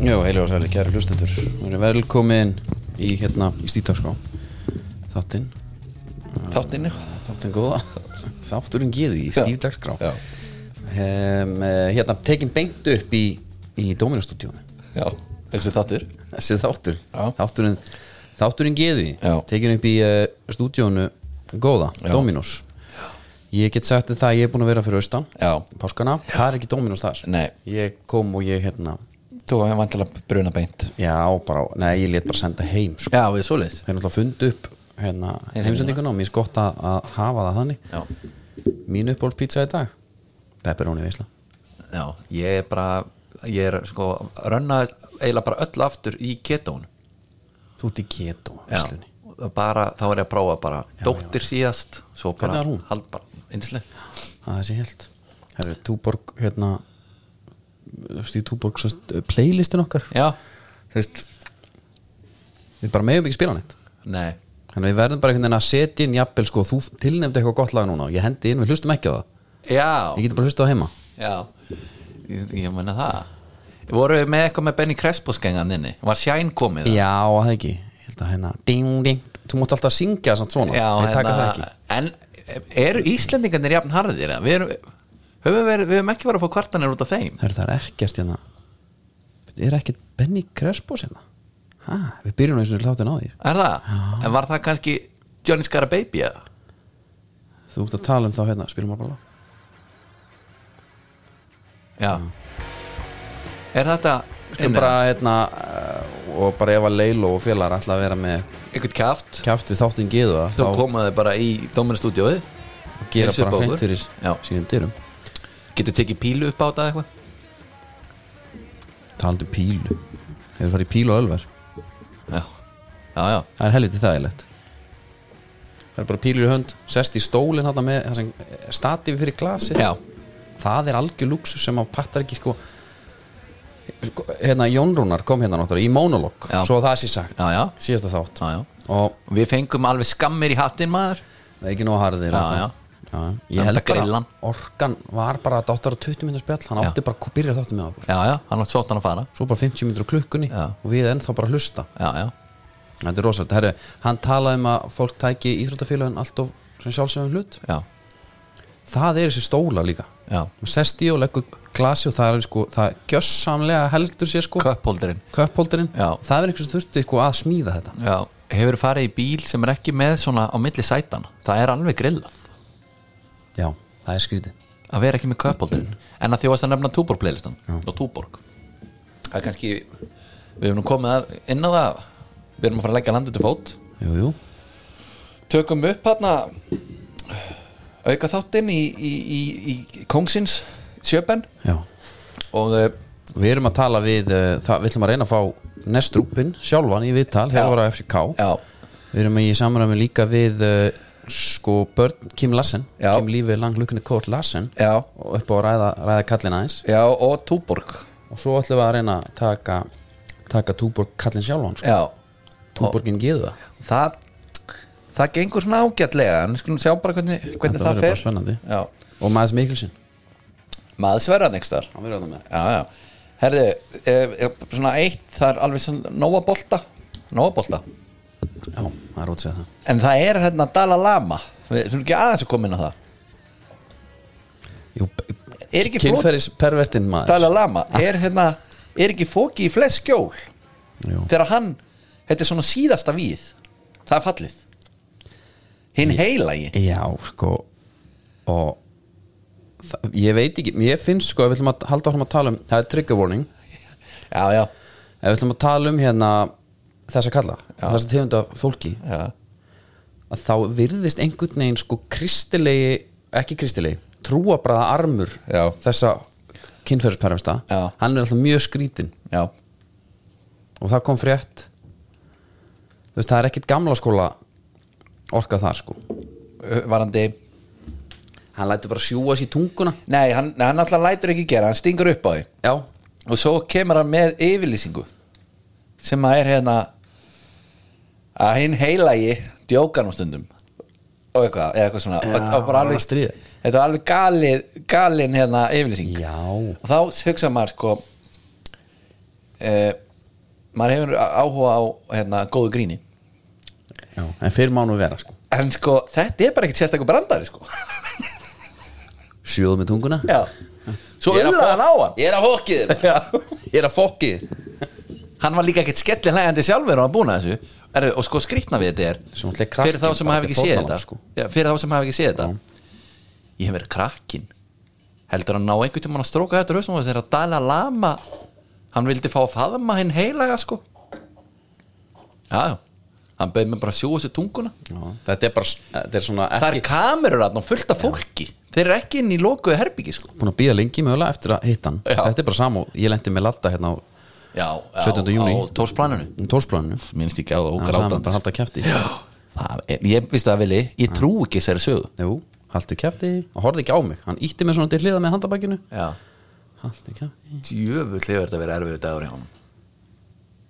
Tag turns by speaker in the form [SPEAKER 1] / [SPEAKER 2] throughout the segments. [SPEAKER 1] Jó, heilir og sæli, kæri hlustendur Við erum velkomin í hérna í Stítagská Þáttinn,
[SPEAKER 2] þáttinni
[SPEAKER 1] þáttinn góða Þátturinn geði í Stítagská
[SPEAKER 2] já,
[SPEAKER 1] um, Hérna, tekin beint upp í, í Dóminustúdíónu
[SPEAKER 2] já, þessi þáttur
[SPEAKER 1] Þessi þáttur
[SPEAKER 2] Já.
[SPEAKER 1] Þátturinn, þátturinn geði
[SPEAKER 2] Já.
[SPEAKER 1] Tekin upp í uh, stúdíónu góða,
[SPEAKER 2] Já.
[SPEAKER 1] Dóminus Ég get sagt þér það að ég er búin að vera fyrir austan
[SPEAKER 2] já,
[SPEAKER 1] Páskana, það er ekki Dóminus þar
[SPEAKER 2] nei,
[SPEAKER 1] Ég kom og ég hérna
[SPEAKER 2] þú hefði vantilega bruna beint
[SPEAKER 1] Já, bara, nei, ég let bara senda heim sko.
[SPEAKER 2] já, við svoleiðis
[SPEAKER 1] þeir náttúrulega fundu upp hérna,
[SPEAKER 2] Heimsendinguna.
[SPEAKER 1] heimsendinguna og mér er gott að, að hafa það þannig
[SPEAKER 2] já,
[SPEAKER 1] mín uppbólspizza í dag pepperoni veisla
[SPEAKER 2] já, ég er bara ég er sko, rönna eiginlega bara öll aftur í ketón
[SPEAKER 1] þú ert í keto
[SPEAKER 2] já,
[SPEAKER 1] veislunni
[SPEAKER 2] bara, þá er ég að prófa bara dóttir síðast, svo bara
[SPEAKER 1] Hvernig var hún?
[SPEAKER 2] hald bara, yndislega
[SPEAKER 1] það er sér held það eru túborg hérna stíð túborg sest, playlistin okkar
[SPEAKER 2] já,
[SPEAKER 1] þú veist við bara meðum ekki spila neitt
[SPEAKER 2] nei,
[SPEAKER 1] þannig að við verðum bara einhvern veginn að setja inn jafnvel sko þú tilnefndi eitthvað gott lag núna og ég hendi inn við hlustum ekki á það
[SPEAKER 2] já
[SPEAKER 1] ég geti bara hlusta á heima
[SPEAKER 2] já, ég, ég menna það voru við með eitthvað með Benny Crespo skengan inni, var Shine komið
[SPEAKER 1] já það ekki ég held að hérna ding ding þú mátt alltaf syngja samt svona
[SPEAKER 2] Já, hérna,
[SPEAKER 1] ég taka það ekki
[SPEAKER 2] En eru Íslendingarnir jafn harðir? eða? Við erum, höfum, verið, við höfum ekki verið að fá kvartanir út af þeim
[SPEAKER 1] Herru, það er ekkert hérna Er ekkert Benny Crespo hérna? Hæ, við byrjum eins og þáttin á því
[SPEAKER 2] Er það? En var það kannski Johnny Scara Baby? eða?
[SPEAKER 1] Þú ert að tala um þá hérna, spilum maður bara lag.
[SPEAKER 2] Já Sko, Er þetta
[SPEAKER 1] Skulum bara hérna eh, og bara ef að Leilo og félagar ætla að vera með
[SPEAKER 2] einhvern kæft?
[SPEAKER 1] kjáft við þáttin geðu
[SPEAKER 2] Þá
[SPEAKER 1] þá
[SPEAKER 2] komaði bara í Dóminastúdíóið
[SPEAKER 1] gera
[SPEAKER 2] heilsu upp á
[SPEAKER 1] bara hreint
[SPEAKER 2] okkur.
[SPEAKER 1] fyrir
[SPEAKER 2] Já.
[SPEAKER 1] sínum dyrum
[SPEAKER 2] Getur tekið pílu upp á þetta eða eitthvað?
[SPEAKER 1] Taldu um pílu Hefur farið í pílu og ölver
[SPEAKER 2] Já, já, já
[SPEAKER 1] Það er helviti þægilegt Það er bara pílur í hönd Sest í stólinn hérna með það sem eh, statífi fyrir glasi
[SPEAKER 2] Já,
[SPEAKER 1] það er algjör luxus sem að pattar ekki sko sko, hérna Jón Rúnar kom hérna náttúrulega í monolog
[SPEAKER 2] Já.
[SPEAKER 1] svo það sé sagt,
[SPEAKER 2] Já, já.
[SPEAKER 1] síðasta þátt
[SPEAKER 2] já, já
[SPEAKER 1] og
[SPEAKER 2] Við fengum alveg skammir í hattinn maður
[SPEAKER 1] það er ekki nóg harðir sko.
[SPEAKER 2] Já, já.
[SPEAKER 1] Já,
[SPEAKER 2] Enda
[SPEAKER 1] ég held bara
[SPEAKER 2] grillan.
[SPEAKER 1] orkan var bara að áttar að 20 minnur spjall hann átti bara að byrja þáttu með okkur
[SPEAKER 2] Já, já, hann átt sóttan að fara
[SPEAKER 1] svo bara 50 minnur á klukkunni
[SPEAKER 2] Já.
[SPEAKER 1] og við ennþá bara að hlusta
[SPEAKER 2] Já, já,
[SPEAKER 1] þetta er rosalegt, herri, hann talaði um að fólk tæki íþróttafélagin allt of sem sjálfsögum hlut,
[SPEAKER 2] já,
[SPEAKER 1] það er þessi stóla líka
[SPEAKER 2] já
[SPEAKER 1] Maður sest í og leggur glasi og það er sko, það gjössamlega heldur sér sko
[SPEAKER 2] Köpholdurinn
[SPEAKER 1] köpphóldurinn,
[SPEAKER 2] Já.
[SPEAKER 1] það er einhvers sem þurfti sko að smíða þetta
[SPEAKER 2] Já, hefur farið í bíl sem er ekki með svona á milli sætan það er alveg grillað
[SPEAKER 1] já, það er skrítið
[SPEAKER 2] að vera ekki með köpoltin en að þjóast að nefna Túborg playlistan og Túborg það er kannski, við hefum nú komið að, inn á það við erum að fara að leggja landið til fót
[SPEAKER 1] jú, jú.
[SPEAKER 2] tökum upp hérna auka þáttinn í, í, í, í Kongsins sjöpen
[SPEAKER 1] Já.
[SPEAKER 2] og eh,
[SPEAKER 1] við erum að tala við uh, það, við ætlum að reyna að fá nestrúpin sjálfan í viðtal, þjálfara FCK
[SPEAKER 2] já,
[SPEAKER 1] við erum í samræmi líka við uh, sko börn Kim Larsen
[SPEAKER 2] Já.
[SPEAKER 1] Kim lífið langlukkinu Kort Larsen
[SPEAKER 2] já,
[SPEAKER 1] og upp á að ræða, ræða kallin aðeins
[SPEAKER 2] já og Túborg
[SPEAKER 1] og svo ætlum við að reyna að taka taka túborg kallin sjálfan sko.
[SPEAKER 2] já,
[SPEAKER 1] túborgin geðu það
[SPEAKER 2] það það gengur svona ágætlega en við skulum sjá bara hvernig,
[SPEAKER 1] Þetta
[SPEAKER 2] hvernig það
[SPEAKER 1] verður bara
[SPEAKER 2] fer
[SPEAKER 1] spennandi.
[SPEAKER 2] já,
[SPEAKER 1] og maður Mikkelsen
[SPEAKER 2] maður sverra nextar
[SPEAKER 1] hann verður að það með
[SPEAKER 2] já, já, herðu e, e, svona eitt, það er alveg svona nóa bolta, nóa bolta
[SPEAKER 1] já, það er út að segja það
[SPEAKER 2] en það er hérna Dala Lama við þurfum ekki aðeins að koma inn á það
[SPEAKER 1] Jú,
[SPEAKER 2] er ekki flóki,
[SPEAKER 1] kynferðispervertinn maður
[SPEAKER 2] Dala Lama er hérna, er ekki fóki í flest skjól
[SPEAKER 1] Jú.
[SPEAKER 2] þegar hann, þetta er svona síðasta víð það er fallið hinn heila í
[SPEAKER 1] Já, sko og það, ég veit ekki, ég finnst sko ef við ætlum að halda áfram að tala um, það er trigger warning
[SPEAKER 2] já, já,
[SPEAKER 1] ef við ætlum að tala um hérna þessa kalla, þessa tegunda fólki
[SPEAKER 2] já,
[SPEAKER 1] að þá virðist einhvern veginn sko kristilegi, ekki kristilegi trúabræða armur
[SPEAKER 2] Já.
[SPEAKER 1] þessa kynferðisperfesta
[SPEAKER 2] Já.
[SPEAKER 1] hann er alltaf mjög skrítin
[SPEAKER 2] já,
[SPEAKER 1] og það kom frétt þú veist, það er ekkit gamla skóla orkað þar sko
[SPEAKER 2] varandi
[SPEAKER 1] hann lætur bara sjúa sér tunguna
[SPEAKER 2] Nei, hann, hann alltaf lætur ekki gera, hann stingur upp á því
[SPEAKER 1] já,
[SPEAKER 2] og svo kemur hann með yfirlýsingu sem að er hérna að hinn heilagi djókar nú stundum og eitthvað, eða eitthvað svona
[SPEAKER 1] Já,
[SPEAKER 2] og, og bara
[SPEAKER 1] hann var að
[SPEAKER 2] alveg,
[SPEAKER 1] stríða.
[SPEAKER 2] þetta var alveg galið, galin hérna yfirlýsing
[SPEAKER 1] já
[SPEAKER 2] og þá hugsa maður sko eh, maður hefur áhuga á hérna, góðu gríni
[SPEAKER 1] já, en fyrir mánu vera sko
[SPEAKER 2] en sko, þetta er bara ekkert sérstakur brandari sko.
[SPEAKER 1] sjóð með tunguna
[SPEAKER 2] Já. svo
[SPEAKER 1] Ég er að
[SPEAKER 2] auðvitað hann á
[SPEAKER 1] fokk-
[SPEAKER 2] hann
[SPEAKER 1] ég er að fokkið þér
[SPEAKER 2] Já.
[SPEAKER 1] ég er að fokkið þér.
[SPEAKER 2] hann var líka ekkert skellinlegandi sjálfur og hann búin að þessu er, og sko skrýtna við þetta er
[SPEAKER 1] Svo náttúrulega krakkinn,
[SPEAKER 2] fyrir þá sem
[SPEAKER 1] bara
[SPEAKER 2] hafa ekki
[SPEAKER 1] þetta er
[SPEAKER 2] séð
[SPEAKER 1] fórnarlamb,
[SPEAKER 2] þetta
[SPEAKER 1] sko.
[SPEAKER 2] Já, fyrir þá sem hafa ekki séð þetta ég hef verið krakkin heldur hann ná einhvern tímann að stróka þetta rausnum þegar að Dalai Lama hann vildi fá að faðma hinn heilaga sko já, já hann bauð mér bara að sjú þessu tunguna
[SPEAKER 1] Já, þetta er bara þetta er svona
[SPEAKER 2] það er
[SPEAKER 1] ekki
[SPEAKER 2] kamerur hann og fullt af fólki þeir eru ekki inn í lokuðu herbyggi sko
[SPEAKER 1] búin að býja lengi mögulega eftir að hitta hann
[SPEAKER 2] Já.
[SPEAKER 1] þetta er bara sam og ég lendi með Latta hérna á
[SPEAKER 2] já,
[SPEAKER 1] 17. júní.
[SPEAKER 2] á tórsblaninu
[SPEAKER 1] tórsplaninu
[SPEAKER 2] minnst ekki á og
[SPEAKER 1] hann sagði
[SPEAKER 2] grátan
[SPEAKER 1] mér bara halda kæfti
[SPEAKER 2] Já, það er, ég vissi það vili ég trú ekki þessari sögu
[SPEAKER 1] jú, haldu kæfti og horfði ekki á mig hann ítti mig svona til hliða með handabækinu
[SPEAKER 2] já.
[SPEAKER 1] haldu kæfti,
[SPEAKER 2] djöfull hefur þetta verið erfiðu dagur hjá hann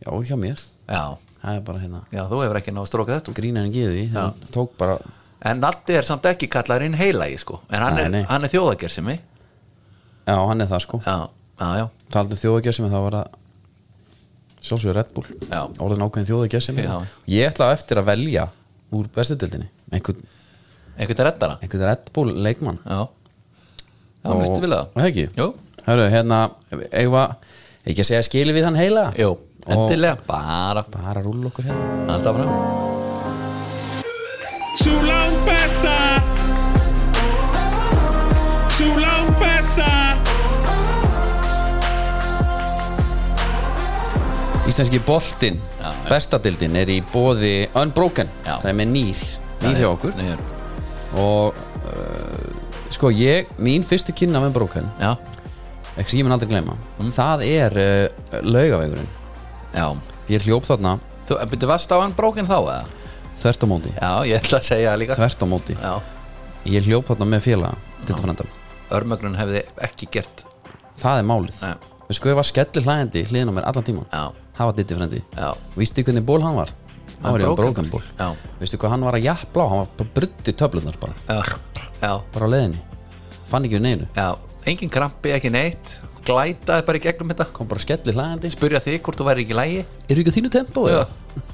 [SPEAKER 1] já hjá mér
[SPEAKER 2] já,
[SPEAKER 1] það er bara hérna
[SPEAKER 2] já, þú hefur ekki náðu strókað þetta út.
[SPEAKER 1] grínan giði hann tók bara
[SPEAKER 2] en Natti er samt ekki kallar inn heilagi sko. en hann,
[SPEAKER 1] Nei,
[SPEAKER 2] er,
[SPEAKER 1] nei.
[SPEAKER 2] hann er þjóðagersimi
[SPEAKER 1] já hann er það sko
[SPEAKER 2] já, já, já,
[SPEAKER 1] taldu þjóðagessim þá var það sjálfsögur Red Bull
[SPEAKER 2] Já.
[SPEAKER 1] orðin ákveðin þjóðagessim
[SPEAKER 2] Já.
[SPEAKER 1] ég ætla á eftir að velja úr bestudildinni einhvern,
[SPEAKER 2] einhvern reddara
[SPEAKER 1] einhvern Red Bull leikmann
[SPEAKER 2] já, já, og... listu vil
[SPEAKER 1] og það ekki
[SPEAKER 2] Jú.
[SPEAKER 1] Hörru, hérna, eigva ekki að segja skili við hann heila
[SPEAKER 2] jú,
[SPEAKER 1] Og-
[SPEAKER 2] endilega, bara
[SPEAKER 1] bara rúla okkur hérna
[SPEAKER 2] alltaf fram
[SPEAKER 3] Sú langt besta Sú langt besta
[SPEAKER 1] Íslenski boltinn,
[SPEAKER 2] Já, já.
[SPEAKER 1] bestadildin er í bóði Unbroken,
[SPEAKER 2] Já.
[SPEAKER 1] það er með nýr nýr hjá okkur
[SPEAKER 2] Nýr.
[SPEAKER 1] og uh, sko ég, mín fyrstu kynna með Unbroken
[SPEAKER 2] já,
[SPEAKER 1] ekki sem ég mun aldrei gleyma
[SPEAKER 2] Mm.
[SPEAKER 1] það er uh, laugavegurinn
[SPEAKER 2] já
[SPEAKER 1] ég hljóp þarna
[SPEAKER 2] þú byrju varst á hann brókin þá eða?
[SPEAKER 1] þvert á móti
[SPEAKER 2] já, ég ætla að segja það líka
[SPEAKER 1] þvert á móti,
[SPEAKER 2] já,
[SPEAKER 1] ég hljóp þarna með félaga til þetta frænda
[SPEAKER 2] örmögnun hefði ekki gert
[SPEAKER 1] það er málið
[SPEAKER 2] Já.
[SPEAKER 1] við sko ég var skellir hlægandi hliðin á mér allan tíman
[SPEAKER 2] Já.
[SPEAKER 1] það var ditti frendi
[SPEAKER 2] Já.
[SPEAKER 1] vístu hvernig ból hann var hann var í
[SPEAKER 2] Unbroken.
[SPEAKER 1] brókan ból
[SPEAKER 2] Já.
[SPEAKER 1] veistu hvað hann var að jafnblá hann var bara brutti töflunar bara
[SPEAKER 2] já, já,
[SPEAKER 1] bara á leiðinni fann ekki við neinu
[SPEAKER 2] já engin krampi, ekki neitt glætaði bara í gegnum þetta
[SPEAKER 1] kom bara skellir hlægandi
[SPEAKER 2] spurja þig hvort þú væri ekki í lægi
[SPEAKER 1] eru ekki á þínu tempó
[SPEAKER 2] Já.
[SPEAKER 1] eða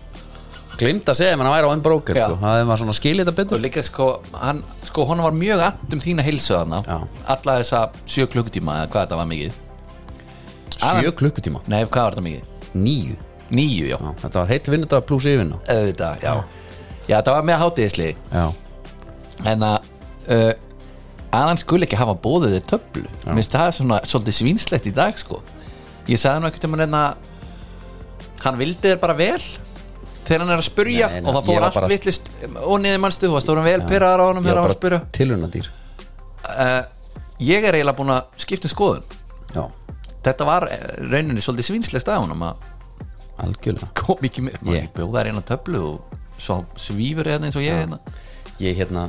[SPEAKER 1] glimt að segja mér hann væri á einn brókan
[SPEAKER 2] Já.
[SPEAKER 1] sko. það var svona að skilja þetta
[SPEAKER 2] og
[SPEAKER 1] betur
[SPEAKER 2] líka sko hann, sko hann var mjög allt um þína heilsuðana
[SPEAKER 1] Já.
[SPEAKER 2] alla þessa sjö klukkutíma eða hvað þetta var mikið
[SPEAKER 1] sjö klukkutíma
[SPEAKER 2] nei hvað var þetta mikið
[SPEAKER 1] níu
[SPEAKER 2] níu já,
[SPEAKER 1] Já, þetta var heill vinnudag pluss yfirna
[SPEAKER 2] auðvitað já. já þetta var með hátíðisli
[SPEAKER 1] já
[SPEAKER 2] en að uh, að hann skulle ekki hafa bóðið þið töflu minnst það er svona svolítið svínslegt í dag sko ég sagði nú ekkert um hann að hann vildi þér bara vel þegar hann er að spurja
[SPEAKER 1] Nei, nei,
[SPEAKER 2] og það
[SPEAKER 1] ég
[SPEAKER 2] fór
[SPEAKER 1] var
[SPEAKER 2] allt
[SPEAKER 1] bara-
[SPEAKER 2] bara... vitlist og niður mannstu, þú varst orðin vel pyrraðar á honum
[SPEAKER 1] ég
[SPEAKER 2] þegar hann
[SPEAKER 1] var
[SPEAKER 2] var að spurja
[SPEAKER 1] bara tilunadýr
[SPEAKER 2] uh, ég er eiginlega búin að skipta um skoðun
[SPEAKER 1] já
[SPEAKER 2] þetta var eh, rauninni svolítið svinslegst af honum að
[SPEAKER 1] algjörlega
[SPEAKER 2] kom ekki með maður
[SPEAKER 1] Ég-
[SPEAKER 2] yeah. bjóða þær eina töflu og svo svífur eða eins og ég hérna
[SPEAKER 1] ég hérna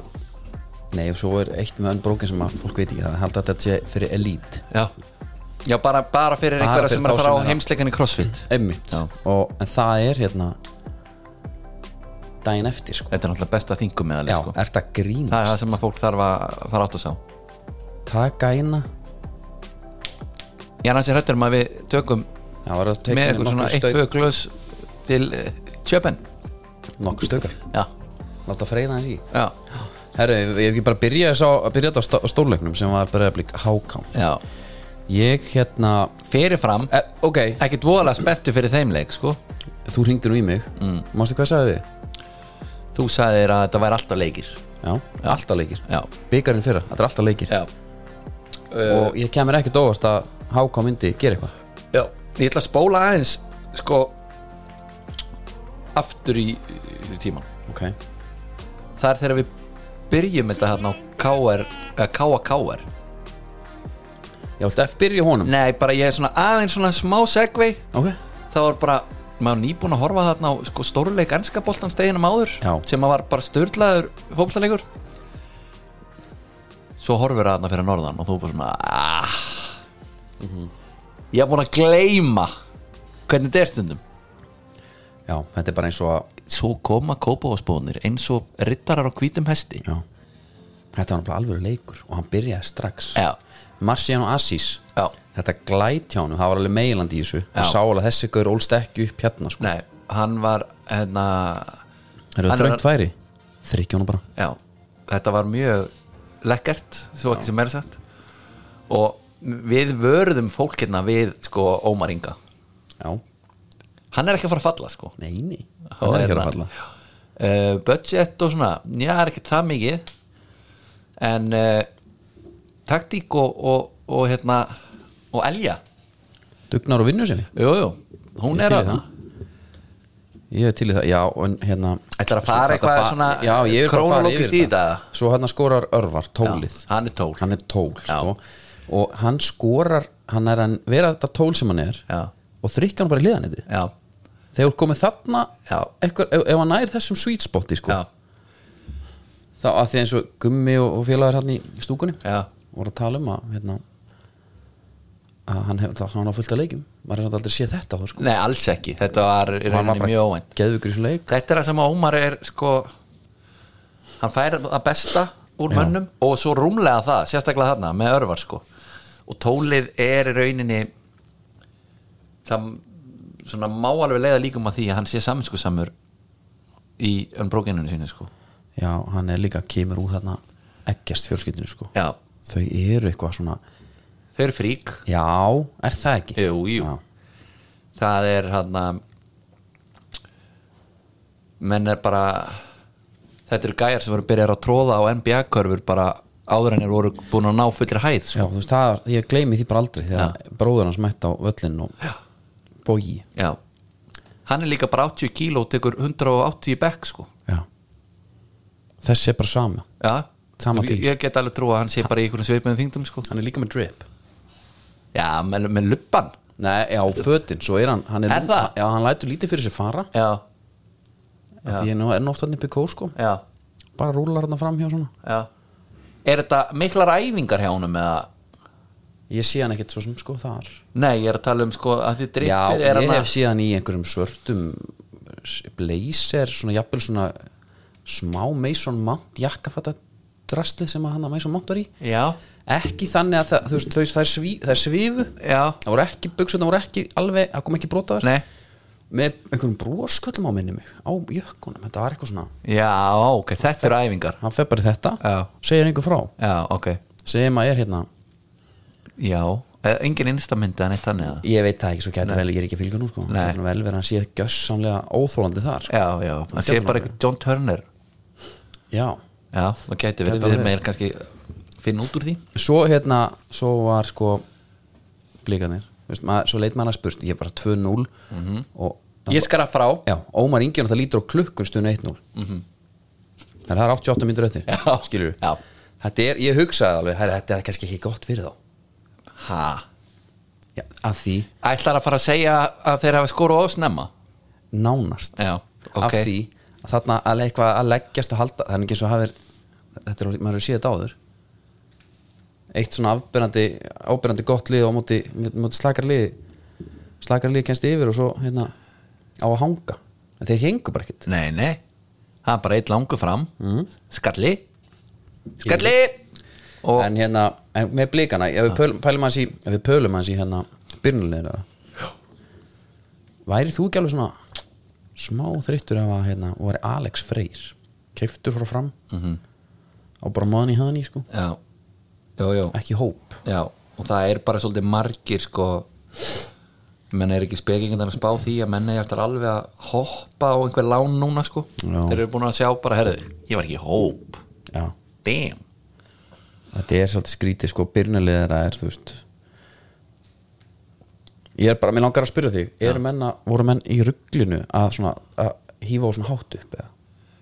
[SPEAKER 1] nei og svo er eitt með unbroken sem að fólk veit ekki það er að halda að þetta sé fyrir elít
[SPEAKER 2] já, já bara, bara fyrir
[SPEAKER 1] Bara
[SPEAKER 2] einhverja
[SPEAKER 1] fyrir
[SPEAKER 2] sem
[SPEAKER 1] þá
[SPEAKER 2] er að fara
[SPEAKER 1] sem
[SPEAKER 2] á
[SPEAKER 1] eru-
[SPEAKER 2] heimsleikan í crossfit
[SPEAKER 1] einmitt
[SPEAKER 2] Já.
[SPEAKER 1] og en það er hérna daginn eftir sko
[SPEAKER 2] þetta er náttúrulega besta þingum meðal
[SPEAKER 1] já, ert
[SPEAKER 2] sko.
[SPEAKER 1] að
[SPEAKER 2] það er það
[SPEAKER 1] grínast
[SPEAKER 2] sem að fólk þarf að fara átt að sá
[SPEAKER 1] taka eina
[SPEAKER 2] ég er hans í hrættur um að við tökum
[SPEAKER 1] já, var að hérna
[SPEAKER 2] með
[SPEAKER 1] teka
[SPEAKER 2] eitthvað svona 1-2 glöðs til uh, Tjöpen
[SPEAKER 1] nokkuð stökar
[SPEAKER 2] já,
[SPEAKER 1] láta freyða hans í
[SPEAKER 2] já,
[SPEAKER 1] herru, ég hef ekki bara byrjað þess á- að byrja þetta á stó- stórleiknum sem var bara að blika hákám
[SPEAKER 2] já Eh.
[SPEAKER 1] ég hérna
[SPEAKER 2] fyrir fram,
[SPEAKER 1] e, ok,
[SPEAKER 2] ekkert voðalega spenntu fyrir þeim leik sko
[SPEAKER 1] þú ringdi nú í mig mm. mástu hvað sagði þið?
[SPEAKER 2] Þú sagðir að þetta væri alltaf leikir
[SPEAKER 1] já, alltaf leikir
[SPEAKER 2] Já,
[SPEAKER 1] byggarinn fyrra, þetta er alltaf leikir
[SPEAKER 2] já,
[SPEAKER 1] og ég kemur ekkert óvart að hákám myndi gera eitthvað
[SPEAKER 2] já. Ég ætla að spóla aðeins sko aftur í, í tíman
[SPEAKER 1] ok,
[SPEAKER 2] Það er þegar við byrjum þetta hérna á KR eða KAKR
[SPEAKER 1] ég ætla að byrja í honum
[SPEAKER 2] Nei, bara ég er svona aðeins svona smá segvei
[SPEAKER 1] ok,
[SPEAKER 2] Það var bara, maður nýbúin að horfa þarna á sko stórleik ennska boltan steginum áður
[SPEAKER 1] Já.
[SPEAKER 2] sem að var bara störlaður fótboltaleikur Svo horfir það þarna fyrir norðan og þú bara svona ah. Ég er búin að gleyma hvernig þetta er stundum
[SPEAKER 1] já, þetta er bara eins og að
[SPEAKER 2] Svo koma kópavásbóðnir eins og rittarar á hvítum hesti
[SPEAKER 1] já, þetta var náttúrulega alvöru leikur og hann byrjaði strax
[SPEAKER 2] Já.
[SPEAKER 1] Marciano Assis
[SPEAKER 2] Já.
[SPEAKER 1] þetta glæt hjá hann, það var alveg meilandi í þessu hann
[SPEAKER 2] Já.
[SPEAKER 1] sá alveg að þessi gaur ólst ekki upp hérna sko.
[SPEAKER 2] Nei, hann var hérna,
[SPEAKER 1] það
[SPEAKER 2] hann
[SPEAKER 1] eru þröngt
[SPEAKER 2] var-
[SPEAKER 1] væri, þryggja hann bara
[SPEAKER 2] Já, þetta var mjög lekkert, svo ekki sem er sagt og við vörðum fólkina við sko Ómar Inga
[SPEAKER 1] já,
[SPEAKER 2] hann er ekki að fara að falla sko
[SPEAKER 1] neini, hann er ekki að
[SPEAKER 2] hérna.
[SPEAKER 1] fara að falla
[SPEAKER 2] uh, budget og svona, já, það er ekki það mikið en uh, taktík og, og, og hérna og elja,
[SPEAKER 1] dugnar og vinnur sinni,
[SPEAKER 2] jú, jú hún
[SPEAKER 1] Ég
[SPEAKER 2] er
[SPEAKER 1] til í það. ég er til í
[SPEAKER 2] að
[SPEAKER 1] það já, en hérna
[SPEAKER 2] Ætlarðu að fara
[SPEAKER 1] Svo þetta
[SPEAKER 2] eitthvað
[SPEAKER 1] fa-
[SPEAKER 2] svona
[SPEAKER 1] já, ég er bara að fara yfir
[SPEAKER 2] krónólógist í þetta?
[SPEAKER 1] svo hann skorar örvar, tólið
[SPEAKER 2] Já, hann er tól.
[SPEAKER 1] hann er tól
[SPEAKER 2] Já.
[SPEAKER 1] sko. og hann skorar, hann er hann vera þetta tól sem hann er
[SPEAKER 2] Já.
[SPEAKER 1] og þrykkja hann bara í liðan þetta
[SPEAKER 2] já,
[SPEAKER 1] þegar þú komið þarna
[SPEAKER 2] Já.
[SPEAKER 1] eitthvað, ef, ef hann nær þessum sweet spoti sko,
[SPEAKER 2] já,
[SPEAKER 1] þá að því eins og gummi og, og félagar hann í stúkunni
[SPEAKER 2] já
[SPEAKER 1] voru að tala um að hérna, að hann hefur þá hann á fullt af leikjum maður er samt aldrei séð þetta þá sko
[SPEAKER 2] nei, alls ekki, þetta var, í
[SPEAKER 1] hann
[SPEAKER 2] rauninni mjög óvænt
[SPEAKER 1] geðvikur í svona leik
[SPEAKER 2] þetta er það sem að Ómar er sko hann fær að besta úr
[SPEAKER 1] Já.
[SPEAKER 2] mönnum og svo rúmlega það, sérstaklega þarna með örvar sko og tólið er í rauninni það svona má alveg leiða líkum að því að hann sé saminskosamur í önbrókinunni sinni sko
[SPEAKER 1] já, hann er líka kemur úr þarna ekkjast fjölskyldinu sko
[SPEAKER 2] já,
[SPEAKER 1] þau eru eitthvað svona
[SPEAKER 2] þau eru frík
[SPEAKER 1] já, er það ekki?
[SPEAKER 2] Jú, jú.
[SPEAKER 1] Já.
[SPEAKER 2] það er hérna, hann að menn er bara þetta eru gæjar sem eru byrjar að tróða á NBA-körfur bara áður en er voru búin að ná fullir hæð
[SPEAKER 1] Já,
[SPEAKER 2] sko.
[SPEAKER 1] þú veist, það, er- ég gleymi því bara aldrei þegar bróður hans mætti á völlin og bógi
[SPEAKER 2] Já Hann er líka bara 80 kíló og tekur 180 í bekk sko
[SPEAKER 1] já. þessi er bara sama
[SPEAKER 2] Já
[SPEAKER 1] Sama
[SPEAKER 2] Ég-
[SPEAKER 1] dýr.
[SPEAKER 2] Ég get alveg trú að hann sé bara í einhvern sveipinu þingdum sko
[SPEAKER 1] hann er líka með drip
[SPEAKER 2] Já, með, með luppan
[SPEAKER 1] Nei, já, fötin, svo er hann hann,
[SPEAKER 2] Er það?
[SPEAKER 1] já, hann lætur lítið fyrir sér fara
[SPEAKER 2] Já,
[SPEAKER 1] af því hann er nú oft hann upp í kó sko
[SPEAKER 2] já,
[SPEAKER 1] bara rúlar hann fram hjá svona
[SPEAKER 2] já Er þetta miklar æfingar hjá honum eða
[SPEAKER 1] ég sé hann ekkert svo sem sko þar
[SPEAKER 2] Nei, ég er að tala um sko að þið drippir
[SPEAKER 1] já,
[SPEAKER 2] er
[SPEAKER 1] ég
[SPEAKER 2] hann
[SPEAKER 1] hef séð hann í einhverjum svörtum s- blazer, svona jafnvel svona smá Mason Mount jakkafatta drastlið sem að hann að Mason Mount var í
[SPEAKER 2] Já,
[SPEAKER 1] ekki þannig að það, þú veist, þau, þær, sví, þær svífu
[SPEAKER 2] já,
[SPEAKER 1] það voru ekki, buksuna voru ekki alveg það kom ekki brotaðar
[SPEAKER 2] nei
[SPEAKER 1] með einhverjum brosköllum á minni mig á jökkunum, þetta var eitthvað svona
[SPEAKER 2] Já, ok, þetta eru æfingar
[SPEAKER 1] hann fer bara í þetta,
[SPEAKER 2] Já.
[SPEAKER 1] segir einhver frá
[SPEAKER 2] Já, ok
[SPEAKER 1] sem að er hérna,
[SPEAKER 2] Já, Eh, engin instamyndi hann eitt þannig að
[SPEAKER 1] ég veit það ekki svo gæti vel, ég er ekki að fylgja nú sko,
[SPEAKER 2] Nei.
[SPEAKER 1] gæti nú vel verið að hann sé gjössamlega óþólandi þar sko.
[SPEAKER 2] Já, já, hann sé bara eitthvað John Turner
[SPEAKER 1] já,
[SPEAKER 2] Já, það gæti verið
[SPEAKER 1] Gæti
[SPEAKER 2] við
[SPEAKER 1] verið.
[SPEAKER 2] meir kannski finna út úr því
[SPEAKER 1] svo hérna svo var sko blíkanir, veist, maður, svo leit maður að spurt ég er bara 2-0
[SPEAKER 2] Mhm.
[SPEAKER 1] og
[SPEAKER 2] Ég skara frá
[SPEAKER 1] já, Ómar Ingi það lítur á klukkun stundu 1-0 mm það er 88 myndur eftir
[SPEAKER 2] Mhm. Já.
[SPEAKER 1] skilur
[SPEAKER 2] Já.
[SPEAKER 1] þetta er, ég hugsaði alveg, herra, þetta er kannski ekki gott fyrir þá
[SPEAKER 2] ha.
[SPEAKER 1] já, að því
[SPEAKER 2] Ætlar að fara að segja að þeir hafa skóru snemma
[SPEAKER 1] nánast
[SPEAKER 2] Já, ok.
[SPEAKER 1] af því að þarna að eitthvað að leggjast og halda þannig eins og hafir þetta er, alveg- maður hefur séð þetta áður eitt svona afbyrjandi ábyrjandi gott lið á móti, móti slakar lið slakar lið kennst yfir og svo hérna á að hanga en þeir hengu bara ekkert
[SPEAKER 2] Nei, nei Það er bara eitt langu fram Skalli Mhm. Skalli Og
[SPEAKER 1] en hérna, en með blikana ef við pölum, pælum hans í, ef við pölum hans í hérna byrnulegina væri þú ekki alveg svona smá þreyttur ef að hérna og væri Alex Freyr, keiftur frá fram -hmm. á bara manni hann í sko
[SPEAKER 2] Já, jú, jú
[SPEAKER 1] ekki hóp
[SPEAKER 2] Já, og það er bara svolítið margir sko menn er ekki spekingan að spá því að menn er eftir alveg að hoppa á einhver lán núna sko
[SPEAKER 1] Já.
[SPEAKER 2] Þeir eru búin að sjá bara, herðu, ég var ekki í hóp
[SPEAKER 1] já,
[SPEAKER 2] Damn
[SPEAKER 1] þetta er svolítið skrítið sko byrnulegina er þú veist ég er bara, mér langar að spyrja þig eru menn að, voru menn í rugglinu að svona, að hífa á svona hátt upp eða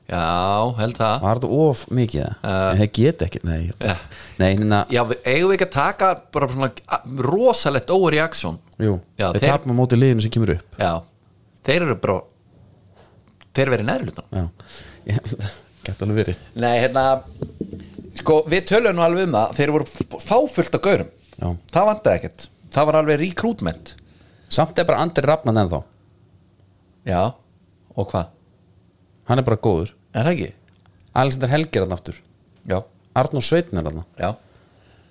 [SPEAKER 2] Já, held það
[SPEAKER 1] Var þetta of mikið? Uh, það get ekki, nei
[SPEAKER 2] Ja.
[SPEAKER 1] Nei, hérna,
[SPEAKER 2] Já, við, eigum við ekki að taka bara svona a- rosalegt overreaction
[SPEAKER 1] jú,
[SPEAKER 2] Já,
[SPEAKER 1] þeir
[SPEAKER 2] þeir-
[SPEAKER 1] tapum á móti liðinu sem kemur upp
[SPEAKER 2] Já, þeir eru bara þeir verið neðri hlutan
[SPEAKER 1] Já, gett alveg verið
[SPEAKER 2] Nei, hérna sko, við töluðum nú alveg um það þeir voru f- fáfullt af gaurum
[SPEAKER 1] Já.
[SPEAKER 2] það vantaði ekkert, það var alveg recruitment
[SPEAKER 1] Samt er bara Andri Rafnan ennþá
[SPEAKER 2] Já, og hvað?
[SPEAKER 1] Hann er bara góður
[SPEAKER 2] Er það ekki?
[SPEAKER 1] Alexander Helgi er hann aftur
[SPEAKER 2] Já
[SPEAKER 1] Arnór Sveitn er þarna
[SPEAKER 2] já,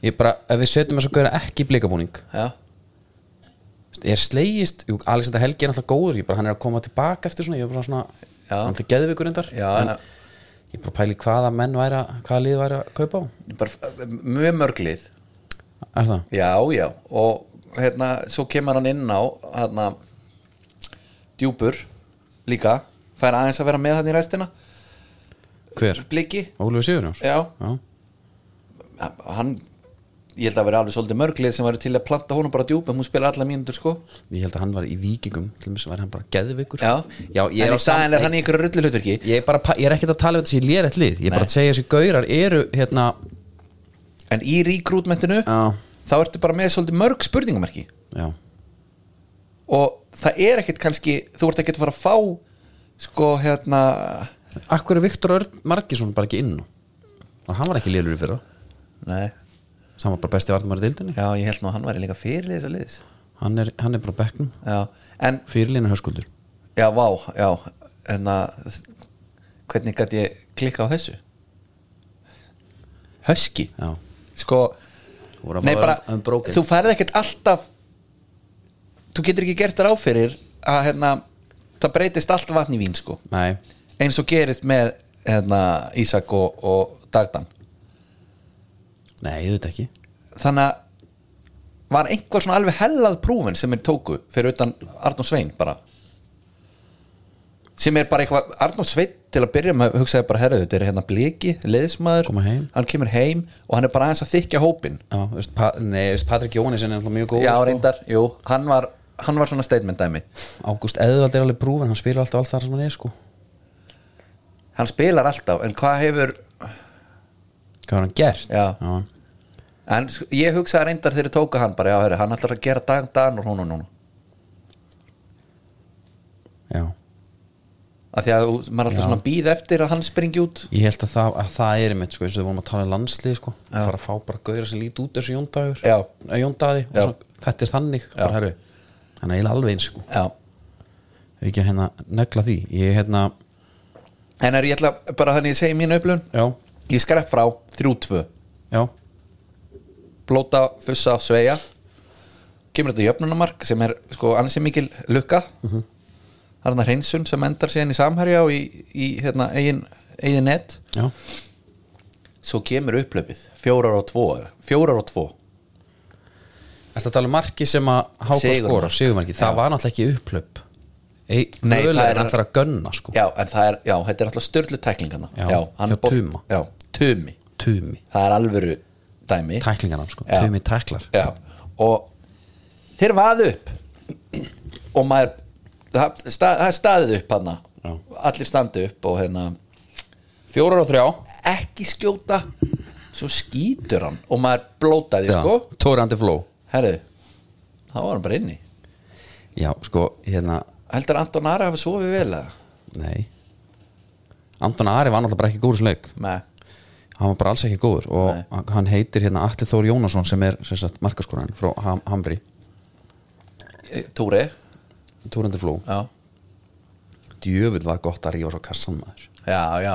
[SPEAKER 1] ég bara, ef við setjum þess að gauðra ekki í blikabúning
[SPEAKER 2] já,
[SPEAKER 1] er slegist, jú, Alexander Helgi er alltaf góður ég bara, hann er að koma tilbaka eftir svona ég er bara svona,
[SPEAKER 2] Já.
[SPEAKER 1] hann er alltaf geðvikur undar
[SPEAKER 2] já
[SPEAKER 1] en
[SPEAKER 2] en-
[SPEAKER 1] ég bara pæli hvaða menn væri að, hvaða lið væri að kaupa á
[SPEAKER 2] ég bara, mjög mörglið
[SPEAKER 1] er það,
[SPEAKER 2] já, já, og hérna svo kemur hann inn á hérna, djúpur líka, fær aðeins að vera með hann í restina
[SPEAKER 1] hver?
[SPEAKER 2] bliki,
[SPEAKER 1] Ólöfi Sigurjóns?
[SPEAKER 2] já,
[SPEAKER 1] Já.
[SPEAKER 2] hann ég held að vera alveg svolítið mörglið sem væri til að planta honum bara djúpum, hún spila alla mínútur sko
[SPEAKER 1] ég held að hann var í vikingum til þess að hann bara geðvikur
[SPEAKER 2] já,
[SPEAKER 1] Já ég,
[SPEAKER 2] en
[SPEAKER 1] er
[SPEAKER 2] í
[SPEAKER 1] á
[SPEAKER 2] staðin
[SPEAKER 1] sam-
[SPEAKER 2] er hann í einhverju rullilöturki
[SPEAKER 1] ég, er bara, pa- ég er ekkert að tala um þetta sem ég lér eitt lið ég er bara
[SPEAKER 2] Nei.
[SPEAKER 1] að segja þessi gaurar eru hérna,
[SPEAKER 2] en í rekrútmentinu
[SPEAKER 1] já,
[SPEAKER 2] þá ertu bara með svolítið mörg spurningamarki
[SPEAKER 1] já,
[SPEAKER 2] og það er ekkert kannski þú ert ekkert að fara að fá sko hérna
[SPEAKER 1] Akkur er Viktor Örn Markísson bara ekki inn á? Var- Hann var ekki liður í fyrra
[SPEAKER 2] nei,
[SPEAKER 1] Hann var bara besti varnamæri deildinni
[SPEAKER 2] já ég held nú að hann væri líka fyrirlið þessa liðs
[SPEAKER 1] hann er, hann er bara á bekknum,
[SPEAKER 2] já, en
[SPEAKER 1] fyrirlinu höskuldur
[SPEAKER 2] já, vá, já en að hvernig gæti ég klikka á þessu höski
[SPEAKER 1] Já,
[SPEAKER 2] sko,
[SPEAKER 1] þú voru að
[SPEAKER 2] nei
[SPEAKER 1] fá
[SPEAKER 2] bara
[SPEAKER 1] um, um brókin
[SPEAKER 2] þú færði ekkert alltaf þú getur ekki gert þér áfyrir að hérna, það breytist allt vatn í vín sko
[SPEAKER 1] Nei,
[SPEAKER 2] eins og gerist með hérna, Ísak og, og Dagdan
[SPEAKER 1] nei, ég veit ekki
[SPEAKER 2] þannig að var einhver svona alveg hellað prúfin sem er tóku fyrir utan Arnór Svein bara sem er bara eitthvað Arnór Svein til að byrja með hugsaði bara herðu þetta er hérna bliki, leðismæður
[SPEAKER 1] Koma heim.
[SPEAKER 2] hann kemur heim og hann er bara aðeins að þykja hópin
[SPEAKER 1] Já, þú veist, pa, nei, þú veist, Patrik Jónis er náttúrulega mjög sko. góð
[SPEAKER 2] já reyndar, jú, hann var hann var svona statement dæmi
[SPEAKER 1] Ágúst Eðvald er alveg brúfin, hann spila alltaf alls þar sem hann er sko
[SPEAKER 2] hann spilar alltaf, en hvað hefur
[SPEAKER 1] Hvað har hann gert?
[SPEAKER 2] Já.
[SPEAKER 1] Já.
[SPEAKER 2] en sk- ég hugsaði reyndar þegar ég tóka hann bara, já herru, hann ætlar að gera dag, dag og hún og núna
[SPEAKER 1] Já.
[SPEAKER 2] að því að þú- maður er alltaf svona býð eftir að hann springi út
[SPEAKER 1] Ég held að það, að það er einmitt sko, eins og við vorum að tala um landslið sko,
[SPEAKER 2] Já.
[SPEAKER 1] fara að fá bara gauðra sem lít út þessu jóndagur
[SPEAKER 2] Já.
[SPEAKER 1] Eh, jóndaði, og
[SPEAKER 2] Já.
[SPEAKER 1] svo, þetta er þannig bara, herru, hann er eiginlega alveg eins sko
[SPEAKER 2] já.
[SPEAKER 1] Ef ekki að hérna negla því ég hérna,
[SPEAKER 2] en er ég ætla bara þannig að segja mínu upplun
[SPEAKER 1] já,
[SPEAKER 2] ég skrepp frá 3-2
[SPEAKER 1] já
[SPEAKER 2] blóta, fussa, sveja kemur þetta jöfnunamark sem er sko ansi mikil lukka það er hann að hreinsun sem endar síðan í samherja og í, í hérna, eigin, eigin net
[SPEAKER 1] já,
[SPEAKER 2] svo kemur upplöpið, fjórar og tvo eða, fjórar og tvo
[SPEAKER 1] Þetta tala um marki sem að háka
[SPEAKER 2] Sigurmark.
[SPEAKER 1] skora, sigurmarki, það
[SPEAKER 2] Já.
[SPEAKER 1] var náttúrulega ekki upplöp Ei,
[SPEAKER 2] Nei,
[SPEAKER 1] Nei, það
[SPEAKER 2] það er
[SPEAKER 1] er náttúrulega að gunna sko
[SPEAKER 2] já, en það er, já, þetta er alltaf störlu tæklingana
[SPEAKER 1] Já,
[SPEAKER 2] hann
[SPEAKER 1] hjá
[SPEAKER 2] er bolt-
[SPEAKER 1] Tuma.
[SPEAKER 2] já, tumi,
[SPEAKER 1] Tumi,
[SPEAKER 2] það er alvöru dæmi
[SPEAKER 1] tæklingar hann sko,
[SPEAKER 2] Já.
[SPEAKER 1] Tumi tæklar
[SPEAKER 2] Já, og þeir vaðu upp og maður það, stað, það er staðið upp hann
[SPEAKER 1] Já.
[SPEAKER 2] allir standu upp og hérna
[SPEAKER 1] Fjórar og þrjá
[SPEAKER 2] ekki skjóta svo skýtur hann og maður blótaði sko
[SPEAKER 1] Tóri Andi Fló
[SPEAKER 2] herru, þá var hann bara inni
[SPEAKER 1] Já, sko, hérna,
[SPEAKER 2] heldur Anton Ari hafa sofið vel að
[SPEAKER 1] nei Anton Ari var náttúrulega bara ekki góður sleik
[SPEAKER 2] með,
[SPEAKER 1] hann var bara alls ekki góður og
[SPEAKER 2] Nei.
[SPEAKER 1] hann heitir hérna Atli Þór Jónasson sem er sem sagt, markaskoran frá Ham Hamri
[SPEAKER 2] eh, Túri
[SPEAKER 1] Túrandi Fló,
[SPEAKER 2] já,
[SPEAKER 1] djöfull var gott að rífa svo kassan maður
[SPEAKER 2] já, já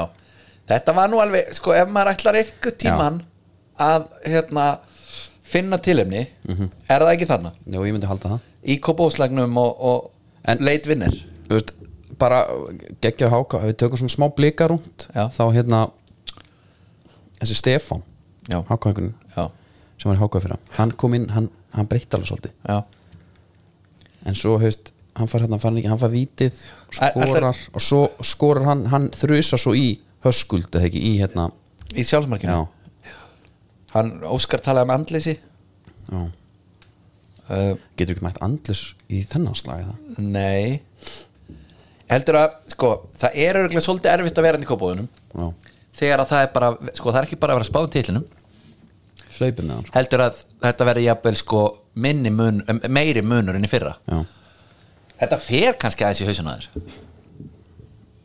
[SPEAKER 2] þetta var nú alveg, sko ef maður ætlar eitthvað tíman að hérna finna tilefni er það ekki þannig?
[SPEAKER 1] Já, ég myndi halda það
[SPEAKER 2] í kópáslagnum og, og
[SPEAKER 1] En-
[SPEAKER 2] leitvinnir
[SPEAKER 1] Þú veist, bara geggja á háka ef við tökum svona smá blika rúnd
[SPEAKER 2] Já.
[SPEAKER 1] þá hérna þessi Stefán,
[SPEAKER 2] Já.
[SPEAKER 1] hákaðingun
[SPEAKER 2] já,
[SPEAKER 1] sem var í hákað fyrir hann kom inn, hann, hann breytti alveg svolítið
[SPEAKER 2] já,
[SPEAKER 1] en svo, hefst, hann far hérna, hann far, hann ekki, hann far vítið skorar, og svo skorar hann hann þrjusa svo í höskuld eða ekki, í hérna
[SPEAKER 2] í sjálfsmarkinu
[SPEAKER 1] Já,
[SPEAKER 2] hann Óskar talaði um andleysi
[SPEAKER 1] já
[SPEAKER 2] uh,
[SPEAKER 1] getur ekki mætt andlus í þennan slag eða?
[SPEAKER 2] nei heldur að, sko, það er örgulega svolítið erfitt að vera hann í kópáðunum
[SPEAKER 1] Já,
[SPEAKER 2] þegar að það er bara, sko, það er ekki bara að vera spáð titlinum,
[SPEAKER 1] hlaupið með hann sko.
[SPEAKER 2] heldur að þetta verði jafnvel, sko, minni mun eh, meiri munur enn í fyrra
[SPEAKER 1] já.
[SPEAKER 2] þetta fer kannski aðeins í hausunaður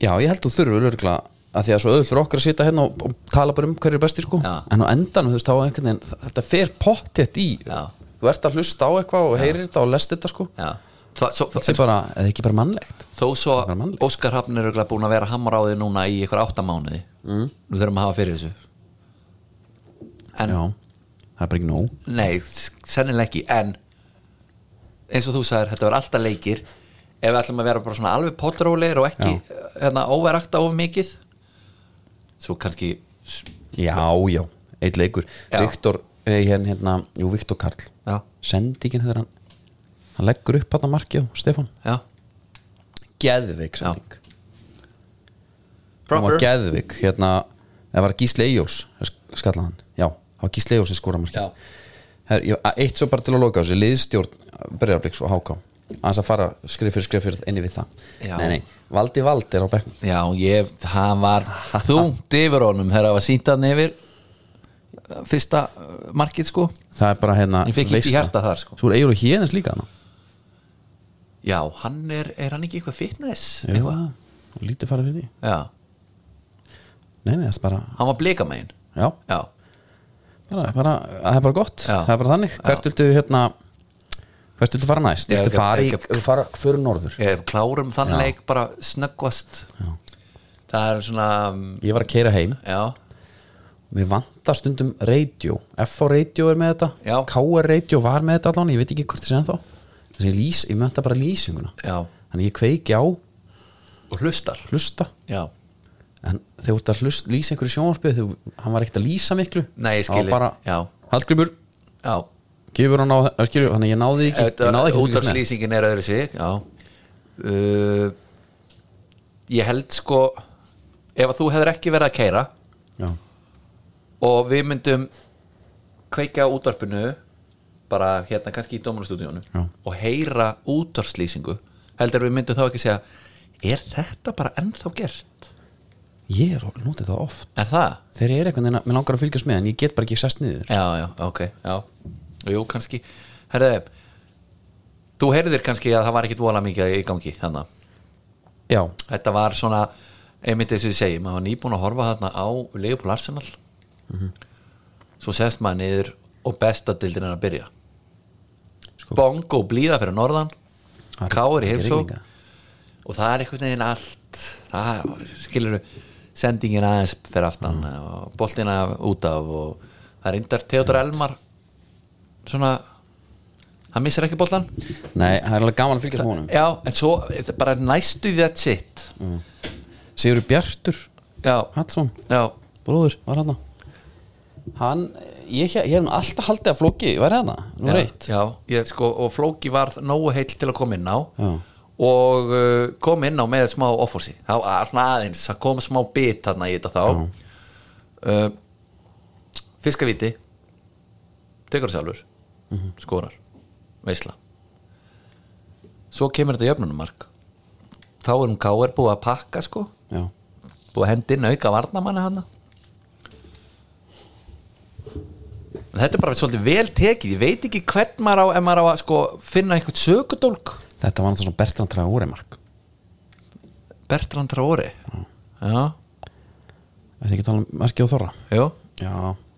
[SPEAKER 1] já, ég held þú þurfur örgla að því að svo auðvitað fyrir okkur að sitja hérna og, og tala bara um hverju er bestir sko
[SPEAKER 2] Já.
[SPEAKER 1] en á endanum þú veist þá einhvern veginn þ- þetta fer pottett í
[SPEAKER 2] Já.
[SPEAKER 1] þú ert að hlusta á eitthvað og heyrir þetta og lest þetta sko
[SPEAKER 2] já, það, svo,
[SPEAKER 1] þetta er bara, eða ekki bara mannlegt
[SPEAKER 2] þó svo
[SPEAKER 1] Það er mannlegt.
[SPEAKER 2] Óskar Hafn er örugglega búinn að vera hamra á því núna í ykkur áttamánuði mm. nú þurfum að hafa fyrir þessu en
[SPEAKER 1] já, það er bara ekki nóg
[SPEAKER 2] Nei, s- sennilega ekki En eins og þú sagðir, þetta var alltaf leikir Ef við ætlum að vera bara svona alveg potrólegir og ekki hérna, óverakta of mikið Svo kannski s-
[SPEAKER 1] já, já, eitt leikur
[SPEAKER 2] Já.
[SPEAKER 1] Viktor, eh, hérna, hérna, jú, Viktor Karl
[SPEAKER 2] Já,
[SPEAKER 1] sendingin þegar hann hann leggur upp hann að markið á Stefán
[SPEAKER 2] já,
[SPEAKER 1] geðvik sending hann
[SPEAKER 2] proper
[SPEAKER 1] var geðvik hérna, það var Gísli Eyjóls skallaði hann, já, það var Gísli Eyjóls sem skora
[SPEAKER 2] Já.
[SPEAKER 1] markið Her, ég, að- eitt svo bara til að loka á þessu, liðstjórn Breyðabliks og Háká, aðeins að fara skrif fyrir skrif fyrir inni við það
[SPEAKER 2] Já.
[SPEAKER 1] nei, nei, Valdi Vald er á bekknum
[SPEAKER 2] Já, ég, hann var þungt yfir honum þegar það var sínt hann yfir fyrsta uh, markið sko
[SPEAKER 1] það er bara hérna
[SPEAKER 2] Ég fékk illt í
[SPEAKER 1] veisla.
[SPEAKER 2] hjarta þar, sko.
[SPEAKER 1] svo er Eyjólu Hienes líka hann
[SPEAKER 2] Já, hann er, er hann ekki eitthvað fitness?
[SPEAKER 1] já, og lítið farið fyrir því
[SPEAKER 2] Já,
[SPEAKER 1] nei, nei, það er bara,
[SPEAKER 2] hann var blikamegin
[SPEAKER 1] já,
[SPEAKER 2] Já,
[SPEAKER 1] bara, bara, það er bara gott
[SPEAKER 2] Já.
[SPEAKER 1] það er bara þannig, hvert viltu hérna hvert viltu fara næst,
[SPEAKER 2] Já,
[SPEAKER 1] viltu
[SPEAKER 2] ekki-
[SPEAKER 1] fara í
[SPEAKER 2] ekki-
[SPEAKER 1] fara fyrir norður
[SPEAKER 2] Ef klárum þann
[SPEAKER 1] Já.
[SPEAKER 2] leik bara snöggvast það er svona um,
[SPEAKER 1] ég var að keira heim
[SPEAKER 2] já,
[SPEAKER 1] Mér vantar stundum radio FH Radio er með þetta
[SPEAKER 2] Já.
[SPEAKER 1] KR Radio var með þetta allan, ég veit ekki hvort það sé ennþá Þessi ég lýs, ég mönta bara lýsinguna
[SPEAKER 2] já,
[SPEAKER 1] Þannig ég kveiki á
[SPEAKER 2] og hlustar
[SPEAKER 1] hlusta
[SPEAKER 2] já,
[SPEAKER 1] En þegar þú ert að hlust, lýsa einhverju sjónvarpið þegar hann var ekkert að lýsa miklu
[SPEAKER 2] Nei, ég
[SPEAKER 1] Það var
[SPEAKER 2] skil,
[SPEAKER 1] bara,
[SPEAKER 2] já.
[SPEAKER 1] Hallgrímur,
[SPEAKER 2] já
[SPEAKER 1] gefur hann á það skilur, Þannig ég náði ekki, ég náði ekki að fylgjast með.
[SPEAKER 2] útarslýsingin er öðru sig já uh, ég held sko ef að þú hefur ekki verið að keira
[SPEAKER 1] Já,
[SPEAKER 2] og við myndum kveika á útarpinu bara hérna kannski í dómarastúdíónu
[SPEAKER 1] Já.
[SPEAKER 2] og heyra útarslýsingu heldur við myndum þá ekki segja er þetta bara ennþá gert?
[SPEAKER 1] ég er alveg notið það oft
[SPEAKER 2] Er það?
[SPEAKER 1] Þegar ég er eitthvað, en mér langar að fylgjast með En ég get bara ekki sest niður
[SPEAKER 2] já, já, ok, já jú, kannski, herðu þú heyrðir kannski að það var ekkit vola mikið í gangi hérna,
[SPEAKER 1] Já,
[SPEAKER 2] þetta var svona einmitt eins og ég segi, maður var nýbúin að horfa þarna á Leopold Arsenal svo sest maður niður og besta dildin er að byrja
[SPEAKER 1] Sko.
[SPEAKER 2] bongo blíða fyrir norðan
[SPEAKER 1] það er-
[SPEAKER 2] Kári
[SPEAKER 1] það er
[SPEAKER 2] Heimsó
[SPEAKER 1] rigninga.
[SPEAKER 2] og það er einhvern veginn allt það skilur sendingin aðeins fyrir aftan og boltina út af og það er indar Theodor Elmar svona hann missir ekki boltan
[SPEAKER 1] Mhm. Nei, það er alveg gaman að fylgjast með honum
[SPEAKER 2] já, en svo þetta er bara næstu því that's it
[SPEAKER 1] Sigur Bjartur
[SPEAKER 2] já,
[SPEAKER 1] Hallsson,
[SPEAKER 2] já,
[SPEAKER 1] bróður, var hann Hann, ég, ég hef nú alltaf haldið að flóki, var hann Nú
[SPEAKER 2] já,
[SPEAKER 1] reitt
[SPEAKER 2] já ég, sko, og Flóki var nógu heill til að koma inn á
[SPEAKER 1] Já.
[SPEAKER 2] og uh, kom inn á með smá offorsi, þá var svona aðeins það kom smá bit þarna í þetta þá uh, fiskavíti tekur það sjálfur
[SPEAKER 1] Mhm.
[SPEAKER 2] skorar, veisla svo kemur þetta jöfnunumark þá er hún K.R. búið að pakka sko
[SPEAKER 1] Já,
[SPEAKER 2] búið að hendi inn auka varnamanna hana En þetta er bara svolítið vel tekið ég veit ekki hvern maður á ef maður á að sko, finna einhvern sökudólk
[SPEAKER 1] þetta var náttúrulega svona Bertrand Traoremark
[SPEAKER 2] Bertrand Rári já,
[SPEAKER 1] Það er ekki að tala um markið og þorra
[SPEAKER 2] jú
[SPEAKER 1] Já,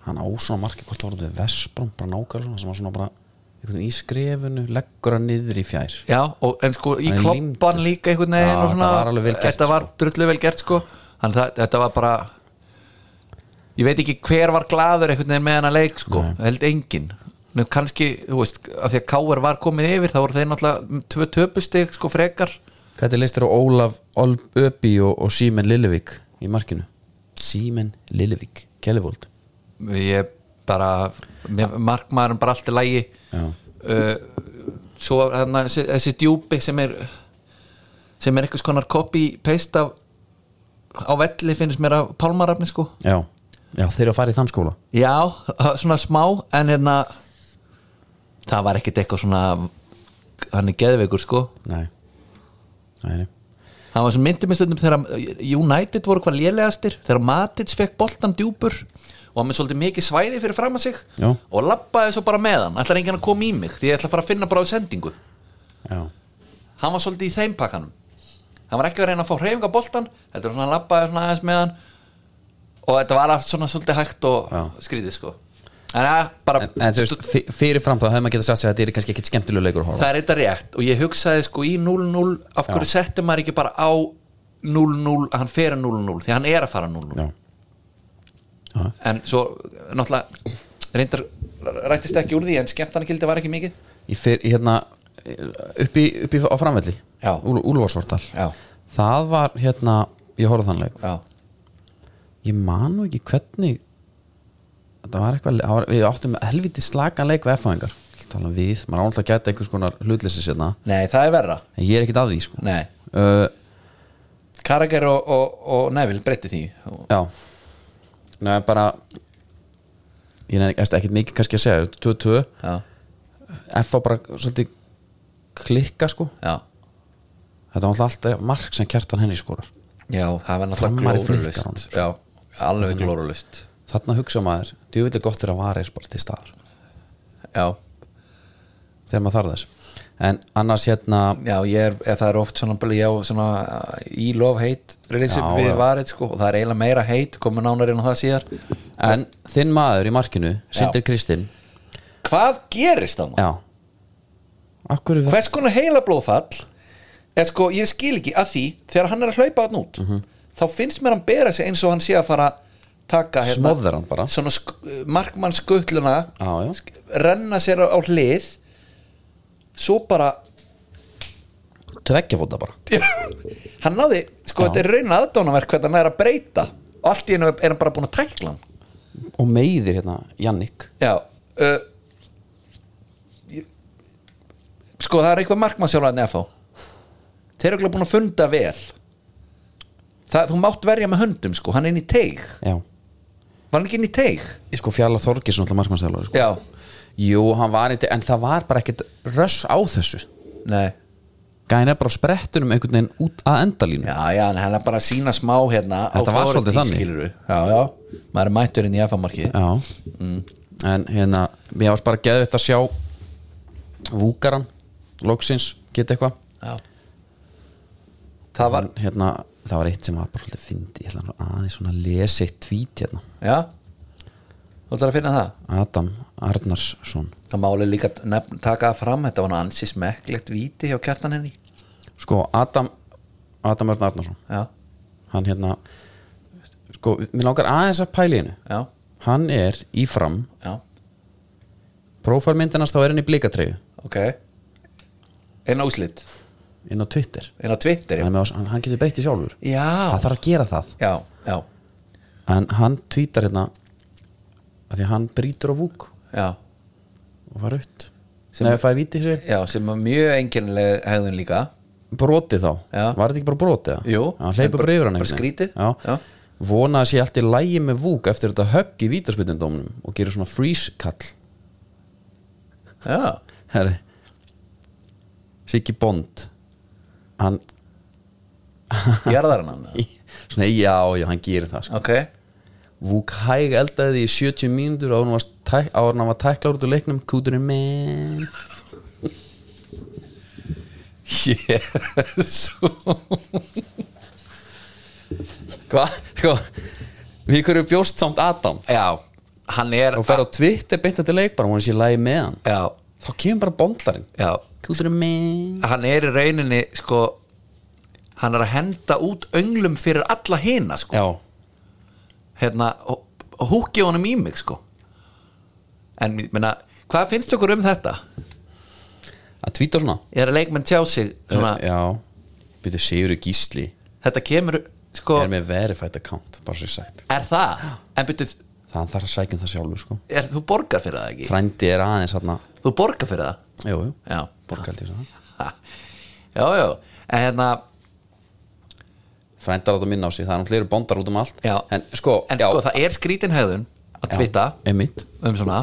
[SPEAKER 1] hann á svona markið hvort það voru við Vesbrón, bara nákvæmlega svona sem var svona bara einhvern veginn í skrefinu, leggur hann niður í fjær
[SPEAKER 2] Já, og, en sko í
[SPEAKER 1] Hann er
[SPEAKER 2] kloppan
[SPEAKER 1] límdur.
[SPEAKER 2] líka einhvern veginn
[SPEAKER 1] Já,
[SPEAKER 2] og svona,
[SPEAKER 1] þetta var alveg vel gert,
[SPEAKER 2] Þetta var
[SPEAKER 1] sko.
[SPEAKER 2] drullu vel gert sko Þannig það, þetta var bara Ég veit ekki hver var glaður einhvern veginn með hana leik sko
[SPEAKER 1] Nei.
[SPEAKER 2] Held engin Nú kannski, þú veist, af því að Káir var komið yfir þá voru þeir náttúrulega tvö töpustig sko frekar
[SPEAKER 1] Hvernig leist þér á Ólaf Olb Öbi og, og Símen Lillevík í markinu? Símen Lillevík, Kellivold
[SPEAKER 2] Ég bara, mér- markmaðurinn bara allt í lægi
[SPEAKER 1] Já.
[SPEAKER 2] uh, Svo þarna, þessi, þessi djúpi sem er sem er einhvers konar copy-paste af á velli finnst mér af pálmarafni sko
[SPEAKER 1] Já, já þeir eru að fara í þann skóla
[SPEAKER 2] Já, svona smá en hérna það var ekkit eitthvað svona hann er geðveikur sko
[SPEAKER 1] Nei, Nei. nei.
[SPEAKER 2] hann var sem myndi mér stundum þegar United voru hvað lélegastir þegar Matic fekk boltan djúpur og hann með svolítið mikið svæði fyrir fram að sig
[SPEAKER 1] Já.
[SPEAKER 2] og labbaði svo bara með hann ætlar enginn að koma í mig því ég ætla að fara að finna bara á sendingu
[SPEAKER 1] Já
[SPEAKER 2] hann var svolítið í þeim pakkanum hann var ekki að reyna að fá hreyfinga boltan heldur svona labbaði svona aðeins með hann og þetta var allt svona svolítið hægt og
[SPEAKER 1] Já.
[SPEAKER 2] skrítið sko en, ja, bara,
[SPEAKER 1] en, en þú veist, fyr- fyrirfram þá hefði maður getað sagt sér að þetta er kannski ekkit skemmtilegu leikur að horfa
[SPEAKER 2] það er eitthvað rétt og ég hugsaði sko í 0-0 af hverju setti maður ekki bara á 0-0, að hann fer að 0-0 því hann er að fara 0-0
[SPEAKER 1] Já. Já.
[SPEAKER 2] en svo náttúrulega reyndar rættist ekki úr því en skemmtanagildi var ekki mikið
[SPEAKER 1] ég fer ég hérna upp í, upp í á framvelli
[SPEAKER 2] Já.
[SPEAKER 1] Úl, Úlfarsvortal
[SPEAKER 2] Já.
[SPEAKER 1] það var hérna, ég horfði þannleik
[SPEAKER 2] já,
[SPEAKER 1] ég man nú ekki hvernig þetta var eitthvað það var, við áttum helviti slakan leik við F-fæðingar tala um við, maður ánald að gæta einhvers konar hlutleysi sérna,
[SPEAKER 2] nei það er verra
[SPEAKER 1] en ég er ekkit að því sko.
[SPEAKER 2] nei,
[SPEAKER 1] uh,
[SPEAKER 2] Karger og, og, og Neville breytti því og,
[SPEAKER 1] já Nei, bara ég er ekkert mikið kannski að segja 22,
[SPEAKER 2] já,
[SPEAKER 1] F var bara svolítið klikka sko
[SPEAKER 2] já,
[SPEAKER 1] þetta var alltaf mark sem kjartan henni skorar
[SPEAKER 2] já, það var
[SPEAKER 1] Framari flikkar hann,
[SPEAKER 2] náttúrulega glórulust
[SPEAKER 1] sko.
[SPEAKER 2] já, alveg glórulust
[SPEAKER 1] þarna hugsa maður, djúvillig gott þegar að vara er bara til staðar,
[SPEAKER 2] já,
[SPEAKER 1] þegar maður þarf þess en annars hérna
[SPEAKER 2] já, ég er, eða það er oft svona, bara, já, svona uh, í love hate relationship
[SPEAKER 1] Já,
[SPEAKER 2] við
[SPEAKER 1] já.
[SPEAKER 2] varð sko, og það er eiginlega meira hate komum nánar inn á það síðar
[SPEAKER 1] en þinn maður í markinu, Sindri Kristinn
[SPEAKER 2] hvað gerist þannig?
[SPEAKER 1] já Akkur er
[SPEAKER 2] hvers konar heila blóðfall er sko, ég skil ekki að því þegar hann er að hlaupa hann út þá finnst mér hann bera sig eins og hann sé að fara taka hérna
[SPEAKER 1] Smóðar hann bara.
[SPEAKER 2] svona sk markmann skuttluna
[SPEAKER 1] Já, já.
[SPEAKER 2] sk- renna sér á, á hlið svo bara
[SPEAKER 1] tveggjafóta bara
[SPEAKER 2] hann náði, sko
[SPEAKER 1] Já.
[SPEAKER 2] þetta er raun aðdónaverk hvernig hann er að breyta og allt í hennu er hann bara búin að tækla hann
[SPEAKER 1] og meiðir hérna Jannik
[SPEAKER 2] já uh, ég- sko það er eitthvað markmannsjálfæðin eða fá þeir eru ekki búin að funda vel það, þú mátt verja með höndum sko, hann er inn í teig
[SPEAKER 1] já,
[SPEAKER 2] var hann ekki inn í teig?
[SPEAKER 1] ég sko fjalla Þorgis náttúrulega markmannstæðlar sko.
[SPEAKER 2] já,
[SPEAKER 1] jú, hann var eitthvað, en það var bara ekkit röss á þessu
[SPEAKER 2] nei
[SPEAKER 1] gæn er bara á sprettunum einhvern veginn út að endalínu
[SPEAKER 2] já, já, en hann er bara að sína smá hérna
[SPEAKER 1] Þetta var
[SPEAKER 2] authority,
[SPEAKER 1] svolítið þannig.
[SPEAKER 2] skilurðu. já, já, maður er mættur inn í afamarki já,
[SPEAKER 1] Mm. en hérna mér ást bara geðvitt að sjá Vúkaran, Lóksins geta eitthvað
[SPEAKER 2] já. það var,
[SPEAKER 1] En, hérna, það var eitt sem var bara svolítið fyndi ég ætla nú aðeins svona að lesa eitt tvít hérna
[SPEAKER 2] já þú ætlar að finna það
[SPEAKER 1] Adam Arnarsson
[SPEAKER 2] það máli líka nefn, taka það fram þetta var hann ansi smekklegt víti hjá kjartan henni
[SPEAKER 1] sko Adam Adam Örn Arnarsson
[SPEAKER 2] já,
[SPEAKER 1] hann hérna sko, mér langar aðeins að pæli hennu
[SPEAKER 2] já,
[SPEAKER 1] hann er í fram
[SPEAKER 2] já
[SPEAKER 1] prófarmyndinast þá er hann í blikatreyju
[SPEAKER 2] ok inn á úslit,
[SPEAKER 1] inn á Twitter
[SPEAKER 2] inn á Twitter já,
[SPEAKER 1] hann, er með, á- hann- hann getur breytti sjálfur
[SPEAKER 2] já,
[SPEAKER 1] það þarf að gera það
[SPEAKER 2] já, já,
[SPEAKER 1] en hann tvítar hérna að því að hann brýtur á vúk
[SPEAKER 2] já,
[SPEAKER 1] og fær aukt sem
[SPEAKER 2] Sem-
[SPEAKER 1] Nei, fær víti sér
[SPEAKER 2] já sem er mjög enginnileg hegðun líka
[SPEAKER 1] broti þá,
[SPEAKER 2] Já.
[SPEAKER 1] var þetta ekki bara broti það?
[SPEAKER 2] Jú.
[SPEAKER 1] hann hleypur
[SPEAKER 2] Bara-
[SPEAKER 1] bara yfir hann
[SPEAKER 2] bara
[SPEAKER 1] einhvern veginn.
[SPEAKER 2] skrítið.
[SPEAKER 1] Já.
[SPEAKER 2] Já.
[SPEAKER 1] vona að sé allt í lægi með vúk eftir þetta högg í vítarspytundómnum og gerir svona freeze kall
[SPEAKER 2] já,
[SPEAKER 1] herri Siggi Bond hann,
[SPEAKER 2] jarðar hann hann
[SPEAKER 1] svona já, já, hann gerir það sko.
[SPEAKER 2] ok,
[SPEAKER 1] Vúk hæg eldaði því í 70 mínútur áður en hann var tæk- áður en hann var tækla út úr leiknum kúturinn með
[SPEAKER 2] yes
[SPEAKER 1] hvað, sko við hverju bjóst samt Adam
[SPEAKER 2] já, hann er
[SPEAKER 1] og fer á Twitter beinta til leik bara og hann sé lægi með hann
[SPEAKER 2] já,
[SPEAKER 1] þá kemur bara bondarinn
[SPEAKER 2] já,
[SPEAKER 1] kúturinn með
[SPEAKER 2] hann er í rauninni sko, hann er að henda út önglum fyrir alla hina sko
[SPEAKER 1] já,
[SPEAKER 2] hérna, húkja honum í mig sko en ég meina, hvað finnst okkur um þetta?
[SPEAKER 1] að tvíta svona Eh,
[SPEAKER 2] er að leikmenn tjá sig svona,
[SPEAKER 1] já, byrju Sigurður Gísli
[SPEAKER 2] þetta kemur sko,
[SPEAKER 1] er með verified account, bara svo ég sagt
[SPEAKER 2] er það en byrju,
[SPEAKER 1] það þarf að sækja um það sjálfur sko
[SPEAKER 2] er, þú borgar fyrir það ekki
[SPEAKER 1] frændi er aðeins hérna
[SPEAKER 2] þú borgar fyrir það
[SPEAKER 1] jú, jú,
[SPEAKER 2] já,
[SPEAKER 1] borgaldi fyrir það
[SPEAKER 2] Ha. já, já, en hérna
[SPEAKER 1] frændar átt að minna á sig, það er náttúrulega eru bondar út um allt
[SPEAKER 2] já.
[SPEAKER 1] en sko,
[SPEAKER 2] en sko það er skrítin hegðun að
[SPEAKER 1] Já, Mhm.
[SPEAKER 2] tvita
[SPEAKER 1] einmitt
[SPEAKER 2] um svona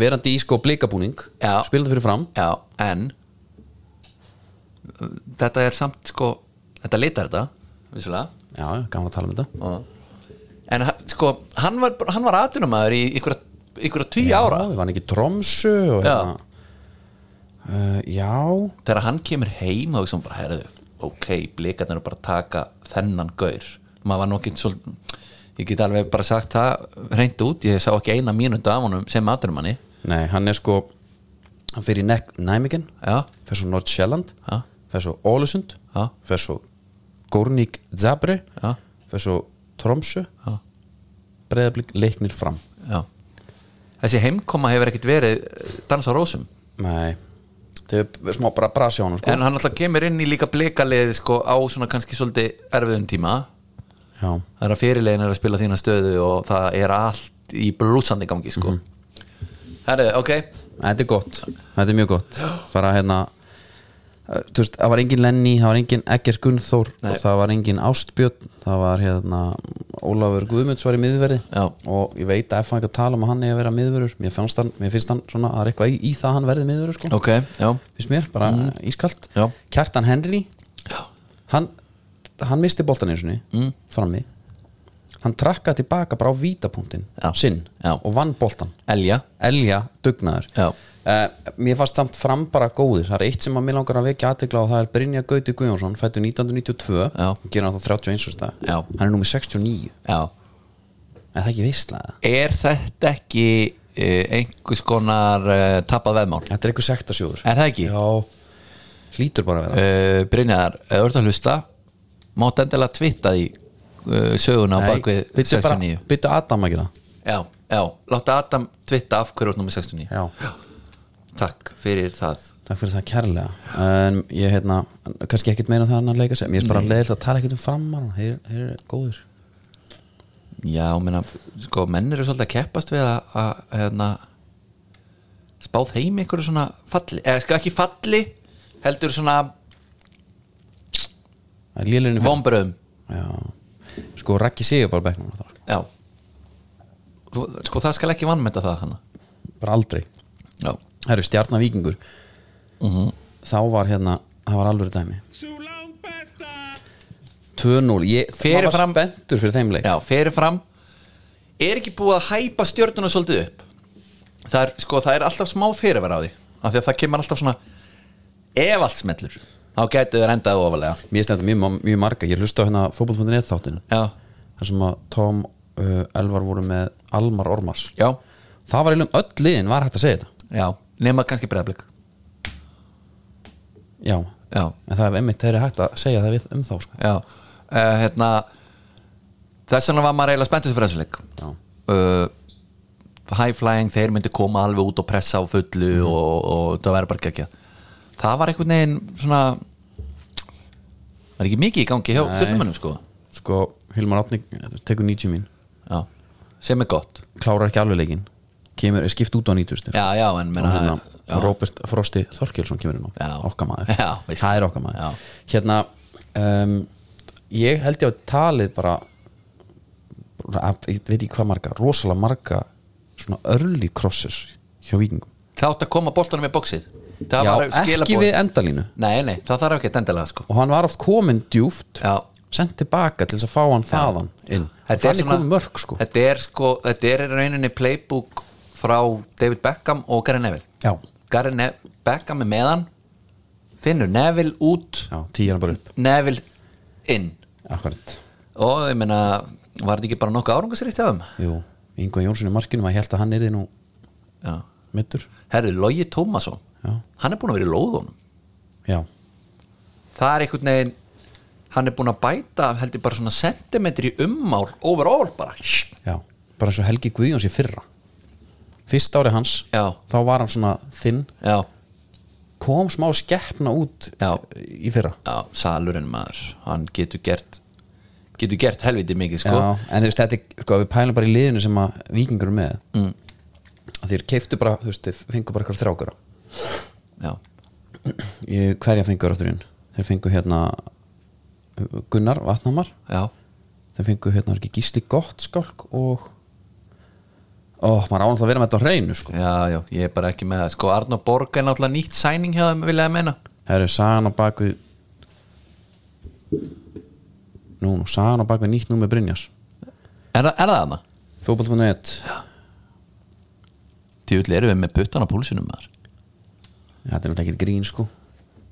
[SPEAKER 1] verandi í sko blikabúning
[SPEAKER 2] Já.
[SPEAKER 1] spilandi fyrir fram
[SPEAKER 2] já, en uh, þetta er samt sko þetta litar þetta vissulega
[SPEAKER 1] já, já, gaman að tala um þetta
[SPEAKER 2] en ha- sko, hann var, hann var atunumæður í ykkur, ykkur tíu ára
[SPEAKER 1] já, við varum ekki í tromsu og
[SPEAKER 2] Já.
[SPEAKER 1] hérna uh, já,
[SPEAKER 2] þegar hann kemur heim og sem bara, herðu, ok, blikarnir eru bara að taka þennan gaur maður var nú ekki svolítið ég get alveg bara sagt það reynd út ég sá ekki eina mínútu af honum sem atunumæni
[SPEAKER 1] nei, hann er sko hann fyrir nek, næmikinn
[SPEAKER 2] já,
[SPEAKER 1] fer svo Nordsjælland
[SPEAKER 2] Já.
[SPEAKER 1] fer svo Ólesund
[SPEAKER 2] Já.
[SPEAKER 1] fer svo Górník Zabri
[SPEAKER 2] já,
[SPEAKER 1] fer svo Tromsu
[SPEAKER 2] Já.
[SPEAKER 1] breyðablík leiknir fram
[SPEAKER 2] já þessi heimkoma hefur ekkit verið eh, dans á rósum
[SPEAKER 1] Nei Þau er smá bara brasi á honum sko
[SPEAKER 2] en hann alltaf kemur inn í líka bleikaliði sko, á svona kannski svolítið erfiðum tíma
[SPEAKER 1] Já,
[SPEAKER 2] það er að fyrirlegin er að spila þína stöðu og það er allt í brúsandi gangi sko. herru, ok
[SPEAKER 1] þetta er gott Þetta er mjög gott Bara hérna eh, Þú veist, það var engin Lenny, það var engin Egger Gunnþór
[SPEAKER 2] Nei.
[SPEAKER 1] og það var engin Ástbjörn það var hérna Ólafur Guðmunds var í miðverði
[SPEAKER 2] Já.
[SPEAKER 1] og ég veit að ef hann ekki að tala um að hann eigi að vera miðverður mér, fannst hann, mér finnst hann svona, það er eitthvað í, í það að hann verði miðverður sko,
[SPEAKER 2] ok, já,
[SPEAKER 1] finnst mér, bara mm. ískalt
[SPEAKER 2] Já.
[SPEAKER 1] Kjartan Henry,
[SPEAKER 2] já.
[SPEAKER 1] hann, hann misti boltan eins og ni mm. frammi hann trakka tilbaka bara á vítapunktin
[SPEAKER 2] Já.
[SPEAKER 1] sinn
[SPEAKER 2] Já.
[SPEAKER 1] og vann boltan
[SPEAKER 2] elja
[SPEAKER 1] elja dugnaður
[SPEAKER 2] Já.
[SPEAKER 1] Eh, mér fannst samt fram bara góðir það er eitt sem að mér langar að vekja aðtegla og það er Brynja Gauti Guðjónsson, fættu 1992
[SPEAKER 2] Já.
[SPEAKER 1] gerir hann þá 31 og stað
[SPEAKER 2] Já.
[SPEAKER 1] hann er númið 69,
[SPEAKER 2] já.
[SPEAKER 1] en það er ekki veistlega
[SPEAKER 2] er þetta ekki uh, einhvers konar uh, tapað veðmál
[SPEAKER 1] þetta er eitthvað sektasjóður
[SPEAKER 2] er það ekki?
[SPEAKER 1] Já, hlýtur bara að vera
[SPEAKER 2] Uh, Brynjar, ef þú ert að hlusta mátt endilega tvitta því uh, söguna á bakvið
[SPEAKER 1] byttu bara,
[SPEAKER 2] 69
[SPEAKER 1] byttu Adam að gera það.
[SPEAKER 2] já, já, láttu Adam tvitta af hverju út nummer 69
[SPEAKER 1] Já,
[SPEAKER 2] takk fyrir það
[SPEAKER 1] takk fyrir það kærlega en ég hérna, kannski ekkert meina það annar leika sem, ég er bara leðilt að tala ekkert um framar þeir þeir eru góðir
[SPEAKER 2] já, menna, sko, menn eru svolítið að keppast við að, að hérna, spá þeim einhverju svona falli, eða sko ekki falli heldur svona
[SPEAKER 1] Það er lélirinn í fyrir-
[SPEAKER 2] vombröðum
[SPEAKER 1] Já. sko Raggi Sigur bara á bekknum þar.
[SPEAKER 2] já Þú, sko það skal ekki vannmeta það hana
[SPEAKER 1] bara aldrei,
[SPEAKER 2] já,
[SPEAKER 1] það eru stjarnavíkingur
[SPEAKER 2] Mhm.
[SPEAKER 1] þá var hérna það var alveg dæmi
[SPEAKER 3] Sú langt besta.
[SPEAKER 1] 2-0, ég
[SPEAKER 2] Fyrir
[SPEAKER 1] maður var
[SPEAKER 2] fram-
[SPEAKER 1] spenntur fyrir þeim leik
[SPEAKER 2] já fyrir fram er ekki búið að hæpa stjörnuna svolítið upp það er, sko, það er alltaf smá fyrirvera á því af því að það kemur alltaf svona ef allt smellur þá gætu þau rendað ofalega
[SPEAKER 1] mér stendum mjög, ma- mjög marga, ég hlusta á hérna fótboll.net þáttinu,
[SPEAKER 2] já,
[SPEAKER 1] þar sem að Tom uh, Elvar voru með Almar Ormars
[SPEAKER 2] já,
[SPEAKER 1] það var einhverjum öll liðin var hægt að segja þetta
[SPEAKER 2] já nema kannski breyðablik
[SPEAKER 1] já,
[SPEAKER 2] já,
[SPEAKER 1] en það er einmitt þeirri hægt að segja það við um þá sko.
[SPEAKER 2] já uh, hérna þess vegna var maður eiginlega spenntist fyrir þessu leik
[SPEAKER 1] Já.
[SPEAKER 2] uh, high flying þeir myndi koma alveg út og pressa á fullu
[SPEAKER 1] Mhm.
[SPEAKER 2] og, og það væri bara gekkja það var einhvern veginn svona var ekki mikið í gangi hjá
[SPEAKER 1] Nei.
[SPEAKER 2] stjórnumönnum sko
[SPEAKER 1] sko, Hilmar Átni tekur 90 mín
[SPEAKER 2] já. sem er gott
[SPEAKER 1] klárar ekki alveg leikin kemur, er skipt út á 90
[SPEAKER 2] já, já, en
[SPEAKER 1] og
[SPEAKER 2] menna,
[SPEAKER 1] hérna
[SPEAKER 2] já,
[SPEAKER 1] Robert Frosti Þorkilsson kemur inn
[SPEAKER 2] Já.
[SPEAKER 1] á okkar maður,
[SPEAKER 2] Já, veist.
[SPEAKER 1] það er okkar maður
[SPEAKER 2] Já.
[SPEAKER 1] hérna um, ég held ég að talið bara bara af- ég veit ekki hvað marga, rosalega marga svona early crosses hjá vikingum
[SPEAKER 2] þá átt að koma boltanum í bóksið það
[SPEAKER 1] Já,
[SPEAKER 2] var
[SPEAKER 1] ekki
[SPEAKER 2] skilabóð
[SPEAKER 1] við endalínu
[SPEAKER 2] nei, nei, það þarf ekki að endilega sko
[SPEAKER 1] og hann var oft komin djúft
[SPEAKER 2] já,
[SPEAKER 1] sent tilbaka til þess að fá hann þaðan inn Og
[SPEAKER 2] Þetta er
[SPEAKER 1] þannig
[SPEAKER 2] svona-
[SPEAKER 1] komið mörg sko
[SPEAKER 2] þetta er sko, þetta er í rauninni playbook frá David Beckham og Gary Neville
[SPEAKER 1] já,
[SPEAKER 2] Gary Neville, Beckham er meðan finnur Neville út
[SPEAKER 1] já tíjar hann bara upp
[SPEAKER 2] Neville inn
[SPEAKER 1] akkurat,
[SPEAKER 2] og ég meina var þetta ekki bara nokkuð árangusrikt af þeim
[SPEAKER 1] jú, Ingo Jónsson í markinu maður held að hann er þið nú
[SPEAKER 2] já.
[SPEAKER 1] mittur,
[SPEAKER 2] herru, Logi Tómasson
[SPEAKER 1] Já.
[SPEAKER 2] hann er búin að vera í lóðunum
[SPEAKER 1] já,
[SPEAKER 2] það er einhvern veginn hann er búin að bæta heldur bara svona sentimetri í ummál overall bara já,
[SPEAKER 1] Já, bara eins og Helgi Guðjóns í fyrra Fyrst ári hans
[SPEAKER 2] Já.
[SPEAKER 1] Þá var hann svona þinn
[SPEAKER 2] já,
[SPEAKER 1] Kom smá skeppna út
[SPEAKER 2] Já.
[SPEAKER 1] í fyrra
[SPEAKER 2] salurinn maður hann getur gert getur gert helviti mikið sko
[SPEAKER 1] Já, En þú veist, þetta er, sko, við pælum bara í liðinu sem að vikingur er með mm. Þeir keiftu bara, þú veist, þeir fengu bara eitthvað þrákara
[SPEAKER 2] já,
[SPEAKER 1] Ég, Hverja fengur aftur inn? Þeir fengu hérna Gunnar Vatnamar
[SPEAKER 2] já,
[SPEAKER 1] Þeir fengu hérna var ekki gísli gott skálk og Ó, maður ánægt að vera með þetta á hreinu sko.
[SPEAKER 2] já, já, ég er bara ekki með það sko Arnó Borg er náttúrulega nýtt sæning hjá þeim viljaði meina
[SPEAKER 1] Það eru sagan á bakvið Nú, nú, sagan á bakvið nýtt númer Brynjas
[SPEAKER 2] er, það- er það hana?
[SPEAKER 1] Fótboll.net
[SPEAKER 2] Tjúli erum við með puttana púlsunum maður
[SPEAKER 1] Þetta er náttúrulega ekkert grín sko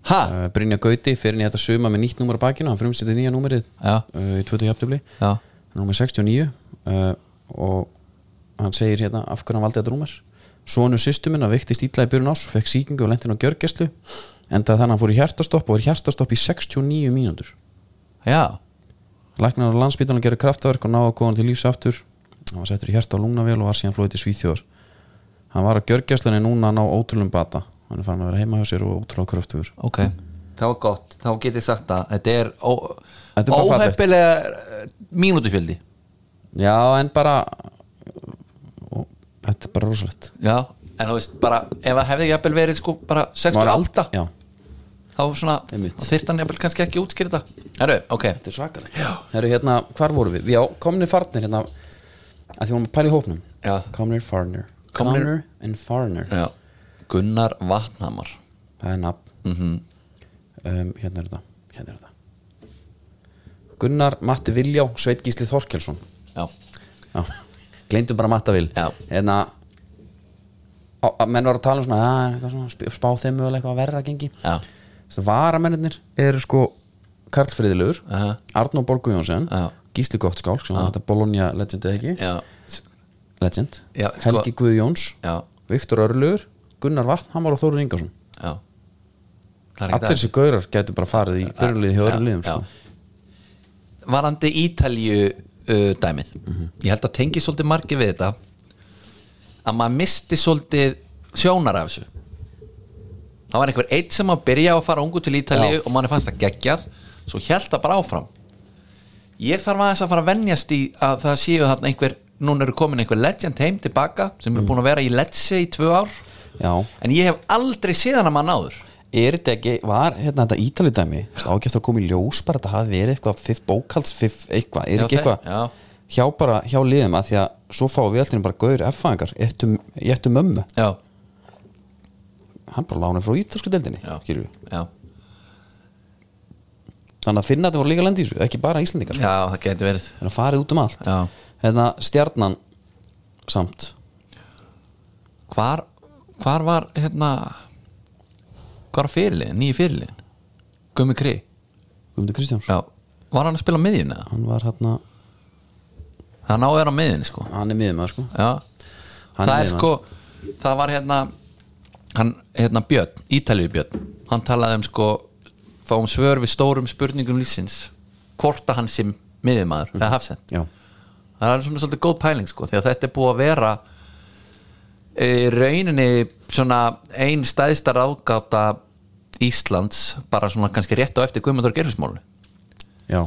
[SPEAKER 2] ha?
[SPEAKER 1] uh, Brynja Gauti fyrir nýja þetta suma með nýtt númer á bakinu Hann frumstætti nýja númerið
[SPEAKER 2] Já.
[SPEAKER 1] uh, í 20 jafntöfli
[SPEAKER 2] já,
[SPEAKER 1] Númer 69 uh, Og hann segir hérna af hverju hann valdi þetta númer Sonu sýstu minna veiktist ítla í byrjun ás Fekk sýkingu og lentin á gjörgæslu Enda þannig að hann fór í hjartastopp og er hjartastopp í 69 mínútur
[SPEAKER 2] já
[SPEAKER 1] Læknar á landsbytunum gerði kraftverk og náðu að koma til lífs aftur hann var settur í hjarta og lungnavél og var síðan flóið til Svíþjóðar hann var á gjörgjastlunni núna að ná ótrúlum bata hann er farin að vera heima hjá sér og ótrúlega kröftugur
[SPEAKER 2] ok, það var gott, þá get ég sagt það þetta er, ó,
[SPEAKER 1] Þetta er bara fallegt.
[SPEAKER 2] óheppilega eh, mínútufjöldi
[SPEAKER 1] já en bara og, þetta er bara rosalegt
[SPEAKER 2] já, en þú veist bara ef það hefði jafnvel verið sko bara 68
[SPEAKER 1] já,
[SPEAKER 2] þá svona,
[SPEAKER 1] Einmitt.
[SPEAKER 2] þá þyrfti hann jafnvel kannski ekki útskýrta herru, ok,
[SPEAKER 1] þetta er svakalegt Heru, hérna, hvar vorum við? já, komnir farnir hérna að því vorum að pæla í hópnum
[SPEAKER 2] Já.
[SPEAKER 1] komnir farnir
[SPEAKER 2] Komnir-
[SPEAKER 1] komnir and farnir
[SPEAKER 2] já Gunnar Vatnhamar
[SPEAKER 1] það er nafn
[SPEAKER 2] mm
[SPEAKER 1] um, hérna er þetta hérna er þetta Gunnar Matti Viljá Sveit Gísli Þorkelsson
[SPEAKER 2] já,
[SPEAKER 1] já, gleymdum bara Matta Vil
[SPEAKER 2] Já.
[SPEAKER 1] hérna á- að menn var að tala um svona, "Ah, eitthvað svona sp- spá þeim mögulega eitthvað verra að gengi
[SPEAKER 2] já,
[SPEAKER 1] þess að varamennir eru sko Karl Friðlur,
[SPEAKER 2] Aha.
[SPEAKER 1] Arnó Borgu Jónsson
[SPEAKER 2] Já.
[SPEAKER 1] Gísli Gottskál, sem þetta Bologna legend eða ekki,
[SPEAKER 2] já,
[SPEAKER 1] legend
[SPEAKER 2] Já, sko-
[SPEAKER 1] Helgi Guðjóns,
[SPEAKER 2] já,
[SPEAKER 1] Viktor Örlugur Gunnar Vatn, Hamar og Þórun Ingarsson
[SPEAKER 2] já. Það er ekki
[SPEAKER 1] allir
[SPEAKER 2] það.
[SPEAKER 1] þessi gaurar gætu bara farið í byrjunliði hjá öðrum
[SPEAKER 2] Já,
[SPEAKER 1] liðum sko.
[SPEAKER 2] já. varandi Ítalju uh, dæmið ég held að tengi svolítið margir við þetta að maður misti svolítið sjónar af þessu það var einhver eitt sem að byrja að fara ungu til Ítalju
[SPEAKER 1] Já.
[SPEAKER 2] og manni fannst það geggjað svo held það bara áfram ég þarf aðeins að fara að venjast í að það séu þarna einhver núna eru komin einhver legend heim tilbaka sem
[SPEAKER 1] Mm.
[SPEAKER 2] eru búin að vera í Lecce í tvö ár
[SPEAKER 1] já,
[SPEAKER 2] en ég hef aldrei séðan að maður náður
[SPEAKER 1] er þetta ekki, var hérna þetta ítalidæmi ágæft að koma í ljós bara að þetta hafi verið eitthvað fiff bókalds, fiff eitthvað er
[SPEAKER 2] Já,
[SPEAKER 1] ekki
[SPEAKER 2] þeir- já.
[SPEAKER 1] eitthvað hjá bara, hjá liðum að því að svo fáum við allir bara gauður F-fæðingar, ég ættu mömmu
[SPEAKER 2] já,
[SPEAKER 1] hann bara lánaði frá ítalsku deildinni
[SPEAKER 2] já,
[SPEAKER 1] skilurðu.
[SPEAKER 2] já.
[SPEAKER 1] þannig að finna þetta voru líka lendi í þessu, ekki bara Íslandingar sko.
[SPEAKER 2] já það geti verið
[SPEAKER 1] þannig að farið út um allt
[SPEAKER 2] Já.
[SPEAKER 1] hérna stjarnan samt
[SPEAKER 2] hvar, hvar var hérna hvar var fyrirliðin, nýju fyrirliðin Gummi Kri
[SPEAKER 1] Guðmundur Kristjáns,
[SPEAKER 2] já, var hann að spila á miðjunni eða?
[SPEAKER 1] hann var hérna
[SPEAKER 2] það náði hann á miðjunni sko
[SPEAKER 1] hann er miðum sko.
[SPEAKER 2] já,
[SPEAKER 1] Hann
[SPEAKER 2] það
[SPEAKER 1] er
[SPEAKER 2] er sko það var hérna hann, hérna Björn, Ítalíu Björn hann talaði um sko fáum svör við stórum spurningum lífsins hvort að hann sem miðjumæður eða hafsend
[SPEAKER 1] já,
[SPEAKER 2] það er alveg svona svolítið góð pæling sko því að þetta er búið að vera e, rauninni svona ein stæðsta ráðgáta Íslands bara svona kannski rétt á eftir Guðmundur Gerfismálinu
[SPEAKER 1] já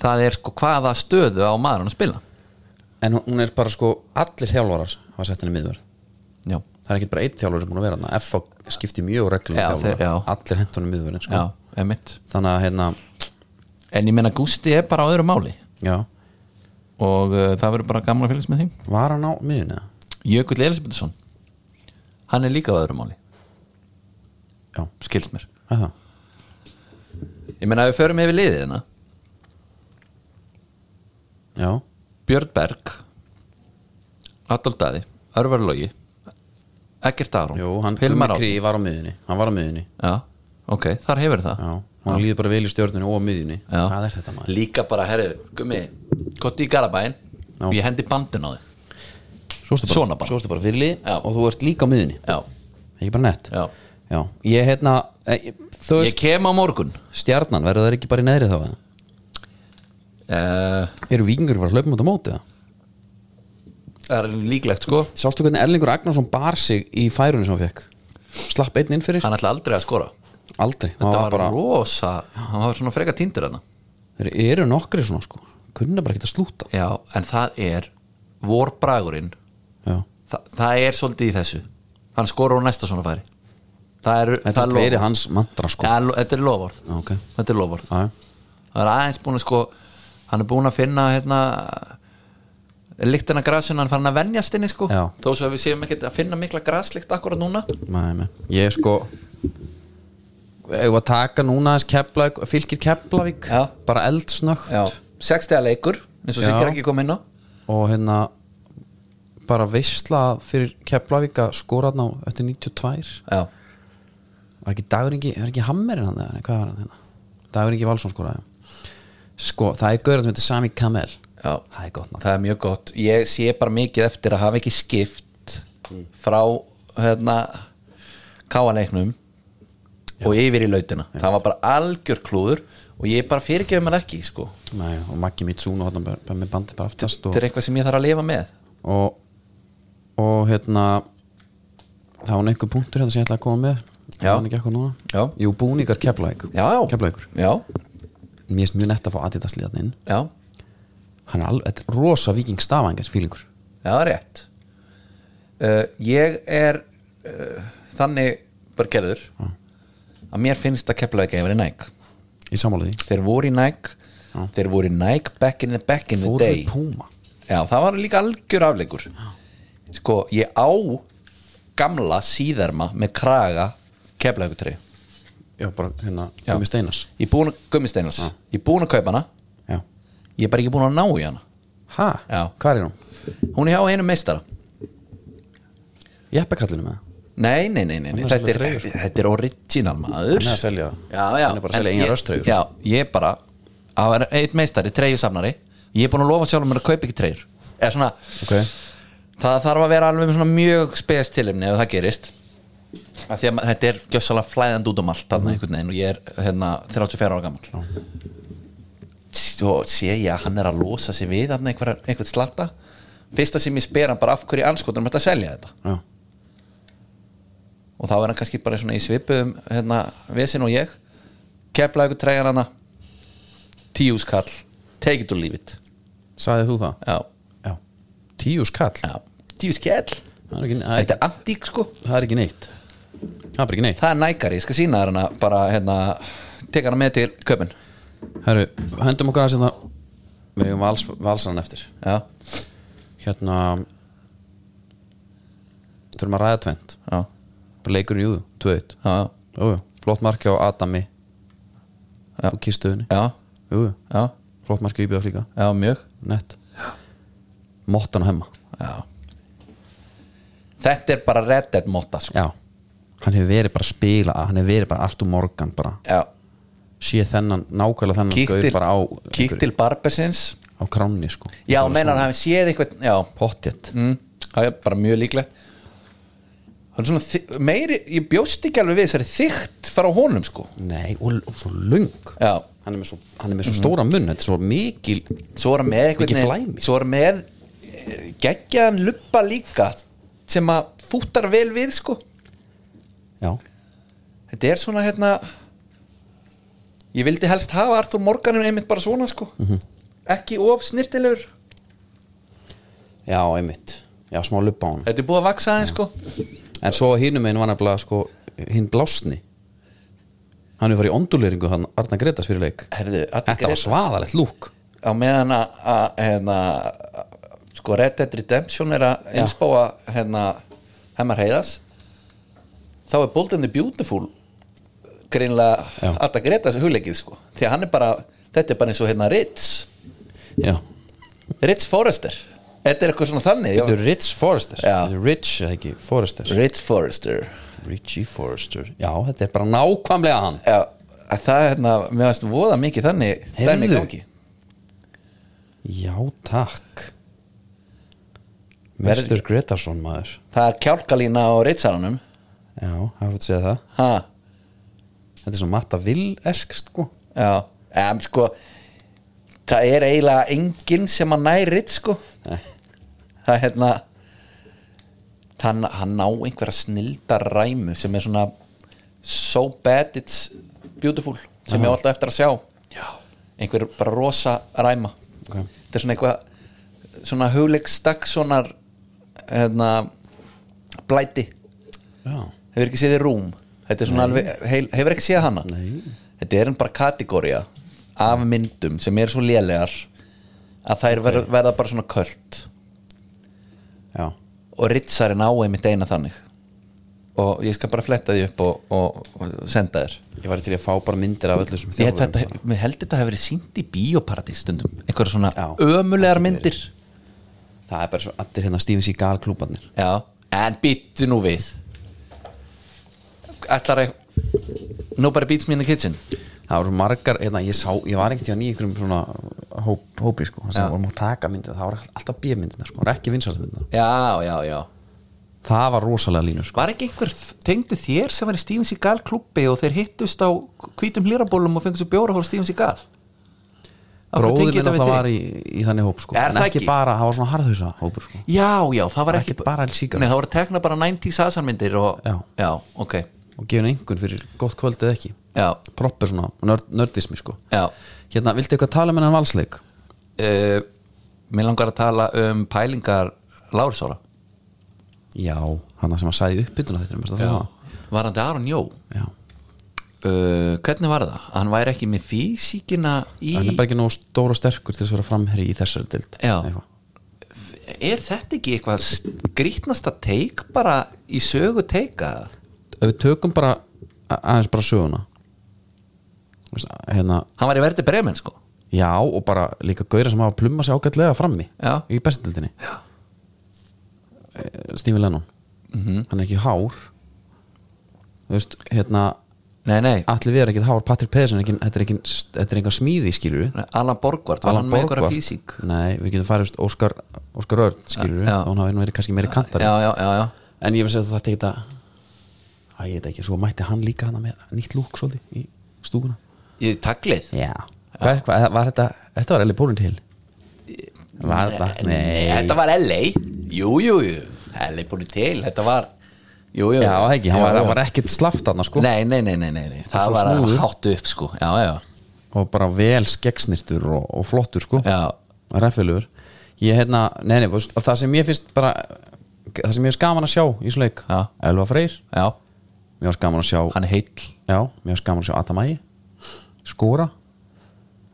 [SPEAKER 2] það er sko hvaða stöðu á maður að spila
[SPEAKER 1] en hún- hún er bara sko, allir þjálfarar hafa sett henni miðverð
[SPEAKER 2] já,
[SPEAKER 1] það er ekki bara einn þjálfur sem búin að vera þarna FH skipti mjög reglum
[SPEAKER 2] Já,
[SPEAKER 1] þjálfur,
[SPEAKER 2] þeir- já.
[SPEAKER 1] allir hentunum miðverðin
[SPEAKER 2] já,
[SPEAKER 1] sko.
[SPEAKER 2] emitt
[SPEAKER 1] þannig að hérna,
[SPEAKER 2] en ég menna Gústi er bara á öðru máli
[SPEAKER 1] já,
[SPEAKER 2] og uh, það verður bara gamla félags með þeim
[SPEAKER 1] var hann á miðun eða?
[SPEAKER 2] Jökull Elisabethsson hann er líka á öðru máli,
[SPEAKER 1] Já,
[SPEAKER 2] skilst mér
[SPEAKER 1] er það
[SPEAKER 2] ég menna að við förum yfir liðið hérna
[SPEAKER 1] já,
[SPEAKER 2] Björn Berg Adolf Daði Örvar Logi Ekkert Aron
[SPEAKER 1] Jú, hann
[SPEAKER 2] Hilmar
[SPEAKER 1] Gummi
[SPEAKER 2] Árni.
[SPEAKER 1] Krí var á miðunni hann var á miðunni,
[SPEAKER 2] Já, ok, þar hefur það
[SPEAKER 1] já hann líður bara vel í stjórnunni og á miðunni
[SPEAKER 2] Já.
[SPEAKER 1] hvað er þetta maður?
[SPEAKER 2] Líka bara, herri, gummi Kotti í Garabæin
[SPEAKER 1] Já.
[SPEAKER 2] Ég hendi bandin á þig
[SPEAKER 1] Svo ertu
[SPEAKER 2] Svona
[SPEAKER 1] bara,
[SPEAKER 2] bara.
[SPEAKER 1] svo ertu bara fyrirlið
[SPEAKER 2] Já.
[SPEAKER 1] og þú ert líka á miðunni,
[SPEAKER 2] Já,
[SPEAKER 1] ekki bara nett
[SPEAKER 2] já
[SPEAKER 1] já. ég hérna, eh, þú
[SPEAKER 2] Ég
[SPEAKER 1] veist
[SPEAKER 2] kem á morgun
[SPEAKER 1] stjarnan, verður það ekki bara í neðri þá eða?
[SPEAKER 2] uh,
[SPEAKER 1] eru vikingur að um fara að hlaupum út á móti það?
[SPEAKER 2] Það er líklegt, sko
[SPEAKER 1] Sástu hvernig Erlingur Agnarsson bar sig í færunni sem hann fekk? Slapp einn inn fyrir?
[SPEAKER 2] Hann ætla aldrei að skora
[SPEAKER 1] Aldrei,
[SPEAKER 2] Það
[SPEAKER 1] maður
[SPEAKER 2] var
[SPEAKER 1] var bara
[SPEAKER 2] rosa Hann var svona freka tindur hann
[SPEAKER 1] Þeir eru nokkri svona sko Kunna bara ekki að slúta
[SPEAKER 2] Já, en það er Vorbragurinn
[SPEAKER 1] Já.
[SPEAKER 2] Þa, Það er svolítið í þessu Hann skora úr næsta svona færi Það er,
[SPEAKER 1] Þetta
[SPEAKER 2] það
[SPEAKER 1] er
[SPEAKER 2] er
[SPEAKER 1] verið
[SPEAKER 2] loforð.
[SPEAKER 1] hans mantra sko
[SPEAKER 2] Ja, lo- Þetta er lofvörð
[SPEAKER 1] Já, ok.
[SPEAKER 2] Þetta er lofvörð
[SPEAKER 1] Já, já.
[SPEAKER 2] Það er aðeins búin að sko Hann er búin að finna hérna Líktina grasun, hann er farin að venjast inni sko
[SPEAKER 1] Já.
[SPEAKER 2] Þó svo að við séum ekkert að finna mikla graslikt akkurat núna
[SPEAKER 1] Nei, nei. Ég er sko Ef að taka núna aðeins Keflavík Fylgir Keflavík
[SPEAKER 2] Já.
[SPEAKER 1] Bara eldsnögt
[SPEAKER 2] Sextega leikur, eins og
[SPEAKER 1] Já.
[SPEAKER 2] Sigur ekki kom inn á
[SPEAKER 1] Og hérna Bara veisla fyrir Keflavík að skora hann á Eftir 92
[SPEAKER 2] Já,
[SPEAKER 1] Var ekki Daguringi Var ekki Hammerin hann eða? Nei, Hvað var hann hérna? Daguringi Valsson skoraði Sko, það er gaurið sem heitir Sami Kamel
[SPEAKER 2] já
[SPEAKER 1] Það er gott nátt
[SPEAKER 2] Það er mjög gott Ég sé bara mikið eftir að hafa ekki skipt Frá hérna Káanleiknum Og yfir í lautina Það var bara algjör klúður Og ég bara fyrirgefum hann ekki sko
[SPEAKER 1] Nei, og Maggi Mitsuno hann bara, bara með bandi bara aftast og,
[SPEAKER 2] Þetta er eitthvað sem ég þarf að lifa með
[SPEAKER 1] og, og hérna það var einhver punktur hérna sem ég ætla að koma með
[SPEAKER 2] Já.
[SPEAKER 1] Það var ekki eitthvað núna
[SPEAKER 2] Já.
[SPEAKER 1] Jú, búningar keflæk
[SPEAKER 2] Já, já.
[SPEAKER 1] Keflækur
[SPEAKER 2] Já,
[SPEAKER 1] Mér finnst mjög nett að fá Adidas liðan inn
[SPEAKER 2] já,
[SPEAKER 1] Hann er alveg, þetta er rosa viking stafangar fílingur
[SPEAKER 2] já, rétt uh, Ég er uh, þannig bara gerður að mér finnst að kepla ekki að vera í Nike
[SPEAKER 1] Í sammála því
[SPEAKER 2] Þeir voru í Nike Þeir voru í Nike back in the, back in the
[SPEAKER 1] Fóru
[SPEAKER 2] day
[SPEAKER 1] í Puma
[SPEAKER 2] Já, það var líka algjör afleikur Sko, ég á gamla síðarma með kraga keflaugutri
[SPEAKER 1] Já, bara hérna,
[SPEAKER 2] Já.
[SPEAKER 1] Gumi Steinars
[SPEAKER 2] Ég er búin að gummisteinals Ég er búin að kaupa hana
[SPEAKER 1] Já
[SPEAKER 2] Ég er bara ekki búin að ná í hana
[SPEAKER 1] Ha?
[SPEAKER 2] Já.
[SPEAKER 1] Hvað er hún?
[SPEAKER 2] Hún er hjá einum meistara
[SPEAKER 1] Jeppakallinu með það
[SPEAKER 2] Nei, nei, nei, nei, nei.
[SPEAKER 1] Hann er
[SPEAKER 2] Þetta, er,
[SPEAKER 1] svolítið treyfur.
[SPEAKER 2] þetta er original maður
[SPEAKER 1] Hann er að selja það.
[SPEAKER 2] Já, já
[SPEAKER 1] Hann er bara að
[SPEAKER 2] En
[SPEAKER 1] selja eigin sko.
[SPEAKER 2] ég-
[SPEAKER 1] rösttreyjur.
[SPEAKER 2] Já, ég er bara að vera einn meistari, treyjusafnari Ég er búin að lofa sjálfum mér að kaupa ekki treyjur Eða svona,
[SPEAKER 1] Ok
[SPEAKER 2] það þarf að vera alveg svona mjög spes tilimni ef það gerist af því að ma- þetta er gjössalega flæðandi út um allt þarna einhvern veginn og ég er hérna 34 ára gammal svo sé ég að hann er að losa sig við þarna einhver, einhvern slatta fyrsta sem ég spyr hann bara af hverju anskotunum þetta að selja þetta
[SPEAKER 1] Já,
[SPEAKER 2] og þá er hann kannski bara svona í svipuðum hérna, vesin og ég kepla ykkur treyjan hana tíuskall, take it or leave it
[SPEAKER 1] sagði þú það?
[SPEAKER 2] já,
[SPEAKER 1] Já Tíu skall?
[SPEAKER 2] já, tíuskall
[SPEAKER 1] Það er ekki, það er,
[SPEAKER 2] þetta er antík sko
[SPEAKER 1] það er ekki neitt Það er bara ekki neitt
[SPEAKER 2] það er nækari, ég skal sína þér hana bara hérna, teka hana með til köpun
[SPEAKER 1] Herru, hendum okkur aðeins hérna Við hefum vals, valsaran eftir
[SPEAKER 2] já,
[SPEAKER 1] Hérna Þurfum að ræða tvent
[SPEAKER 2] já,
[SPEAKER 1] Bara leikurinn í júðu, tveit
[SPEAKER 2] já
[SPEAKER 1] Jújú, flott marki á Adami
[SPEAKER 2] Já.
[SPEAKER 1] Og kistuðunni
[SPEAKER 2] já,
[SPEAKER 1] Jújú,
[SPEAKER 2] já,
[SPEAKER 1] flott marki á Íbjöða flíka
[SPEAKER 2] já, mjög
[SPEAKER 1] Nett Mottan á hemma
[SPEAKER 2] já þetta er bara Red Dead Motta sko.
[SPEAKER 1] Já Hann hefur verið bara að spila Hann hefur verið bara Artur Morgan bara
[SPEAKER 2] já,
[SPEAKER 1] Sé þennan, nákvæmlega þennan
[SPEAKER 2] kíktil,
[SPEAKER 1] gaur bara á
[SPEAKER 2] kíktil barbersins
[SPEAKER 1] á kránni sko
[SPEAKER 2] já, meinar hann hafi séð eitthvað já,
[SPEAKER 1] Pottjett
[SPEAKER 2] mm, það er bara mjög líklegt það er svona þy- meiri, ég bjóst ekki alveg við þessari þygt fara á honum sko
[SPEAKER 1] Nei, og, og svo lung
[SPEAKER 2] já,
[SPEAKER 1] Hann er með svo, hann er með
[SPEAKER 2] Mhm.
[SPEAKER 1] svo stóra munn Þetta er svo mikil
[SPEAKER 2] svo er hann með
[SPEAKER 1] Mikið
[SPEAKER 2] eitthvað
[SPEAKER 1] flæmi.
[SPEAKER 2] svo er hann með eh, geggjaðan luppa líka sem að fúttar vel við sko
[SPEAKER 1] Já,
[SPEAKER 2] þetta er svona hérna ég vildi helst hafa Arthur Morganin einmitt bara svona sko
[SPEAKER 1] Mhm.
[SPEAKER 2] ekki of snirtilegur
[SPEAKER 1] já, einmitt Já, smá lubba á hann
[SPEAKER 2] þetta er búið að vaksa aðeins sko
[SPEAKER 1] En svo hinum einu var nefnilega sko Hinn blásni Hann er farið í onduleringu hann Arna Gretas fyrir leik
[SPEAKER 2] Herðu, Arnar
[SPEAKER 1] Þetta var
[SPEAKER 2] Grétars.
[SPEAKER 1] svaðalegt lúk
[SPEAKER 2] á meðan að- að hérna, sko Red Dead Redemption er að einspáa hérna hemmar heiðas þá er Bold and the Beautiful greinlega
[SPEAKER 1] Já.
[SPEAKER 2] að það greita þessu hugleikið sko því að hann er bara, þetta er bara eins og hérna Ritz
[SPEAKER 1] Já,
[SPEAKER 2] Ritz Forrester, þetta er eitthvað svona þannig
[SPEAKER 1] þetta
[SPEAKER 2] já.
[SPEAKER 1] er Rich Forrester
[SPEAKER 2] Já.
[SPEAKER 1] Þetta er Rich, eða ekki, Forrester
[SPEAKER 2] Ritz Forrester
[SPEAKER 1] Richie Forrester Já, þetta er bara nákvæmlega hann
[SPEAKER 2] já, að það er hérna, mér varst voða mikið þannig dæmi í
[SPEAKER 1] Heyrðu.
[SPEAKER 2] gangi
[SPEAKER 1] Já, takk
[SPEAKER 2] Verði-
[SPEAKER 1] Mr. Gretarsson maður
[SPEAKER 2] það er kjálkalína á Ritzaranum
[SPEAKER 1] Já, það er að segja það
[SPEAKER 2] ha,
[SPEAKER 1] Þetta er svona matta vill-esk sko
[SPEAKER 2] já, em, sko það er eiginlega enginn sem að næri Ritz sko það er hérna hann, hann ná einhverja snildar ræmu sem er svona so bad it's beautiful sem ég á alltaf eftir að sjá
[SPEAKER 1] Já.
[SPEAKER 2] einhver bara rosa ræma
[SPEAKER 1] Ok.
[SPEAKER 2] þetta er svona eitthvað svona hugleik stakkssonar hérna blæti,
[SPEAKER 1] Já,
[SPEAKER 2] hefur ekki séð í rúm þetta er svona alveg, heil, hefur ekki séð hana
[SPEAKER 1] Nei.
[SPEAKER 2] þetta er bara kategória af myndum sem er svo lélegar að þær verða, verða bara svona köld
[SPEAKER 1] já,
[SPEAKER 2] og ritsarinn á einmitt eina þannig og ég skal bara fletta því upp og, og, og senda þér
[SPEAKER 1] ég var til að fá bara myndir af öllu sem
[SPEAKER 2] ég held
[SPEAKER 1] þjálfurum
[SPEAKER 2] þetta,
[SPEAKER 1] bara.
[SPEAKER 2] mér held þetta hefur verið sínt í bíóparadís stundum, einhverja svona
[SPEAKER 1] Já,
[SPEAKER 2] ömulegar
[SPEAKER 1] það getur
[SPEAKER 2] myndir
[SPEAKER 1] Það er bara svo allir hérna Steven Seagal klúbarnir
[SPEAKER 2] já, en býttu nú við ætlar að nobody beats me in the kitchen
[SPEAKER 1] Það voru margar, hérna, ég sá, ég var ekkert í einhverjum svona hóp, hópi sko
[SPEAKER 2] Já.
[SPEAKER 1] sem vorum að taka myndir, það voru alltaf B-myndirna sko, það voru ekki vinsalsmyndirna
[SPEAKER 2] já, já, já
[SPEAKER 1] Það var rosalega línu sko
[SPEAKER 2] var ekki einhver tengdu þér sem var í Steven Seagal klubbi og þeir hittust á hvítum hlýrabólum og fengur svo bjóra hóra Steven Seagal Af hverju
[SPEAKER 1] bróðir minn
[SPEAKER 2] tengi þetta við
[SPEAKER 1] alltaf
[SPEAKER 2] þig?
[SPEAKER 1] var í, í þannig hóp sko.
[SPEAKER 2] Er
[SPEAKER 1] en
[SPEAKER 2] það
[SPEAKER 1] ekki
[SPEAKER 2] ekki?
[SPEAKER 1] bara, það var svona harðhausa hópur sko.
[SPEAKER 2] Já, já, það var
[SPEAKER 1] Var
[SPEAKER 2] ekki,
[SPEAKER 1] ekki bara El Cigar.
[SPEAKER 2] Nei, það voru tekna bara 90s Hasanmyndir og...
[SPEAKER 1] Já.
[SPEAKER 2] ok
[SPEAKER 1] og gefin einhvern fyrir gott kvöld eða ekki
[SPEAKER 2] Já,
[SPEAKER 1] proper svona nörd, nördismi sko.
[SPEAKER 2] já
[SPEAKER 1] hérna, viltu eitthvað tala með hann valsleik?
[SPEAKER 2] uh, Mér langar að tala um pælingar Lársóra
[SPEAKER 1] já, hann sem að sagði uppbytuna þetta já.
[SPEAKER 2] Varandi Aron Jó
[SPEAKER 1] Já.
[SPEAKER 2] uh, Hvernig var það? Hann væri ekki með físíkina í
[SPEAKER 1] hann er bara ekki nógu stór og sterkur til þess að vera framherri í þessari dild
[SPEAKER 2] Já.
[SPEAKER 1] Eitthvað.
[SPEAKER 2] Er þetta ekki eitthvað skrýtnasta teik bara í sögu teika?
[SPEAKER 1] ef við tökum bara a- aðeins bara söguna Þú veist, hérna,
[SPEAKER 2] Hann var í verði bremen sko
[SPEAKER 1] já og bara líka gauðra sem hafa plumma sig ágætlega frammi
[SPEAKER 2] Já.
[SPEAKER 1] í bestildinni Stífi Lennon
[SPEAKER 2] Mhm.
[SPEAKER 1] hann er ekki hár þú veist, hérna
[SPEAKER 2] Nei, nei,
[SPEAKER 1] allir við er ekkit hár, Patrick Pedersen er ekki, þetta er ekki, þetta er engan smíði skilur við
[SPEAKER 2] Nei, Alan Borgvart, var hann með einhverja físík?
[SPEAKER 1] nei, við getum farið þú veist, Óskar, Óskar Örn skilur við,
[SPEAKER 2] Já.
[SPEAKER 1] og hann hafi nú verið kannski meiri
[SPEAKER 2] Já,
[SPEAKER 1] kantari
[SPEAKER 2] já, já, já
[SPEAKER 1] en ég vil segja að þetta ekki að Æ, ég veit ekki, svo mætti hann líka hann með nýtt lúk svolítið í stúkuna
[SPEAKER 2] Í taglið?
[SPEAKER 1] Já Hvað, hvað, var þetta, þetta var Ellie Bólin til Var þetta, nei
[SPEAKER 2] Eh, Þetta var LA Jú, jú, jú, LA búin til Þetta var, jú, jú
[SPEAKER 1] Já, það ekki, hann var,
[SPEAKER 2] Já,
[SPEAKER 1] hann var
[SPEAKER 2] já.
[SPEAKER 1] ekkit slaft hann sko
[SPEAKER 2] Nei, nei, nei, nei, nei, nei.
[SPEAKER 1] Svo
[SPEAKER 2] Það var að
[SPEAKER 1] snúður.
[SPEAKER 2] hátu upp sko Já, já,
[SPEAKER 1] Og bara vel skeggsnirtur og, og flottur sko
[SPEAKER 2] já
[SPEAKER 1] Ræffilegur Ég hérna, nei, nei, veist, það sem ég finnst bara Það sem ég finnst gaman að sjá í sleik
[SPEAKER 2] Já.
[SPEAKER 1] Elva Freyr,
[SPEAKER 2] Já,
[SPEAKER 1] mér varst gaman að sjá
[SPEAKER 2] hann er heill
[SPEAKER 1] Já, mér varst gaman að sjá Atamæi Skora,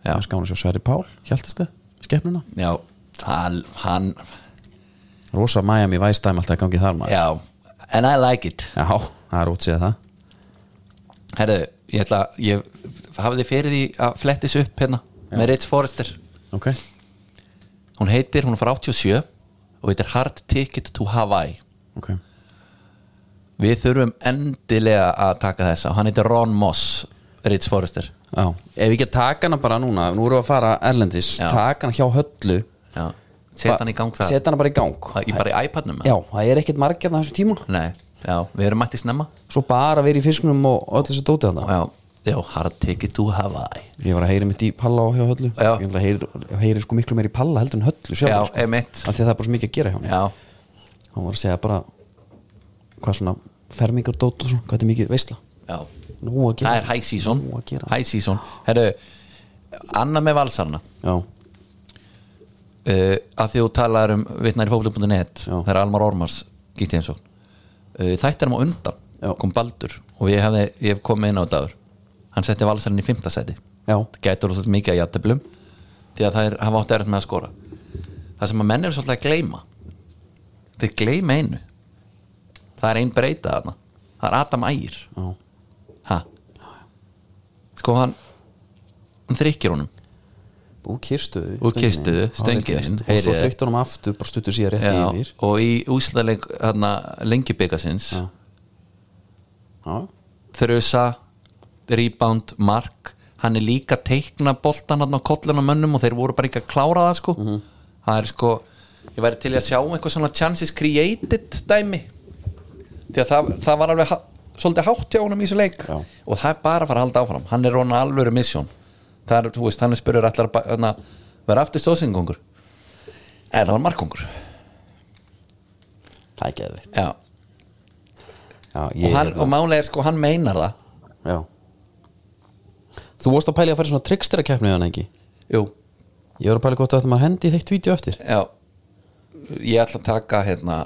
[SPEAKER 2] Já.
[SPEAKER 1] mér varst gaman að sjá Sverri Pál Hjaltist þið, skepnuna
[SPEAKER 2] Já, hann, hann
[SPEAKER 1] Rosa Miami Væstæm alltaf að gangi þar maður
[SPEAKER 2] Já, and I like it
[SPEAKER 1] Já, það er útsið það
[SPEAKER 2] Herðu, ég ætla að Ég hafði fyrir því að flettis upp hérna Með Rich Forrester
[SPEAKER 1] Ok,
[SPEAKER 2] Hún heitir, hún er frá 87 Og heitir Hard Ticket to Hawaii
[SPEAKER 1] ok
[SPEAKER 2] Við þurfum endilega að taka þessa Hann heitir Ron Moss, Rich Forrester
[SPEAKER 1] Já, ef við ekki að taka hana bara núna nú erum við að fara erlendis,
[SPEAKER 2] Já.
[SPEAKER 1] taka hana hjá höllu
[SPEAKER 2] Já, setja hann í gang það
[SPEAKER 1] setja hana bara í gang
[SPEAKER 2] Það- Í bara í iPadnum eða?
[SPEAKER 1] Já, það er ekkert margjarn á þessum tíma
[SPEAKER 2] Nei, já, við erum mætti snemma
[SPEAKER 1] svo bara verið í fiskunum og öll þessu dótið hana
[SPEAKER 2] Já, já hard ticket to Hawaii
[SPEAKER 1] ég var að heyri mitt í palla og hjá höllu
[SPEAKER 2] Já.
[SPEAKER 1] ég náttúrulega heyri, heyri sko miklu meir í palla heldur en höllu sjálf
[SPEAKER 2] Já,
[SPEAKER 1] sko.
[SPEAKER 2] emitt
[SPEAKER 1] af því að það er bara svo mikið að gera hjá hann
[SPEAKER 2] Já,
[SPEAKER 1] hann var að segja bara hvað svona fermingar dót og svona, hvað þetta er mikið veisla
[SPEAKER 2] já
[SPEAKER 1] nú að
[SPEAKER 2] Það
[SPEAKER 1] gera
[SPEAKER 2] er high season
[SPEAKER 1] Nú að gera.
[SPEAKER 2] High season Herru, Anna með valsarna
[SPEAKER 1] Já,
[SPEAKER 2] uh, að því þú talar um vitnar í fókblu.net
[SPEAKER 1] Já.
[SPEAKER 2] þegar Almar Ormars gíti heimsókn uh, þættir hann á undan
[SPEAKER 1] Já.
[SPEAKER 2] kom Baldur og ég hef, ég hef komið inn á þetta áður hann setti valsarinn í fymta seti
[SPEAKER 1] já,
[SPEAKER 2] gætur þú svolítið mikið að jættablum því að það er, hafa átt erfitt með að skora það sem að menn eru svolítið að gleyma þeir gleyma einu það er ein breyta þarna það er Adam Ægir
[SPEAKER 1] já,
[SPEAKER 2] ha. sko hann hann þrykkir honum
[SPEAKER 1] úr kyrstuðu
[SPEAKER 2] Úr kyrstuðu, stönginni,
[SPEAKER 1] og svo
[SPEAKER 2] heyrið.
[SPEAKER 1] þryktur hann aftur, bara stuttur síðan rétt
[SPEAKER 2] Já,
[SPEAKER 1] yfir
[SPEAKER 2] og í úslitaleg hérna, lengi byggasins
[SPEAKER 1] Já. Já,
[SPEAKER 2] þrjusa, rebound, mark hann er líka að teikna boltan hann á kollun á mönnum og þeir voru bara ekki að klára það sko
[SPEAKER 1] Mhm.
[SPEAKER 2] það er sko, ég væri til í að sjá eitthvað svona chances created dæmi því að það, það var alveg ha- svolítið hátt hjá honum í þessu leik
[SPEAKER 1] Já.
[SPEAKER 2] og það er bara að fara að halda áfram hann er honum alvöru misjón það er, þú veist, hann er spurður allar að ba- hérna, vera aftur stóðsingungur eða það var markungur
[SPEAKER 1] það er geðvitt
[SPEAKER 2] Já,
[SPEAKER 1] já,
[SPEAKER 2] og,
[SPEAKER 1] ég,
[SPEAKER 2] hann, og málega er sko, hann meinar það
[SPEAKER 1] já. Þú vorst að pæli að fara í svona trickstera keppni eða ekki?
[SPEAKER 2] Jú,
[SPEAKER 1] Ég var að pæli gott að þetta maður hendi í þeitt vídeo eftir
[SPEAKER 2] já Ég ætla að taka hérna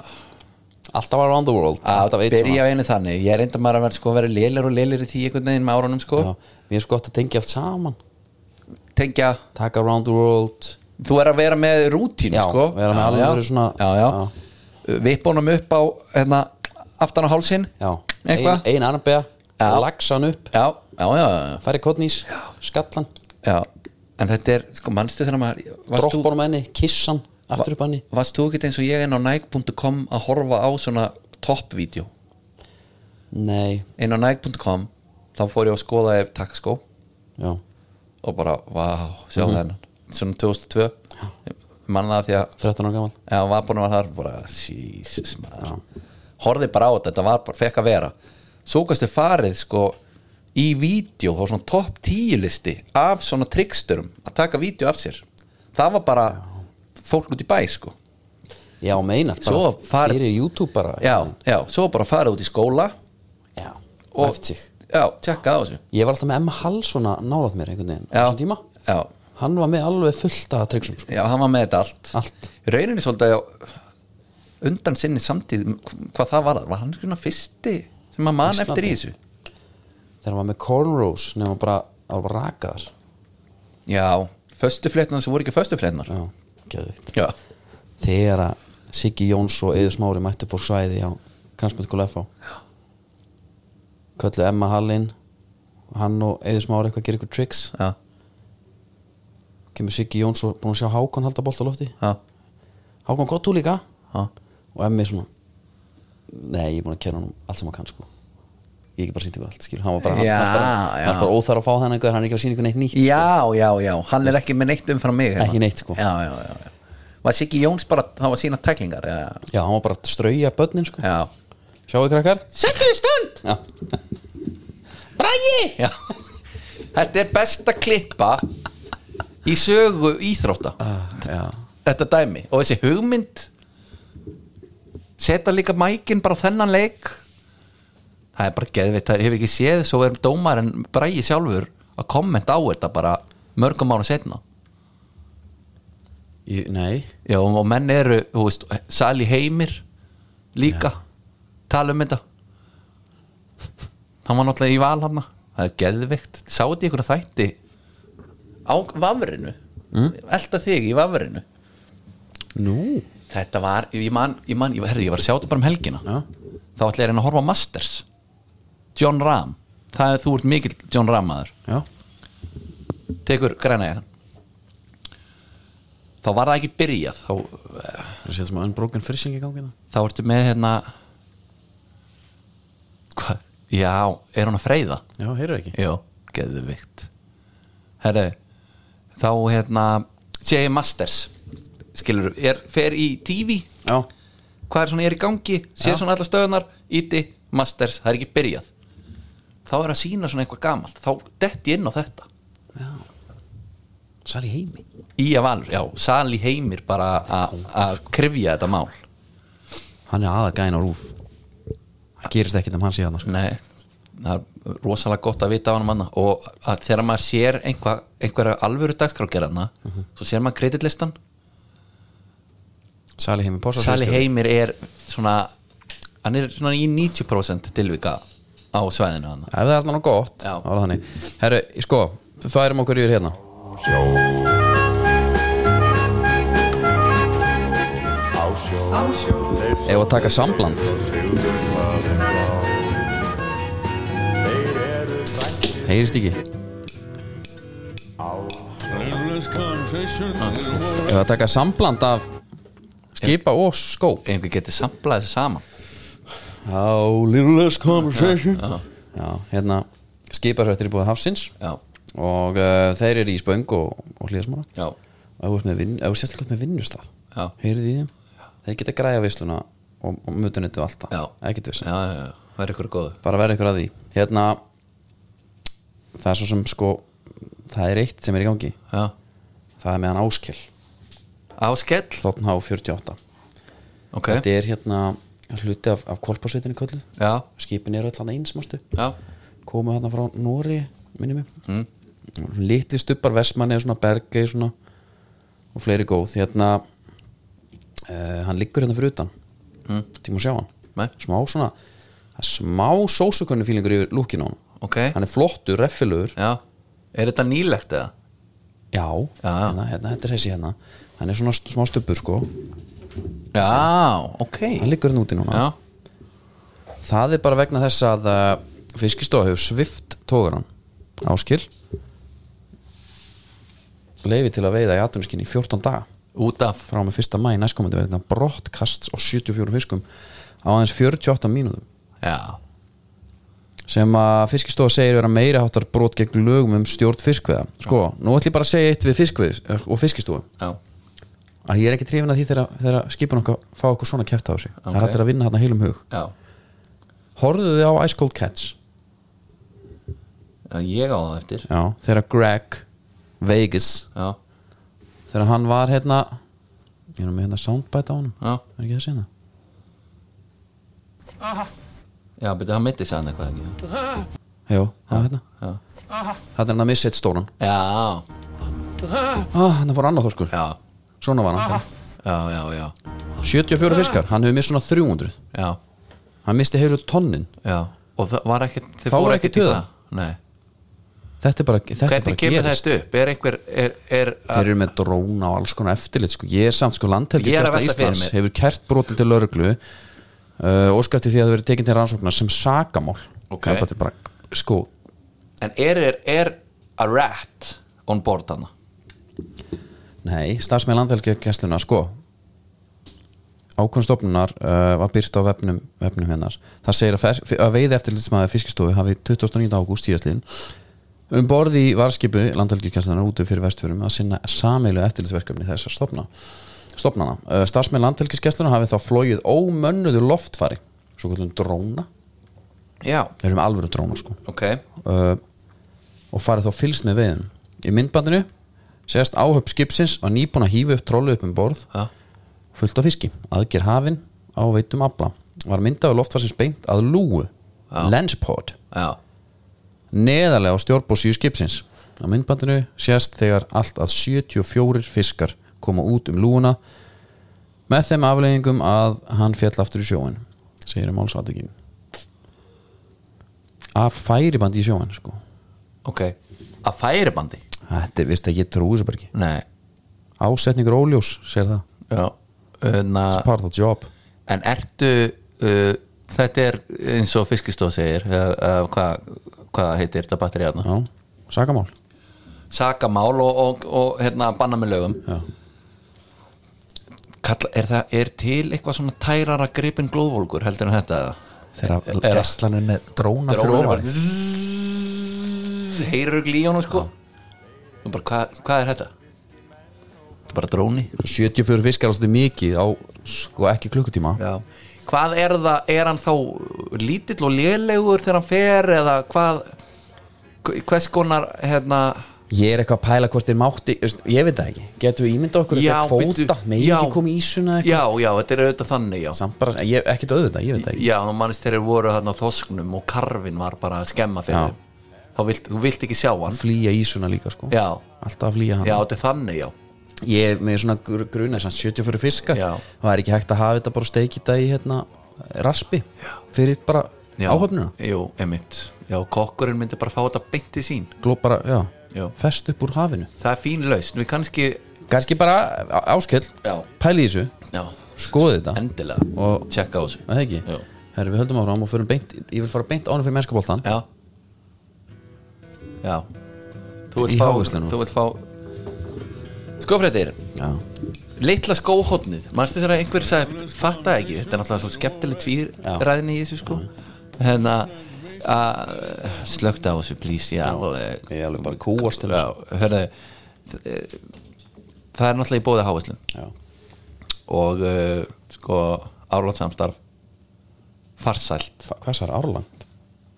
[SPEAKER 1] Alltaf around the world
[SPEAKER 2] að
[SPEAKER 1] Alltaf eitt
[SPEAKER 2] byrja á einu þannig ég reynda maður að vera sko að vera lélir og lélir í því einhvern veginn með árunum sko
[SPEAKER 1] svona já, Mér er sko gott að tengja allt saman
[SPEAKER 2] tengja,
[SPEAKER 1] Taka around the world
[SPEAKER 2] þú er að vera með rútín
[SPEAKER 1] Já,
[SPEAKER 2] sko
[SPEAKER 1] vera með alvöru svona-
[SPEAKER 2] já, já. Vipa honum upp á hérna, aftan á hálsin
[SPEAKER 1] Já, ein,
[SPEAKER 2] eitthvað
[SPEAKER 1] ein armbega
[SPEAKER 2] Já.
[SPEAKER 1] Laxan upp
[SPEAKER 2] já, já, já, já,
[SPEAKER 1] Færi kottnís Skallan
[SPEAKER 2] já en þetta er, sko, mannstu þegar maður varst þú-
[SPEAKER 1] Droppanum henni Kissan Aftur upp henni
[SPEAKER 2] varst þú ekkert eins og ég inn á nike.com að horfa á svona toppvídeó
[SPEAKER 1] Nei
[SPEAKER 2] inn á nike.com þá fór ég að skoða ef takkaskó
[SPEAKER 1] Já
[SPEAKER 2] og bara, vá, sjá þennan svona 2002 manna það því að
[SPEAKER 1] 13 ára gaman
[SPEAKER 2] eða hann var búin að vera þar bara, Jesus maður horfið bara á þetta, þetta var bara, fekk að vera svo gastu farið sko í vídeo þá var svona topp 10 listi af svona tricksturum að taka vídeo af sér það var bara fólk út í bæ sko
[SPEAKER 1] Já, meinar, bara
[SPEAKER 2] Svo far-
[SPEAKER 1] fyrir YouTube bara
[SPEAKER 2] já, já, svo bara farið út í skóla
[SPEAKER 1] já.
[SPEAKER 2] Og-
[SPEAKER 1] og eftir sig
[SPEAKER 2] já, tjekka á þessu
[SPEAKER 1] Ég var alltaf með Emma Hall svona nálaðt mér einhvern veginn á þessum
[SPEAKER 2] já,
[SPEAKER 1] tíma
[SPEAKER 2] já,
[SPEAKER 1] Hann var með alveg fullt af tryggsum sko.
[SPEAKER 2] já, hann var með þetta allt
[SPEAKER 1] Allt
[SPEAKER 2] rauninni svolítið á undan sinni samtíð hvað það var, var hann svona fyrsti sem maður man
[SPEAKER 1] Íslandi.
[SPEAKER 2] eftir í þessu
[SPEAKER 1] Þegar hann var með cornrows nefnum bara, hann var bara rakaðar
[SPEAKER 2] já, föstuflétnar sem voru ekki föstuflétnar
[SPEAKER 1] Já, geðvikt
[SPEAKER 2] já,
[SPEAKER 1] Þegar að Siggi Jóns og Eður Smári mættu bór svæði á Kransmyndskóla FH Köllu Emma Hallin Hann og Eður Smári eitthvað að gera eitthvað tricks
[SPEAKER 2] já,
[SPEAKER 1] Kemur Siggi Jóns og búin að sjá Hákon halda bolt á lofti
[SPEAKER 2] já,
[SPEAKER 1] Hákon, gott þú líka
[SPEAKER 2] já.
[SPEAKER 1] og emmi svona nei, ég er búin að kenna hann allt sem hann kann sko ég get bara sýnt ykkur allt, skilur hann var bara,
[SPEAKER 2] Já,
[SPEAKER 1] hann, hann, bara,
[SPEAKER 2] já.
[SPEAKER 1] hann var bara óþar að fá þennan gaur, hann er ekki að sýna ykkur neitt nýtt sko.
[SPEAKER 2] já, já, já, hann er ekki með neitt umfram mig hérna.
[SPEAKER 1] Ekki neitt, sko.
[SPEAKER 2] já, já, já, já. var Siggi Jóns bara, það var sína tæklingar já,
[SPEAKER 1] já, hann var bara að strauja börnin sko.
[SPEAKER 2] já
[SPEAKER 1] sjáu krakkar
[SPEAKER 2] Siggi stund
[SPEAKER 1] já. Bragi
[SPEAKER 2] já. þetta er besta klippa í sögu íþrótta
[SPEAKER 1] já,
[SPEAKER 2] þetta dæmi og þessi hugmynd setja líka mækin bara á þennan leik það er bara geðvitt það hefur ekki séð svo er dómarinn bræði sjálfur að kommenta á þetta bara mörgum ára setna
[SPEAKER 1] ég, nei
[SPEAKER 2] Já, og menn eru, þú veist, Sali Heimir líka tala um þetta hann var náttúrulega í val hann það er geðvikt, sáðu ykkur að þætti á vafrinu mm? elda þig í vafrinu
[SPEAKER 1] nú,
[SPEAKER 2] Þetta var, ég man, ég man, ég, herri, ég var að sjá þetta bara um helgina
[SPEAKER 1] já,
[SPEAKER 2] Þá ætla ég að reyna að horfa á Masters John Ram Það er, þú ert mikill John Ram maður
[SPEAKER 1] já
[SPEAKER 2] Tekur græna ég Þá var það ekki byrjað Þá, eh,
[SPEAKER 1] það séð sem að unbroken fishing í gangina
[SPEAKER 2] þá ertu með hérna Hva? Já, er hún að freyða?
[SPEAKER 1] já, heyrðu ekki
[SPEAKER 2] Jó, geðvikt Herri, þá hérna sé ég Masters Skilur, er, fer í TV
[SPEAKER 1] já,
[SPEAKER 2] hvað er svona er í gangi, sé
[SPEAKER 1] Já.
[SPEAKER 2] svona allar stöðunar íti, masters, það er ekki byrjað þá er að sína svona eitthvað gamalt þá detti ég inn á þetta
[SPEAKER 1] sali heimi
[SPEAKER 2] í að valur, já, sali heimir bara að- að krifja þetta mál
[SPEAKER 1] hann er aða gæn á rúf það gerist ekkert um hann síðan sko.
[SPEAKER 2] nei, það er rosalega gott að vita á hann manna og að þegar maður sér einhva, einhverja alvöru dagskrágerðana svo sér maður kreditlistan
[SPEAKER 1] sali heimi posa
[SPEAKER 2] sali heimir er svona hann er svona í 90% tilvika á svæðinu hann
[SPEAKER 1] Ef það er allan og gott
[SPEAKER 2] Já.
[SPEAKER 1] þá er það þannig. Herru, sko, færum okkur yfir hérna Ef að taka sambland Heyrist ekki Ef að taka sambland af skipa og skó
[SPEAKER 2] einhver getur samplað þessu saman
[SPEAKER 1] How little less conversation Já, hérna skipasrættir er búið hafsins
[SPEAKER 2] já,
[SPEAKER 1] og uh, þeir eru í spöng og, og hlýðismála
[SPEAKER 2] já,
[SPEAKER 1] og ef þú ert með vinn- ef þú sérstaklega með vinnustaf
[SPEAKER 2] Já.
[SPEAKER 1] heyrið í þeim þeir geta græja veisluna og, og mutunettu alltaf
[SPEAKER 2] Já.
[SPEAKER 1] ekkert
[SPEAKER 2] já,
[SPEAKER 1] vissi
[SPEAKER 2] já, já. það er ykkur góðu
[SPEAKER 1] bara verða ykkur að því hérna það er svo sem sko það er eitt sem er í gangi
[SPEAKER 2] Já,
[SPEAKER 1] það er meðan áskil
[SPEAKER 2] áskell
[SPEAKER 1] þóttn H48
[SPEAKER 2] Ok,
[SPEAKER 1] þetta er hérna hluti af, af kolparsveitinni köllu
[SPEAKER 2] já,
[SPEAKER 1] skipin eru öll hann eins mástu
[SPEAKER 2] já
[SPEAKER 1] komu hérna frá Nóri minni mig mm. litli stubbar Vestmanni svona Bergei svona og fleiri góð hérna uh, hann liggur hérna fyrir utan mm. tíma að sjá hann
[SPEAKER 2] Nei.
[SPEAKER 1] smá svona það er smá sósukunni fílingur yfir lúkinu á hann
[SPEAKER 2] Ok,
[SPEAKER 1] hann er flottur, reffilugur
[SPEAKER 2] já Er þetta nýlegt eða?
[SPEAKER 1] já,
[SPEAKER 2] Já.
[SPEAKER 1] Hérna, hérna, þetta er þessi hérna hann er svona st- smá stubbur sko hann
[SPEAKER 2] Já, ok
[SPEAKER 1] liggur hérna úti núna
[SPEAKER 2] Já,
[SPEAKER 1] það er bara vegna þess að uh, fiskistofa hefur svift tógaran áskil leifi til að veiða í atvinnuskinni í 14 daga
[SPEAKER 2] út af
[SPEAKER 1] frá og með 1. mæ næstkomandi vegna brottkasts á 74 fiskum á aðeins 48 mínútum
[SPEAKER 2] Já,
[SPEAKER 1] sem að fiskistofa segir vera meiri háttar brot gegn lögum um stjórn fiskveða sko, nú ætlum ég bara að segja eitt við fiskveð og fiskistofu,
[SPEAKER 2] já,
[SPEAKER 1] að ég er ekki trefin að því þegar, þegar skipun okkar fá okkur svona kæft á þessu það
[SPEAKER 2] Ok.
[SPEAKER 1] er hættir að vinna þarna heilum hug
[SPEAKER 2] já
[SPEAKER 1] horfðu þið á Ice Cold Cats
[SPEAKER 2] en ég á það eftir
[SPEAKER 1] Já, þegar Greg Vegas,
[SPEAKER 2] já,
[SPEAKER 1] þegar hann var hérna ég er nú með hérna soundbite á honum
[SPEAKER 2] já,
[SPEAKER 1] er ekki það sína?
[SPEAKER 2] já, betur hann mitti sann eitthvað ekki
[SPEAKER 1] Jó, það er hérna
[SPEAKER 2] já,
[SPEAKER 1] Þetta er hann að missa eitt stóran
[SPEAKER 2] já,
[SPEAKER 1] ah, Hann fór annað þorskur,
[SPEAKER 2] já,
[SPEAKER 1] svona var hann
[SPEAKER 2] já, já, já,
[SPEAKER 1] 74 fiskar, hann hefur mist svona 300
[SPEAKER 2] já,
[SPEAKER 1] Hann misti heilu tonnin
[SPEAKER 2] já. og það var ekkert þið
[SPEAKER 1] Þá
[SPEAKER 2] fóru
[SPEAKER 1] var ekkert
[SPEAKER 2] í
[SPEAKER 1] tuða.
[SPEAKER 2] það nei
[SPEAKER 1] Þetta er bara, þetta er bara
[SPEAKER 2] Hvernig kemur
[SPEAKER 1] gerist.
[SPEAKER 2] þetta upp? Er einhver, er, er
[SPEAKER 1] Þeir eru með dróna og alls konar eftirlit sko. Ég er samt sko
[SPEAKER 2] Ég er að
[SPEAKER 1] landhelgisgæsla
[SPEAKER 2] velta fyrir
[SPEAKER 1] Íslands
[SPEAKER 2] mér.
[SPEAKER 1] hefur kært brotin til lauruglu uh, óskæfti því að það verið tekin til rannsóknar sem sakamál
[SPEAKER 2] Ok.
[SPEAKER 1] Það er bara- bara sko
[SPEAKER 2] en er, er, er a rat on board hana?
[SPEAKER 1] Nei, starfsmenn landhelgisgæsluna sko ákunnstofnunar uh, var byrt á vefnum, vefnum hennar það segir að, fer- að veiði eftirlitsmaður fiskistofu hafi 29. ágúst síðastliðin um borð í varskipu landhelgisgæslunar úti fyrir vestfjörum að sinna sameilu eftirlitsverkefni þessar stofna stofnana. Uh, starfsmenn landhelgisgæslunar hafi þá flóið ómönnuðu loftfari svo kvöldum dróna,
[SPEAKER 2] Já,
[SPEAKER 1] við erum alvöru dróna sko
[SPEAKER 2] ok
[SPEAKER 1] uh, og farið þá fylgst með veiðin í myndbandinu segast áhöfn skipsins og nýbúin að hífu upp trollu upp um borð
[SPEAKER 2] Já,
[SPEAKER 1] fullt af fiski, aðger hafin á veitum afla, var myndað loftfarsins beint að lúu, lenspod
[SPEAKER 2] já,
[SPEAKER 1] neðarlega á stjórbósíu skipsins á myndbandinu sést þegar allt að 74 fiskar koma út um lúuna með þeim afleggingum að hann fjall aftur í sjóin segir um álsatvíkin af færibandi í sjóin sko.
[SPEAKER 2] ok Að færibandi?
[SPEAKER 1] þetta er vist að ég trúi þessu bara ekki
[SPEAKER 2] Nei,
[SPEAKER 1] ásetningur óljós, segir það
[SPEAKER 2] já Una,
[SPEAKER 1] It's part of the job
[SPEAKER 2] En ertu uh, Þetta er eins og fiskistóð segir uh, uh, Hvað hva heitir þetta batteri hana?
[SPEAKER 1] Já, sakamál
[SPEAKER 2] Sakamál og, og, og hérna, banna með lögum
[SPEAKER 1] Já.
[SPEAKER 2] Kalla, er, það, er til eitthvað svona tærara gripin glóðvólgur heldur en þetta?
[SPEAKER 1] þegar
[SPEAKER 2] Eða-
[SPEAKER 1] gæslan er með dróna fyrir
[SPEAKER 2] Drónar bara
[SPEAKER 1] ofan
[SPEAKER 2] zzzz, Heyrur glíjónu sko Og bara, hvað, hvað er þetta? Þetta er bara dróni
[SPEAKER 1] 74 fiskar ástu mikið á sko ekki klukkutíma
[SPEAKER 2] Já. Hvað er það, er hann þá lítill og lélegur þegar hann fer eða hvað hvers konar hérna
[SPEAKER 1] ég er eitthvað að pæla hvort þeir mátti veist, ég veit það ekki, getum við ímynda okkur
[SPEAKER 2] Já,
[SPEAKER 1] eitthvað kvóta,
[SPEAKER 2] bíddu,
[SPEAKER 1] megin
[SPEAKER 2] já.
[SPEAKER 1] ekki komið ísuna eitthvað
[SPEAKER 2] Já, já, þetta er auðvitað þannig, já
[SPEAKER 1] samt bara, ég, ekkert auðvitað, ég veit það ekki
[SPEAKER 2] Já, og mannist þeir voru þarna á þosknum og karfin var bara að skemma
[SPEAKER 1] Já.
[SPEAKER 2] fyrir þeim þá vilt, þú vilt ekki sjá hann
[SPEAKER 1] flýja ísuna líka sko,
[SPEAKER 2] Já,
[SPEAKER 1] alltaf að flýja hann
[SPEAKER 2] já, þetta er þannig, já
[SPEAKER 1] ég með svona gr- gruna, svona 74 fiskar
[SPEAKER 2] Já.
[SPEAKER 1] það er ekki hægt að hafa þetta bara steikita í hérna, raspi fyrir bara
[SPEAKER 2] já.
[SPEAKER 1] áhöfnuna
[SPEAKER 2] Jú, emitt, já, kokkurinn myndi bara fá þetta beint í sín
[SPEAKER 1] gló bara, já,
[SPEAKER 2] Já.
[SPEAKER 1] fest upp úr hafinu
[SPEAKER 2] Það er fín lausn, við kannski
[SPEAKER 1] kannski bara á- áskell,
[SPEAKER 2] Já.
[SPEAKER 1] pæli í þessu
[SPEAKER 2] Já,
[SPEAKER 1] skoði þetta
[SPEAKER 2] endilega,
[SPEAKER 1] Og-
[SPEAKER 2] tjekka á þessu
[SPEAKER 1] Er Það ekki?
[SPEAKER 2] Jú.
[SPEAKER 1] Herru, við höldum áfram og förum beint, ég vil fara beint ánum fyrir mennskapoltan
[SPEAKER 2] Já Já Þú
[SPEAKER 1] Í
[SPEAKER 2] vilt fá,
[SPEAKER 1] háveislanum.
[SPEAKER 2] þú vilt fá... Sko, Skofrættir
[SPEAKER 1] Já,
[SPEAKER 2] Leitla skóhóttnið Manstu þegar einhver sagði Fatta ekki Þetta er náttúrulega svo skemmtileg tvíræðinni í þessu sko Hérna að Slögt á þessu plís Já, alveg
[SPEAKER 1] ég er alveg bara hérna. kúast til
[SPEAKER 2] Já, hörðu þ- eh, Það er náttúrulega í bóði hávæslun
[SPEAKER 1] Já.
[SPEAKER 2] Og uh, sko Árlótsamstarf Farsælt
[SPEAKER 1] Hva- Hvað svar Árland?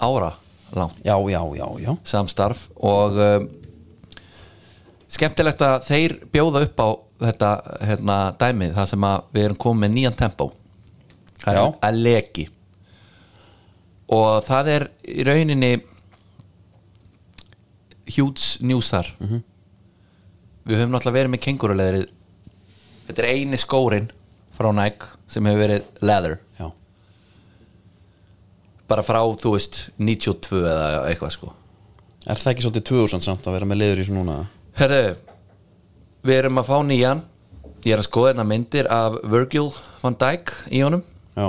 [SPEAKER 2] Ára langt
[SPEAKER 1] Já, já, já, já
[SPEAKER 2] samstarf og um, skemmtilegt að þeir bjóða upp á þetta hérna, dæmið þar sem að við erum komið með nýjan tempó Það er
[SPEAKER 1] Já.
[SPEAKER 2] að leki og það er í rauninni huge news þar við höfum náttúrulega verið með kenguruleðrið þetta er eini skórin frá Nike sem hefur verið leather
[SPEAKER 1] Já,
[SPEAKER 2] bara frá þú veist 92 eða eitthvað sko
[SPEAKER 1] er það ekki svolítið 2000 samt að vera með liður í svona núna?
[SPEAKER 2] Herru, við erum að fá nýjan Ég er að skoða hérna myndir af Virgil van Dijk í honum
[SPEAKER 1] Já,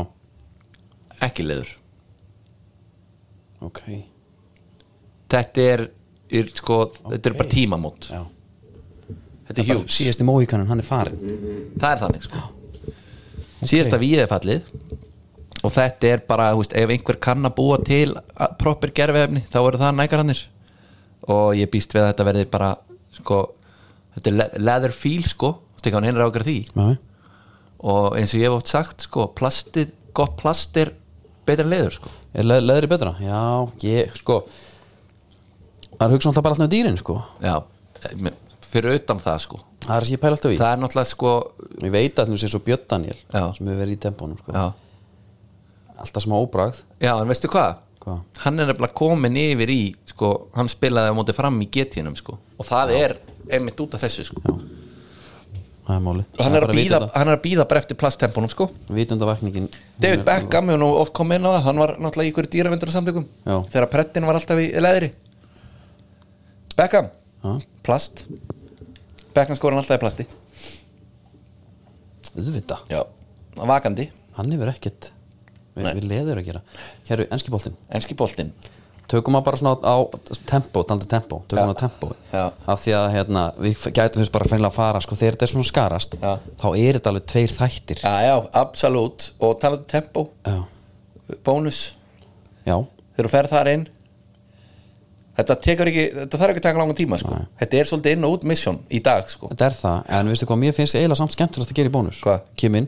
[SPEAKER 2] Ekki leður
[SPEAKER 1] ok
[SPEAKER 2] Þetta er, er sko, þetta er bara tímamót
[SPEAKER 1] Já.
[SPEAKER 2] Þetta er hjúls,
[SPEAKER 1] Síðasti móhíkaninn, hann er farin
[SPEAKER 2] það er þannig sko Síðasta víðið er fallið Og þetta er bara, þú veist, ef einhver kann að búa til að- proper gerfiðefni, þá eru það nægarannir Og ég býst við að þetta verði bara, sko Þetta er le- leather feel, sko Þetta er hann einra ákjör því
[SPEAKER 1] Já,
[SPEAKER 2] og eins og ég hef oft sagt sko, plastið, gott plast er betra en leður sko.
[SPEAKER 1] Er le leðri betra? Já, ég, sko það er hugsa alltaf bara alltaf um dýrin sko
[SPEAKER 2] Já, me- fyrir utan það sko
[SPEAKER 1] það er það sem ég pæla alltaf í
[SPEAKER 2] Það er náttúrulega sko
[SPEAKER 1] ég veit að þú sé svo Björn Daniel
[SPEAKER 2] Já.
[SPEAKER 1] sem hefur verið í tempónum sko
[SPEAKER 2] Já,
[SPEAKER 1] alltaf smá óbragð
[SPEAKER 2] já en veistu hvað?
[SPEAKER 1] Hvað?
[SPEAKER 2] Hann er nefnilega komin yfir í sko, hann spilaði á móti fram í getinum sko og það er einmitt út af þessu sko já,
[SPEAKER 1] það er málið
[SPEAKER 2] hann,
[SPEAKER 1] Það
[SPEAKER 2] er að
[SPEAKER 1] bara
[SPEAKER 2] bíða,
[SPEAKER 1] vitund-
[SPEAKER 2] hann er að býða bara eftir plasttempunum sko
[SPEAKER 1] vitundavakningin
[SPEAKER 2] David Beckham hefur nú oft komið inn á það hann var náttúrulega í ykkur dýravendur samtökum
[SPEAKER 1] Já.
[SPEAKER 2] þegar prettin var alltaf í leðri Beckham
[SPEAKER 1] Já.
[SPEAKER 2] plast Beckham skoran alltaf í plasti
[SPEAKER 1] auðvita
[SPEAKER 2] já. vakandi,
[SPEAKER 1] hann hefur ekkert við,
[SPEAKER 2] Nei.
[SPEAKER 1] við leður að gera hér er enski boltinn
[SPEAKER 2] enski boltinn
[SPEAKER 1] tökum maður bara svona á tempo, taldu tempo tökum
[SPEAKER 2] Já.
[SPEAKER 1] maður á tempo
[SPEAKER 2] Já.
[SPEAKER 1] af því að hérna, við gætum fyrst bara freinlega að fara sko, þegar þetta er svona skarast
[SPEAKER 2] Já.
[SPEAKER 1] þá er þetta alveg tveir þættir
[SPEAKER 2] já, já, absolutt og talaðu tempo,
[SPEAKER 1] já,
[SPEAKER 2] bónus
[SPEAKER 1] já.
[SPEAKER 2] þegar þú ferð þar inn þetta tekur ekki, þetta þarf ekki að taka langan tíma sko. þetta er svolítið inn og út mission í dag sko.
[SPEAKER 1] þetta er það, en veistu hvað mér finnst eiginlega samt skemmtilegast að gera í bónus
[SPEAKER 2] Hvað?
[SPEAKER 1] kem inn,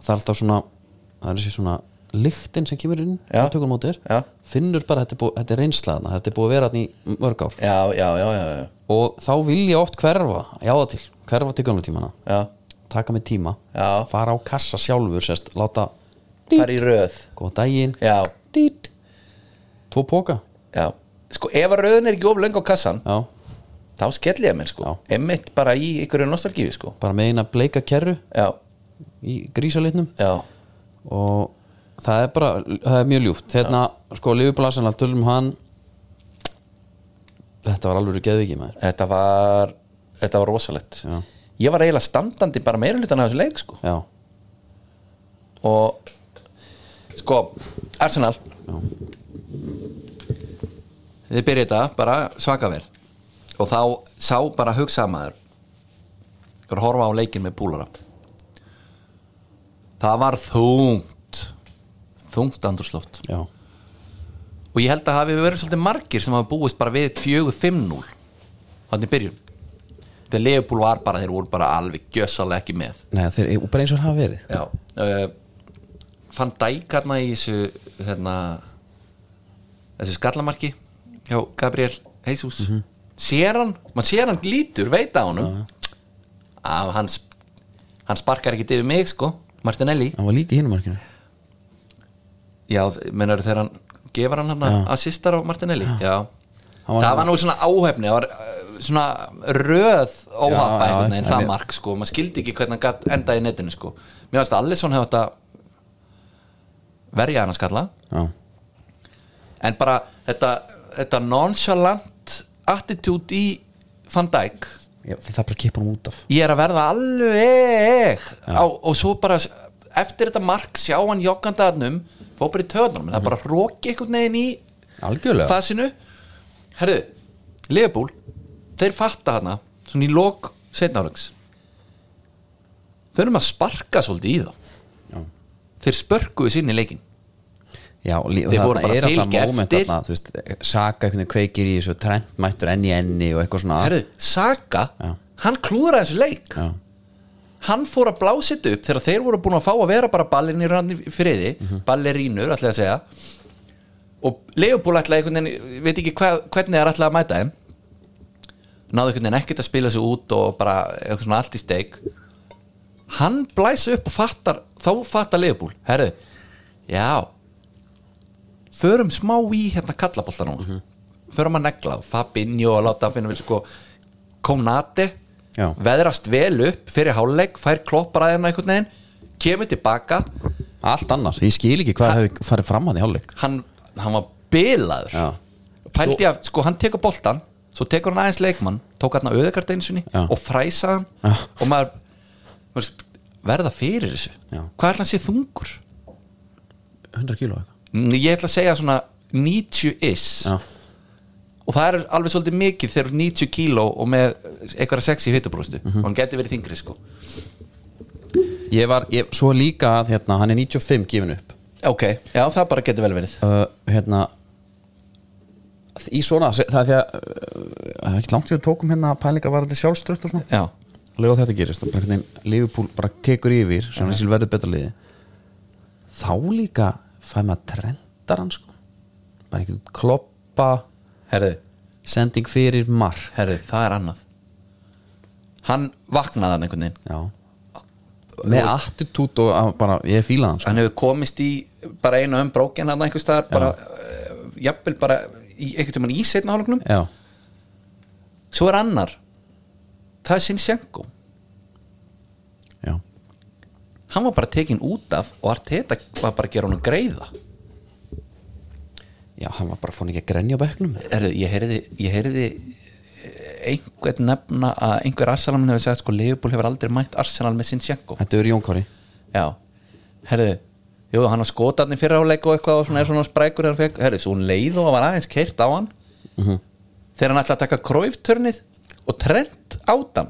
[SPEAKER 1] það er alltaf svona það er þessi svona lyktin sem kemur inn
[SPEAKER 2] Já.
[SPEAKER 1] við tökum á mótir,
[SPEAKER 2] Já.
[SPEAKER 1] finnur bara að þetta er, búið, þetta er reynslaðna, þetta er búið að vera þarna í mörg ár
[SPEAKER 2] já, já, já, já, já.
[SPEAKER 1] og þá vil ég oft hverfa, já það til hverfa til gömlutímana,
[SPEAKER 2] já.
[SPEAKER 1] taka mig tíma
[SPEAKER 2] Já.
[SPEAKER 1] fara á kassa sjálfur sérst, láta
[SPEAKER 2] fara í röð
[SPEAKER 1] góðan daginn,
[SPEAKER 2] já,
[SPEAKER 1] dít tvo póka,
[SPEAKER 2] já sko, ef að röðin er ekki of löng á kassan
[SPEAKER 1] já,
[SPEAKER 2] þá skelli ég mér sko,
[SPEAKER 1] Já.
[SPEAKER 2] emmitt bara í ykkurju nostalgífi sko,
[SPEAKER 1] bara með eina bleika kerru
[SPEAKER 2] já,
[SPEAKER 1] í grísalitnum
[SPEAKER 2] já
[SPEAKER 1] og það er bara, það er mjög ljúft hérna, sko, Livibulassan, allt tölum hann þetta var alveg geðviki maður
[SPEAKER 2] þetta var, þetta var rosalegt
[SPEAKER 1] Já.
[SPEAKER 2] ég var eiginlega standandi bara meira hlutan af þessu leik sko,
[SPEAKER 1] já,
[SPEAKER 2] og sko, Arsenal þið byrja þetta bara svaka vel og þá sá bara hugsaða maður ég var að horfa á leikin með búlara það var þungt þungt andurslóft
[SPEAKER 1] já,
[SPEAKER 2] og ég held að hafi verið svolítið margir sem hafa búist bara við 4-5-0 þannig í byrjun þegar Leopold var bara, þeir voru bara alveg gjössalega ekki með
[SPEAKER 1] neða, þeir, og bara eins og þeir hafa verið
[SPEAKER 2] já uh, fann dækarna í þessu hérna, þessu skallamarki hjá Gabriel Jesus sér hann, mann sér hann lítur veit á honum að hann, sp- hann sparkar ekki yfir mig sko, Martinelli
[SPEAKER 1] hann var líka í hinum markinu
[SPEAKER 2] já, mennar þegar hann gefur hann hann
[SPEAKER 1] Já.
[SPEAKER 2] assistar á Martinelli já,
[SPEAKER 1] Hann var-
[SPEAKER 2] það var nú svona áhefni það var uh, svona röð
[SPEAKER 1] Já, já,
[SPEAKER 2] óhappa einhvern veginn
[SPEAKER 1] en
[SPEAKER 2] það
[SPEAKER 1] ég-
[SPEAKER 2] mark sko, maður skildi ekki hvernig hann gat endaði í netinu sko, mér finnst að Allison hefði átt að verja hann að skalla
[SPEAKER 1] já,
[SPEAKER 2] en bara þetta, þetta nonchalant attitude í Van Dijk
[SPEAKER 1] já það bara kippa hann út af
[SPEAKER 2] ég er að verða alveg á, og svo bara s- eftir þetta mark sjá hann joggandarnum fór bara í töðunum, það bara hróki einhvern veginn í
[SPEAKER 1] algjörlega,
[SPEAKER 2] fasinu herðu, Leopold þeir fatta hana, svona í lok setnálegs þurfum að sparka svolítið í það
[SPEAKER 1] Já.
[SPEAKER 2] þeir spörkuðu sinni leikin
[SPEAKER 1] já, og lí- og
[SPEAKER 2] Þeir voru
[SPEAKER 1] þarna
[SPEAKER 2] bara
[SPEAKER 1] er
[SPEAKER 2] að
[SPEAKER 1] alltaf
[SPEAKER 2] fylgja
[SPEAKER 1] moment
[SPEAKER 2] eftir.
[SPEAKER 1] þarna, þú veist, Saka einhvern veginn kveikir í þessu trend mættur enni enni og eitthvað svona
[SPEAKER 2] herðu, Saka,
[SPEAKER 1] Já.
[SPEAKER 2] hann klúðraði þessu leik
[SPEAKER 1] Já.
[SPEAKER 2] hann fór að blásit upp þegar þeir voru búin að fá að vera bara ballinir hann í friði,
[SPEAKER 1] Mhm.
[SPEAKER 2] ballerínur ætlaði að segja og Leopold ætlaði einhvern veginn, ég veit ekki hvað, hvernig þeir ætlaði að mæta þeim náðu einhvern veginn ekkert að spila sig út og bara eitthvað svona allt í steik hann blæs upp og fattar þá fattar Leopold, herru já förum smá í hérna kallabolta núna
[SPEAKER 1] Mhm.
[SPEAKER 2] förum að negla, Fabinho og láta að finna við sko Konate
[SPEAKER 1] Já.
[SPEAKER 2] veðrast vel upp fyrir hálfleik fær klopparæðina einhvern veginn kemur tilbaka,
[SPEAKER 1] allt annars, ég skil ekki hvað hefur farið fram hann í hálfleik
[SPEAKER 2] hann, hann var bilaður
[SPEAKER 1] Já.
[SPEAKER 2] pældi að, sko hann tekur boltan svo tekur hann aðeins leikmann, tók hann að auðvitað einu sinni
[SPEAKER 1] Já.
[SPEAKER 2] og fræsa hann
[SPEAKER 1] Já.
[SPEAKER 2] og maður, maður verða fyrir þessu
[SPEAKER 1] Já.
[SPEAKER 2] hvað ætla hann sé þungur?
[SPEAKER 1] 100 kíló eitthvað
[SPEAKER 2] Mm, Ég ætla að segja svona 90 is
[SPEAKER 1] já,
[SPEAKER 2] og það er alveg svolítið mikið þegar þú ert 90 kíló og með eitthvað sexi hittubrústu og hann geti verið þingri sko
[SPEAKER 1] ég var, ég, svo líka að hérna, hann er 95 gefin upp
[SPEAKER 2] ok, já það bara geti vel verið
[SPEAKER 1] uh, hérna í svona, se- það er því að uh, það er ekki langt sér að tókum hérna pælinga var þetta sjálfströst og svona
[SPEAKER 2] já,
[SPEAKER 1] lega þetta gerist, það bara einhvern veginn Liverpool bara tekur yfir, svona þessi verður betra liði þá líka fæði maður trendar hann sko bara einhvern kloppa
[SPEAKER 2] herðu
[SPEAKER 1] sending fyrir mark
[SPEAKER 2] herri, það er annað hann vaknaði hann einhvern veginn
[SPEAKER 1] já. með attitút og að bara, ég fíla hann sko.
[SPEAKER 2] hann hefur komist í bara einu um brókin hann einhvers staðar bara, uh, jafnvel bara í, einhvern veginn í setna hálfleiknum
[SPEAKER 1] já,
[SPEAKER 2] svo er annar það er Sinchenko
[SPEAKER 1] já,
[SPEAKER 2] hann var bara tekin út af og Arteta var bara að gera honum greiða
[SPEAKER 1] já, hann var bara fór ekki að grenja á bekknum
[SPEAKER 2] Herðu, ég heyrði, ég heyrði eh, einhvern nefna að einhver Arsenalmann hefur sagt sko Leifbúl hefur aldrei mætt Arsenal með Sinchenko
[SPEAKER 1] þetta er Jón Kári
[SPEAKER 2] Já, herðu Jú, hann var skotarni fyrra áleik og eitthvað og svona er svona sprækur þegar hann fekk, herru, svo hún leið og var aðeins keirt á hann
[SPEAKER 1] Mhm.
[SPEAKER 2] þegar hann ætlaði að taka króiftörnið og Trent át hann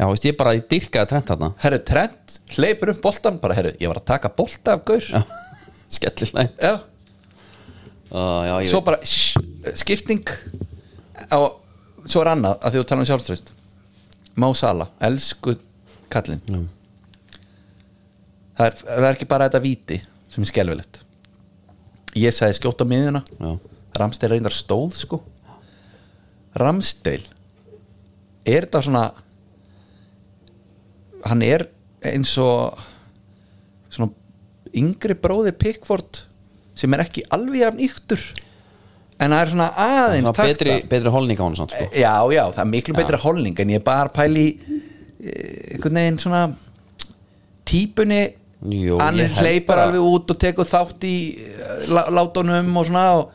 [SPEAKER 1] já, veist ég bara, ég dyrkaði trent þarna
[SPEAKER 2] herru, Trent hleypur um boltan bara, herru, ég var að taka bolta af gaur
[SPEAKER 1] já, skellileg
[SPEAKER 2] já,
[SPEAKER 1] uh, já, ég
[SPEAKER 2] svo bara shh, skipting og svo er annað að því þú tala um sjálfströst Má Sala, elsku kallinn
[SPEAKER 1] Já.
[SPEAKER 2] það er, það er ekki bara þetta víti sem er skelfilegt ég sagði skjóta miðuna
[SPEAKER 1] já,
[SPEAKER 2] Ramsteil reyndar stóð sko Ramsteil er þetta svona hann er eins og svona yngri bróðir Pickford sem er ekki alveg jafn yktur en það er svona
[SPEAKER 1] það
[SPEAKER 2] aðeins
[SPEAKER 1] var
[SPEAKER 2] takta.
[SPEAKER 1] betri, betri holning á hann samt, sko.
[SPEAKER 2] já, já, það er miklu betri holning en ég er bara að pæli einhvern veginn svona típunni
[SPEAKER 1] Jú,
[SPEAKER 2] hann
[SPEAKER 1] ég held
[SPEAKER 2] hleypar
[SPEAKER 1] bara-
[SPEAKER 2] alveg út og tekur þátt í eh, lá- látunum og svona og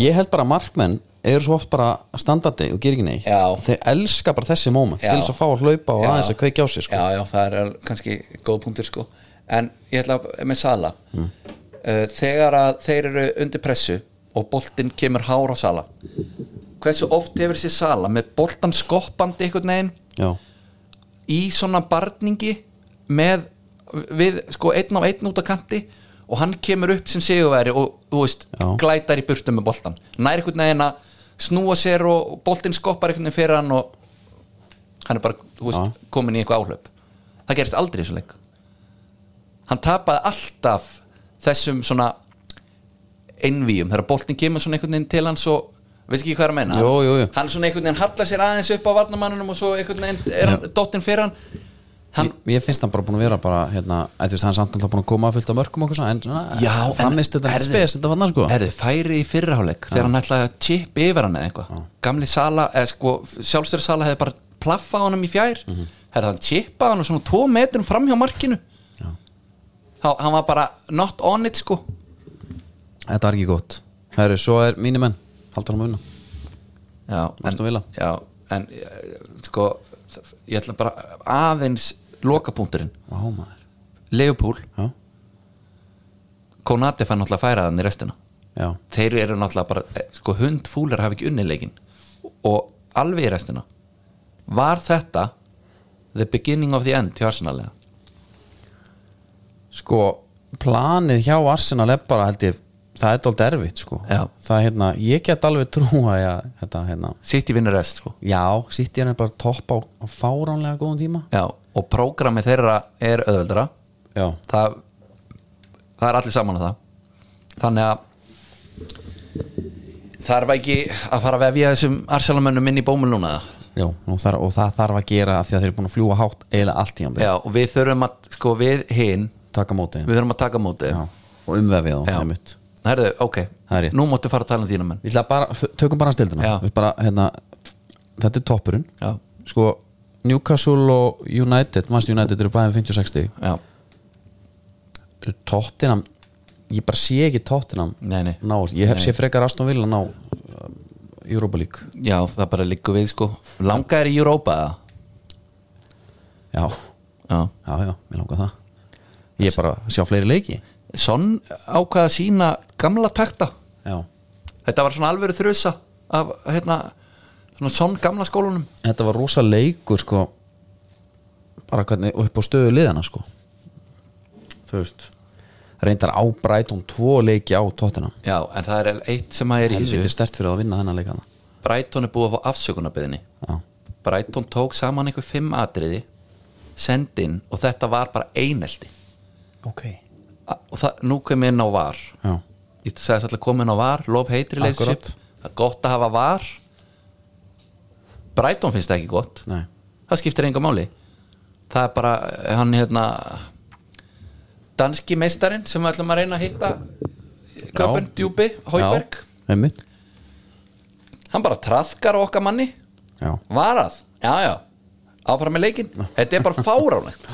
[SPEAKER 1] ég held bara að markmenn eru svo oft bara standandi og gerir ekki neitt
[SPEAKER 2] Já.
[SPEAKER 1] þeir elska bara þessi moment
[SPEAKER 2] Já.
[SPEAKER 1] til þess að fá að hlaupa og
[SPEAKER 2] Já.
[SPEAKER 1] aðeins að kveikja á sig sko.
[SPEAKER 2] já, já, það er kannski góð punktur sko en ég ætla að með Sala uh, þegar að þeir eru undir pressu og boltinn kemur hár á Sala hversu oft hefur þessi Sala með boltan skoppandi einhvern veginn
[SPEAKER 1] Já.
[SPEAKER 2] í svona barningi með við sko einn á einn út á kanti og hann kemur upp sem sigurveri og þú veist,
[SPEAKER 1] Já.
[SPEAKER 2] glætar í burtu með boltan nær einhvern veginn að snúa sér og boltinn skoppar einhvern veginn fyrir hann og hann er bara, þú veist, komin í eitthvað áhlaup það gerist aldrei í þessu leik hann tapaði alltaf þessum svona einvíum, þegar boltinn kemur svona einhvern veginn til hans og veist ekki hvað er að menna
[SPEAKER 1] Jú, jú, jú.
[SPEAKER 2] hann svona einhvern veginn hallar sér aðeins upp á varnamannunum og svo einhvern veginn er hann dottinn fyrir hann hann,
[SPEAKER 1] Ég, ég finnst hann bara búin að vera bara hérna, eða þú veist, hann er samt náttúrulega búin að koma að fylta mörgum okkur svona, en
[SPEAKER 2] Já, en-
[SPEAKER 1] framist þetta
[SPEAKER 2] herðu.
[SPEAKER 1] spes þetta fann sko
[SPEAKER 2] herðu, færi í fyrraháleik þegar hann ætlaði að chip yfir hann eða eitthvað gamli Sala, eða sko, sjálfstöru Sala hefði bara plaffað honum í fjær mm
[SPEAKER 1] Mhm.
[SPEAKER 2] -hmm. herðu, hann chipaði hann og svona tvo metrum fram hjá markinu þá, hann var bara not on it sko
[SPEAKER 1] þetta var ekki gott Herru, svo er mínu menn, haldur hann að vinna
[SPEAKER 2] já,
[SPEAKER 1] Aston Villa.
[SPEAKER 2] já, en eh, sko, ég ætla bara aðeins lokapunkturinn,
[SPEAKER 1] Vá maður,
[SPEAKER 2] Leopold
[SPEAKER 1] já,
[SPEAKER 2] Konati fann náttúrulega að færa þann í restina
[SPEAKER 1] já,
[SPEAKER 2] þeir eru náttúrulega bara eh, sko, hundfúlar hafa ekki unnilegin og alveg í restina var þetta the beginning of the end til Arsenalega
[SPEAKER 1] sko planið hjá Arsenal er bara held ég það er dálítið erfitt sko
[SPEAKER 2] Já.
[SPEAKER 1] það, er, hérna, ég get alveg trúa að þetta, hérna,
[SPEAKER 2] City vinnur rest sko
[SPEAKER 1] já, sitt ég hann bara topp á, á fáránlega góðum tíma
[SPEAKER 2] Já, og prógrami þeirra er öðvöldra
[SPEAKER 1] já,
[SPEAKER 2] það, það er allir saman að það þannig að þarf ekki að fara að vefja þessum Arsenalamönnum inn í bómul núna eða?
[SPEAKER 1] já nú þar, og það þarf að gera af því að þeir eru búin að fljúa hátt eiginlega allt tíma
[SPEAKER 2] Já, og við þurfum að sko við hinn,
[SPEAKER 1] taka móti
[SPEAKER 2] við þurfum að taka á móti
[SPEAKER 1] já, og umvefið þá, einmitt
[SPEAKER 2] Herðu, ok,
[SPEAKER 1] Það er rétt.
[SPEAKER 2] nú máttu fara að tala um þína menn
[SPEAKER 1] Við ætla bara, f- tökum bara stildina
[SPEAKER 2] Já.
[SPEAKER 1] Við bara, hérna, þetta er toppurinn
[SPEAKER 2] Já,
[SPEAKER 1] sko, Newcastle og United Manchester United eru um bæðið 50-60
[SPEAKER 2] já,
[SPEAKER 1] Tottenham, ég bara sé ekki Tottenham
[SPEAKER 2] nei, nei
[SPEAKER 1] ná, ég hef sé frekar Aston Villa ná uh, Europa League
[SPEAKER 2] Já, það bara liggur við sko Langar í Europa eða?
[SPEAKER 1] já,
[SPEAKER 2] Já
[SPEAKER 1] já, já, mér langar það ég er bara að sjá fleiri leiki
[SPEAKER 2] Son ákvaða sína gamla takta
[SPEAKER 1] já,
[SPEAKER 2] Þetta var svona alvöru þrjusa af hérna svona Son gamla skólunum
[SPEAKER 1] þetta var rosa leikur sko bara hvernig upp á stöðu liðana sko þú veist reyndar á Brighton tvo leiki á Tottenham
[SPEAKER 2] Já, en það er eitt sem að er í
[SPEAKER 1] helviti
[SPEAKER 2] þessu
[SPEAKER 1] stert fyrir að vinna þennan leika það
[SPEAKER 2] Brighton er búið að fá afsökunarbyðinni
[SPEAKER 1] já,
[SPEAKER 2] Brighton tók saman einhver fimm atriði sendin og þetta var bara einelti
[SPEAKER 1] ok
[SPEAKER 2] A- og það, nú kom ég inn á var
[SPEAKER 1] já,
[SPEAKER 2] ég sagði alltaf komin á var, lof heitri leysip
[SPEAKER 1] Akkúrat.
[SPEAKER 2] það er gott að hafa var Brighton finnst það ekki gott
[SPEAKER 1] Nei.
[SPEAKER 2] það skiptir enga máli það er bara eh, hann hérna danski meistarinn sem við ætlum að reyna að hitta Köpen Djúbi, Hauberg
[SPEAKER 1] Já, einmitt
[SPEAKER 2] hann bara traðkar á okkar manni
[SPEAKER 1] Já,
[SPEAKER 2] varað, já já áfram með leikinn, þetta er bara fáránlegt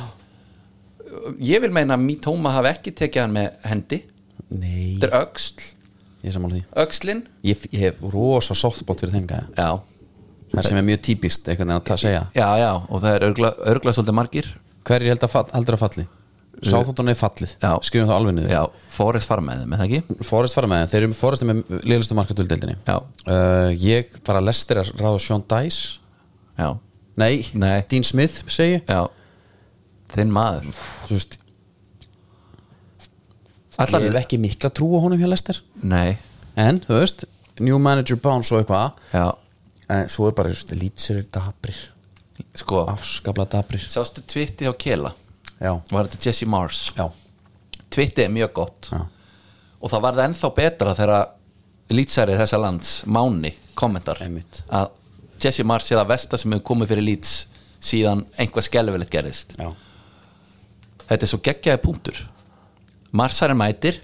[SPEAKER 2] ég vil meina að Mítóma hafi ekki tekið hann með hendi
[SPEAKER 1] nei,
[SPEAKER 2] þetta er öxl,
[SPEAKER 1] ég er sammála því
[SPEAKER 2] öxlin
[SPEAKER 1] Ég, ég hef rosa softbot fyrir þenga
[SPEAKER 2] já,
[SPEAKER 1] Það sem er mjög típist, einhvern veginn að ta- segja
[SPEAKER 2] já, já og það er örgla, örgla svolítið margir
[SPEAKER 1] Hverjir held að fall, heldur að falli? Sáþóttan er fallið,
[SPEAKER 2] Já.
[SPEAKER 1] skrifum það alveg niður
[SPEAKER 2] já, Forrest fara með þeim, er það ekki?
[SPEAKER 1] Forrest fara með þeim, þeir eru Forrest er með liðlustu markatöldildinni
[SPEAKER 2] Já.
[SPEAKER 1] uh, Ég bara lestir að ráða Sean Dice
[SPEAKER 2] já,
[SPEAKER 1] Nei,
[SPEAKER 2] Nei.
[SPEAKER 1] Dean Smith segi ég.
[SPEAKER 2] já þinn maður
[SPEAKER 1] Þú veist,
[SPEAKER 2] Allar,
[SPEAKER 1] Ég hef ekki mikla trú á honum hjá lestir
[SPEAKER 2] nei,
[SPEAKER 1] En, þú veist, new manager bounce og eitthvað
[SPEAKER 2] já,
[SPEAKER 1] En svo er bara, þú veist, lýtsir dabrir
[SPEAKER 2] sko
[SPEAKER 1] Afskabla dabrir
[SPEAKER 2] sástu tvitti á Kela
[SPEAKER 1] Já,
[SPEAKER 2] var þetta Jesse Mars
[SPEAKER 1] já,
[SPEAKER 2] tvitti er mjög gott
[SPEAKER 1] já,
[SPEAKER 2] og það var það ennþá betra þegar lýtsæri þessa lands, Máni kommentar
[SPEAKER 1] Einmitt.
[SPEAKER 2] að Jesse Mars sé það vesta sem hefur komið fyrir lýts síðan einhvað skelvilegt gerðist
[SPEAKER 1] já.
[SPEAKER 2] þetta er svo geggjaði punktur Marsarinn mætir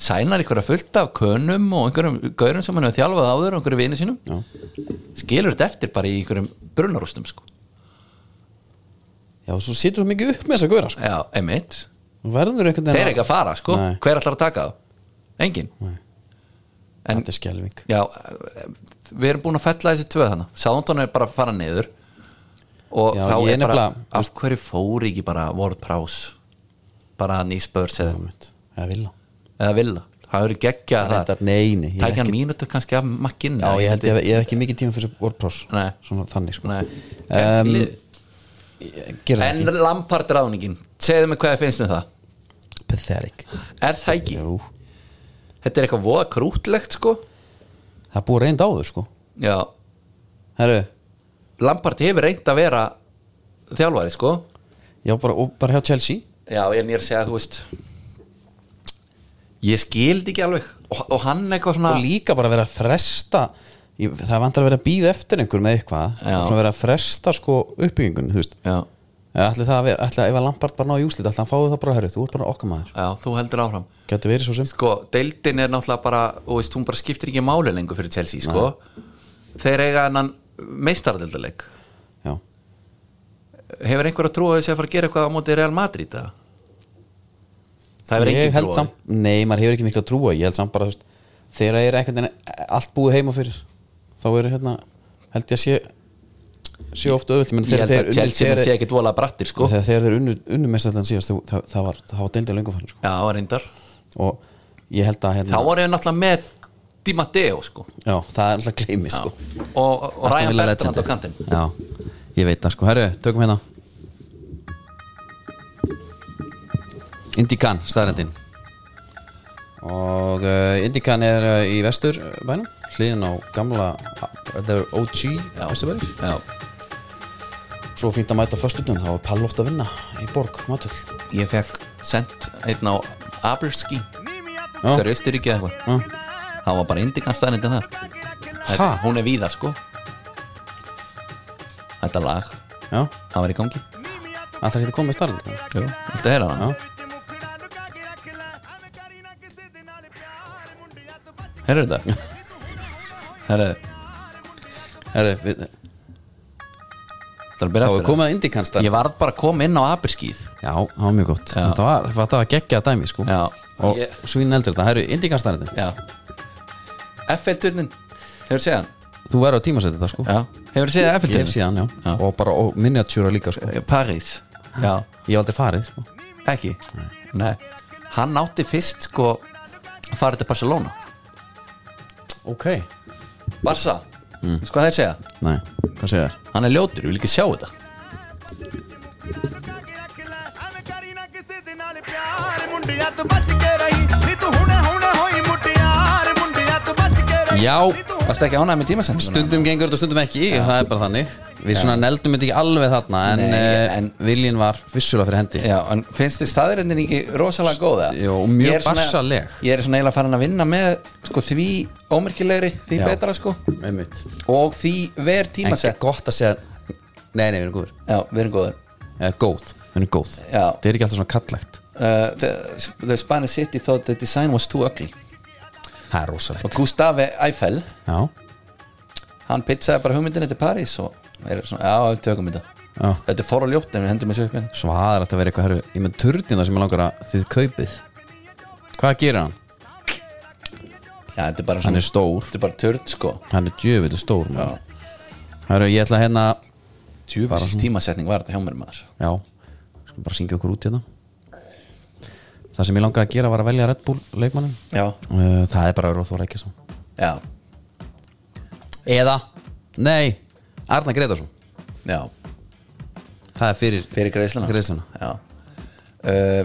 [SPEAKER 2] sænar einhverja fullt af könum og einhverjum gaurum sem hann hefur þjálfað áður og einhverjum vini sínum
[SPEAKER 1] Já.
[SPEAKER 2] skilur þetta eftir bara í einhverjum brunarústum sko.
[SPEAKER 1] Já, svo situr þú mikið upp með þess að góra sko.
[SPEAKER 2] já, einmitt
[SPEAKER 1] Þú verður einhvern
[SPEAKER 2] þeir eru ekki að fara sko,
[SPEAKER 1] Nei.
[SPEAKER 2] hver ætlar að taka það engin en
[SPEAKER 1] Þetta er skelving
[SPEAKER 2] já, við erum búin að fella þessi tvö þannig Soundon er bara að fara niður og
[SPEAKER 1] Já,
[SPEAKER 2] þá
[SPEAKER 1] ég
[SPEAKER 2] er bara
[SPEAKER 1] nefnilega-
[SPEAKER 2] af hverju fóri ekki bara Ward Prowse bara hann í spörs eða,
[SPEAKER 1] Það er vilja
[SPEAKER 2] eða vilja það eru geggja
[SPEAKER 1] Reyndar, nei, nei, ég er
[SPEAKER 2] tækja hann
[SPEAKER 1] ekki-
[SPEAKER 2] mínútu kannski af makkinn
[SPEAKER 1] Já, ég held ég, hef- ég hef ekki mikið tíma fyrir WordPress
[SPEAKER 2] Nei.
[SPEAKER 1] Svona þannig sko
[SPEAKER 2] Nei,
[SPEAKER 1] Em,
[SPEAKER 2] um,
[SPEAKER 1] Ég Gerði það
[SPEAKER 2] en
[SPEAKER 1] ekki
[SPEAKER 2] Lampard ráningin segðu mig hvað þið finnst um það
[SPEAKER 1] Pathetic
[SPEAKER 2] er það ekki,
[SPEAKER 1] Jú
[SPEAKER 2] þetta er eitthvað voða krútlegt sko
[SPEAKER 1] Það er búið reynd á þau sko
[SPEAKER 2] já,
[SPEAKER 1] Herru
[SPEAKER 2] Lampard hefur reynd að vera þjálfari sko
[SPEAKER 1] Já, bara, og bara hjá Chelsea
[SPEAKER 2] Já, en ég er að segja að þú veist Ég skildi ekki alveg Og, og hann eitthvað svona
[SPEAKER 1] Og líka bara vera að fresta ég, Það vantar að vera að býða eftir einhver með eitthvað
[SPEAKER 2] Já.
[SPEAKER 1] Og svona vera að fresta sko uppbyggingun Þú veist
[SPEAKER 2] já,
[SPEAKER 1] Eða Ætli það að vera Ætli að ef að Lampard bara náðu júslit Ætli hann fáið það bara herru Þú ert bara okkar maður
[SPEAKER 2] já, þú heldur áfram
[SPEAKER 1] Gæti verið svo sem
[SPEAKER 2] Sko, deildin er náttúrulega bara og veist, hún bara skiptir ekki máli lengur fyrir Chelsea sko. Þeir eiga hennan meistardeldaleg
[SPEAKER 1] Já
[SPEAKER 2] Hefur einhver að trúa þessi að fara að gera eitthvað á móti Real Madrid eða? Það hefur
[SPEAKER 1] Ég
[SPEAKER 2] engin
[SPEAKER 1] held
[SPEAKER 2] trúa
[SPEAKER 1] samt, nei, maður hefur ekki miklu að trúa Ég held samt bara, þú veist, þegar er ekkert allt búið heima fyrir þá eru hérna, held ég að sé sé ofta öðvöld menn
[SPEAKER 2] Ég
[SPEAKER 1] þegar þeir
[SPEAKER 2] held að Chelsea
[SPEAKER 1] þegar
[SPEAKER 2] menn sé
[SPEAKER 1] þeir-
[SPEAKER 2] ekkit vola brattir sko.
[SPEAKER 1] þegar þeir unnu, unnu mestallin síðast þá- það, það var, það var deildið löngufærin sko.
[SPEAKER 2] Já, reyndar
[SPEAKER 1] og ég held að
[SPEAKER 2] Þá
[SPEAKER 1] hérna,
[SPEAKER 2] voru við náttúrulega með Di Matteo sko.
[SPEAKER 1] já, það er alltaf gleymist sko.
[SPEAKER 2] og, og
[SPEAKER 1] Aston
[SPEAKER 2] Ryan
[SPEAKER 1] Villa
[SPEAKER 2] Bertrand á
[SPEAKER 1] legendi.
[SPEAKER 2] kantinn
[SPEAKER 1] Já, ég veit það sko, herru, tökum hérna Indikan, staðrendin og uh, Indikan er uh, í vestur bænum, hliðin á gamla uh, The OG vesturbæri
[SPEAKER 2] Já
[SPEAKER 1] svo fínt að mæta föstudum, þá er pall oft að vinna í borg, matvöld
[SPEAKER 2] ég fekk sendt einn á Aberski
[SPEAKER 1] Já.
[SPEAKER 2] það er Östuríki eða eitthvað það var bara indikanstæðnindin þar
[SPEAKER 1] Ha?
[SPEAKER 2] þetta, hún er víða sko þetta lag
[SPEAKER 1] Já,
[SPEAKER 2] það var í gangi
[SPEAKER 1] alltaf getur komið staðrendin
[SPEAKER 2] Jú. viltu heyra hana? heyrðu þetta? heyrðu
[SPEAKER 1] Herru, við,
[SPEAKER 2] það er að byrja
[SPEAKER 1] þá er
[SPEAKER 2] aftur
[SPEAKER 1] komið að Indikan staðrendin
[SPEAKER 2] ég varð bara að koma inn á Aberskið
[SPEAKER 1] Já, það var mjög gott,
[SPEAKER 2] Já.
[SPEAKER 1] þetta var, þetta var geggjað dæmi sko
[SPEAKER 2] já,
[SPEAKER 1] og
[SPEAKER 2] ég,
[SPEAKER 1] svín eldur þetta, herru, Indikan staðrendin
[SPEAKER 2] já. FL-turnin hefur séð hann?
[SPEAKER 1] Þú verður að tímasetja þetta sko
[SPEAKER 2] já, hefur séð
[SPEAKER 1] Ég hef
[SPEAKER 2] FL-turnin?
[SPEAKER 1] síðan, já.
[SPEAKER 2] Já.
[SPEAKER 1] Og bara og miniatúra líka sko
[SPEAKER 2] París já
[SPEAKER 1] Ég hef aldrei farið sko
[SPEAKER 2] ekki Nei. hann átti fyrst sko að fara til Barcelona
[SPEAKER 1] Ok
[SPEAKER 2] Barca, mm. sko þeir segja
[SPEAKER 1] Nei, hvað segir þér?
[SPEAKER 2] hann er ljótur, ég vil ekki sjá þetta
[SPEAKER 1] Já,
[SPEAKER 2] Varst ekki ánægð með tímasendinguna?
[SPEAKER 1] Stundum gengur þetta og stundum ekki, það er bara þannig Við svona neldum þetta ekki alveg þarna En,
[SPEAKER 2] Nei,
[SPEAKER 1] Nei,
[SPEAKER 2] en-
[SPEAKER 1] viljinn var vissulega fyrir hendi
[SPEAKER 2] Já, en finnst þið staðirindin ekki rosalega góða?
[SPEAKER 1] Jú, mjög
[SPEAKER 2] Ég er svona-
[SPEAKER 1] bassaleg.
[SPEAKER 2] Ég er svona eiginlega farin að vinna með sko, því ómerkilegri, því
[SPEAKER 1] Já.
[SPEAKER 2] betra sko
[SPEAKER 1] Einmitt.
[SPEAKER 2] og því ver
[SPEAKER 1] En ekki
[SPEAKER 2] tímasett
[SPEAKER 1] gott að segja Nei, nei, við erum góður
[SPEAKER 2] Já, við erum góður
[SPEAKER 1] Eða góð, við erum góð
[SPEAKER 2] Já.
[SPEAKER 1] Það er ekki alltaf svona kallegt
[SPEAKER 2] uh, the, the Spanish City thought the design was too ugly
[SPEAKER 1] Það er
[SPEAKER 2] og
[SPEAKER 1] rosalegt
[SPEAKER 2] Gustave Eiffel
[SPEAKER 1] Já,
[SPEAKER 2] hann pitchaði bara hugmyndinni til Paris og er svona, já, við tökum þetta
[SPEAKER 1] já
[SPEAKER 2] Þetta er fór og ljótt en við hendum þessu upp hérna
[SPEAKER 1] Svaðar að það vera eitthvað herru Ég með turdina sem er langar að þið kaupið Hvað gerir hann?
[SPEAKER 2] Já, þetta er bara
[SPEAKER 1] Hann
[SPEAKER 2] svona,
[SPEAKER 1] er stór
[SPEAKER 2] þetta er bara törn sko
[SPEAKER 1] Hann er djöfileg stór
[SPEAKER 2] Já,
[SPEAKER 1] maður. Herru, ég ætla hérna
[SPEAKER 2] tjúfis tímasetning var þetta hjá mér maður
[SPEAKER 1] Já, sko bara syngja okkur út hérna Það sem ég langaði að gera var að velja Red Bull leikmannin
[SPEAKER 2] Já,
[SPEAKER 1] Uh, Það er bara Róþór Ekkesson
[SPEAKER 2] já,
[SPEAKER 1] Eða, nei, Arna Gretarsson
[SPEAKER 2] já,
[SPEAKER 1] Það er fyrir,
[SPEAKER 2] fyrir greiðsluna
[SPEAKER 1] greiðsluna
[SPEAKER 2] Já uh,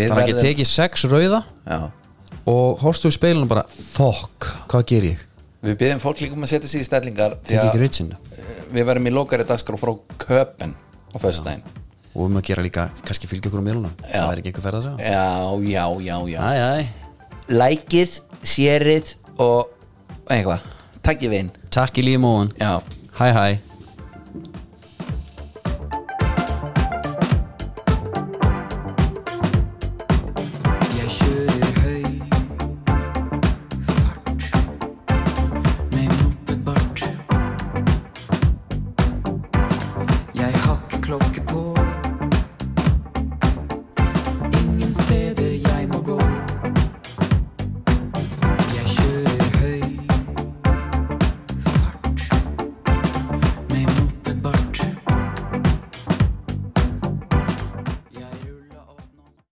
[SPEAKER 1] Það er ekki
[SPEAKER 2] verðum
[SPEAKER 1] tekið sex rauða
[SPEAKER 2] já.
[SPEAKER 1] og horfstu í speilinu og bara Fuck, hvað ger ég?
[SPEAKER 2] Við byrðum fólk líka um að setja sig í stellingar því
[SPEAKER 1] Tekið
[SPEAKER 2] að
[SPEAKER 1] ekki reytsinu
[SPEAKER 2] við verðum í lokari dagskrá frá Köpen á föstudaginn
[SPEAKER 1] Og um að gera líka, kannski fylgja okkur á mjöluna
[SPEAKER 2] Já.
[SPEAKER 1] Það er ekki eitthvað ferð að segja
[SPEAKER 2] Já, já, já, já
[SPEAKER 1] Æ, æ,
[SPEAKER 2] Lækið, sérið og eitthvað Takk ég vinn
[SPEAKER 1] takk í lífum óan
[SPEAKER 2] Já
[SPEAKER 1] Hæ, hæ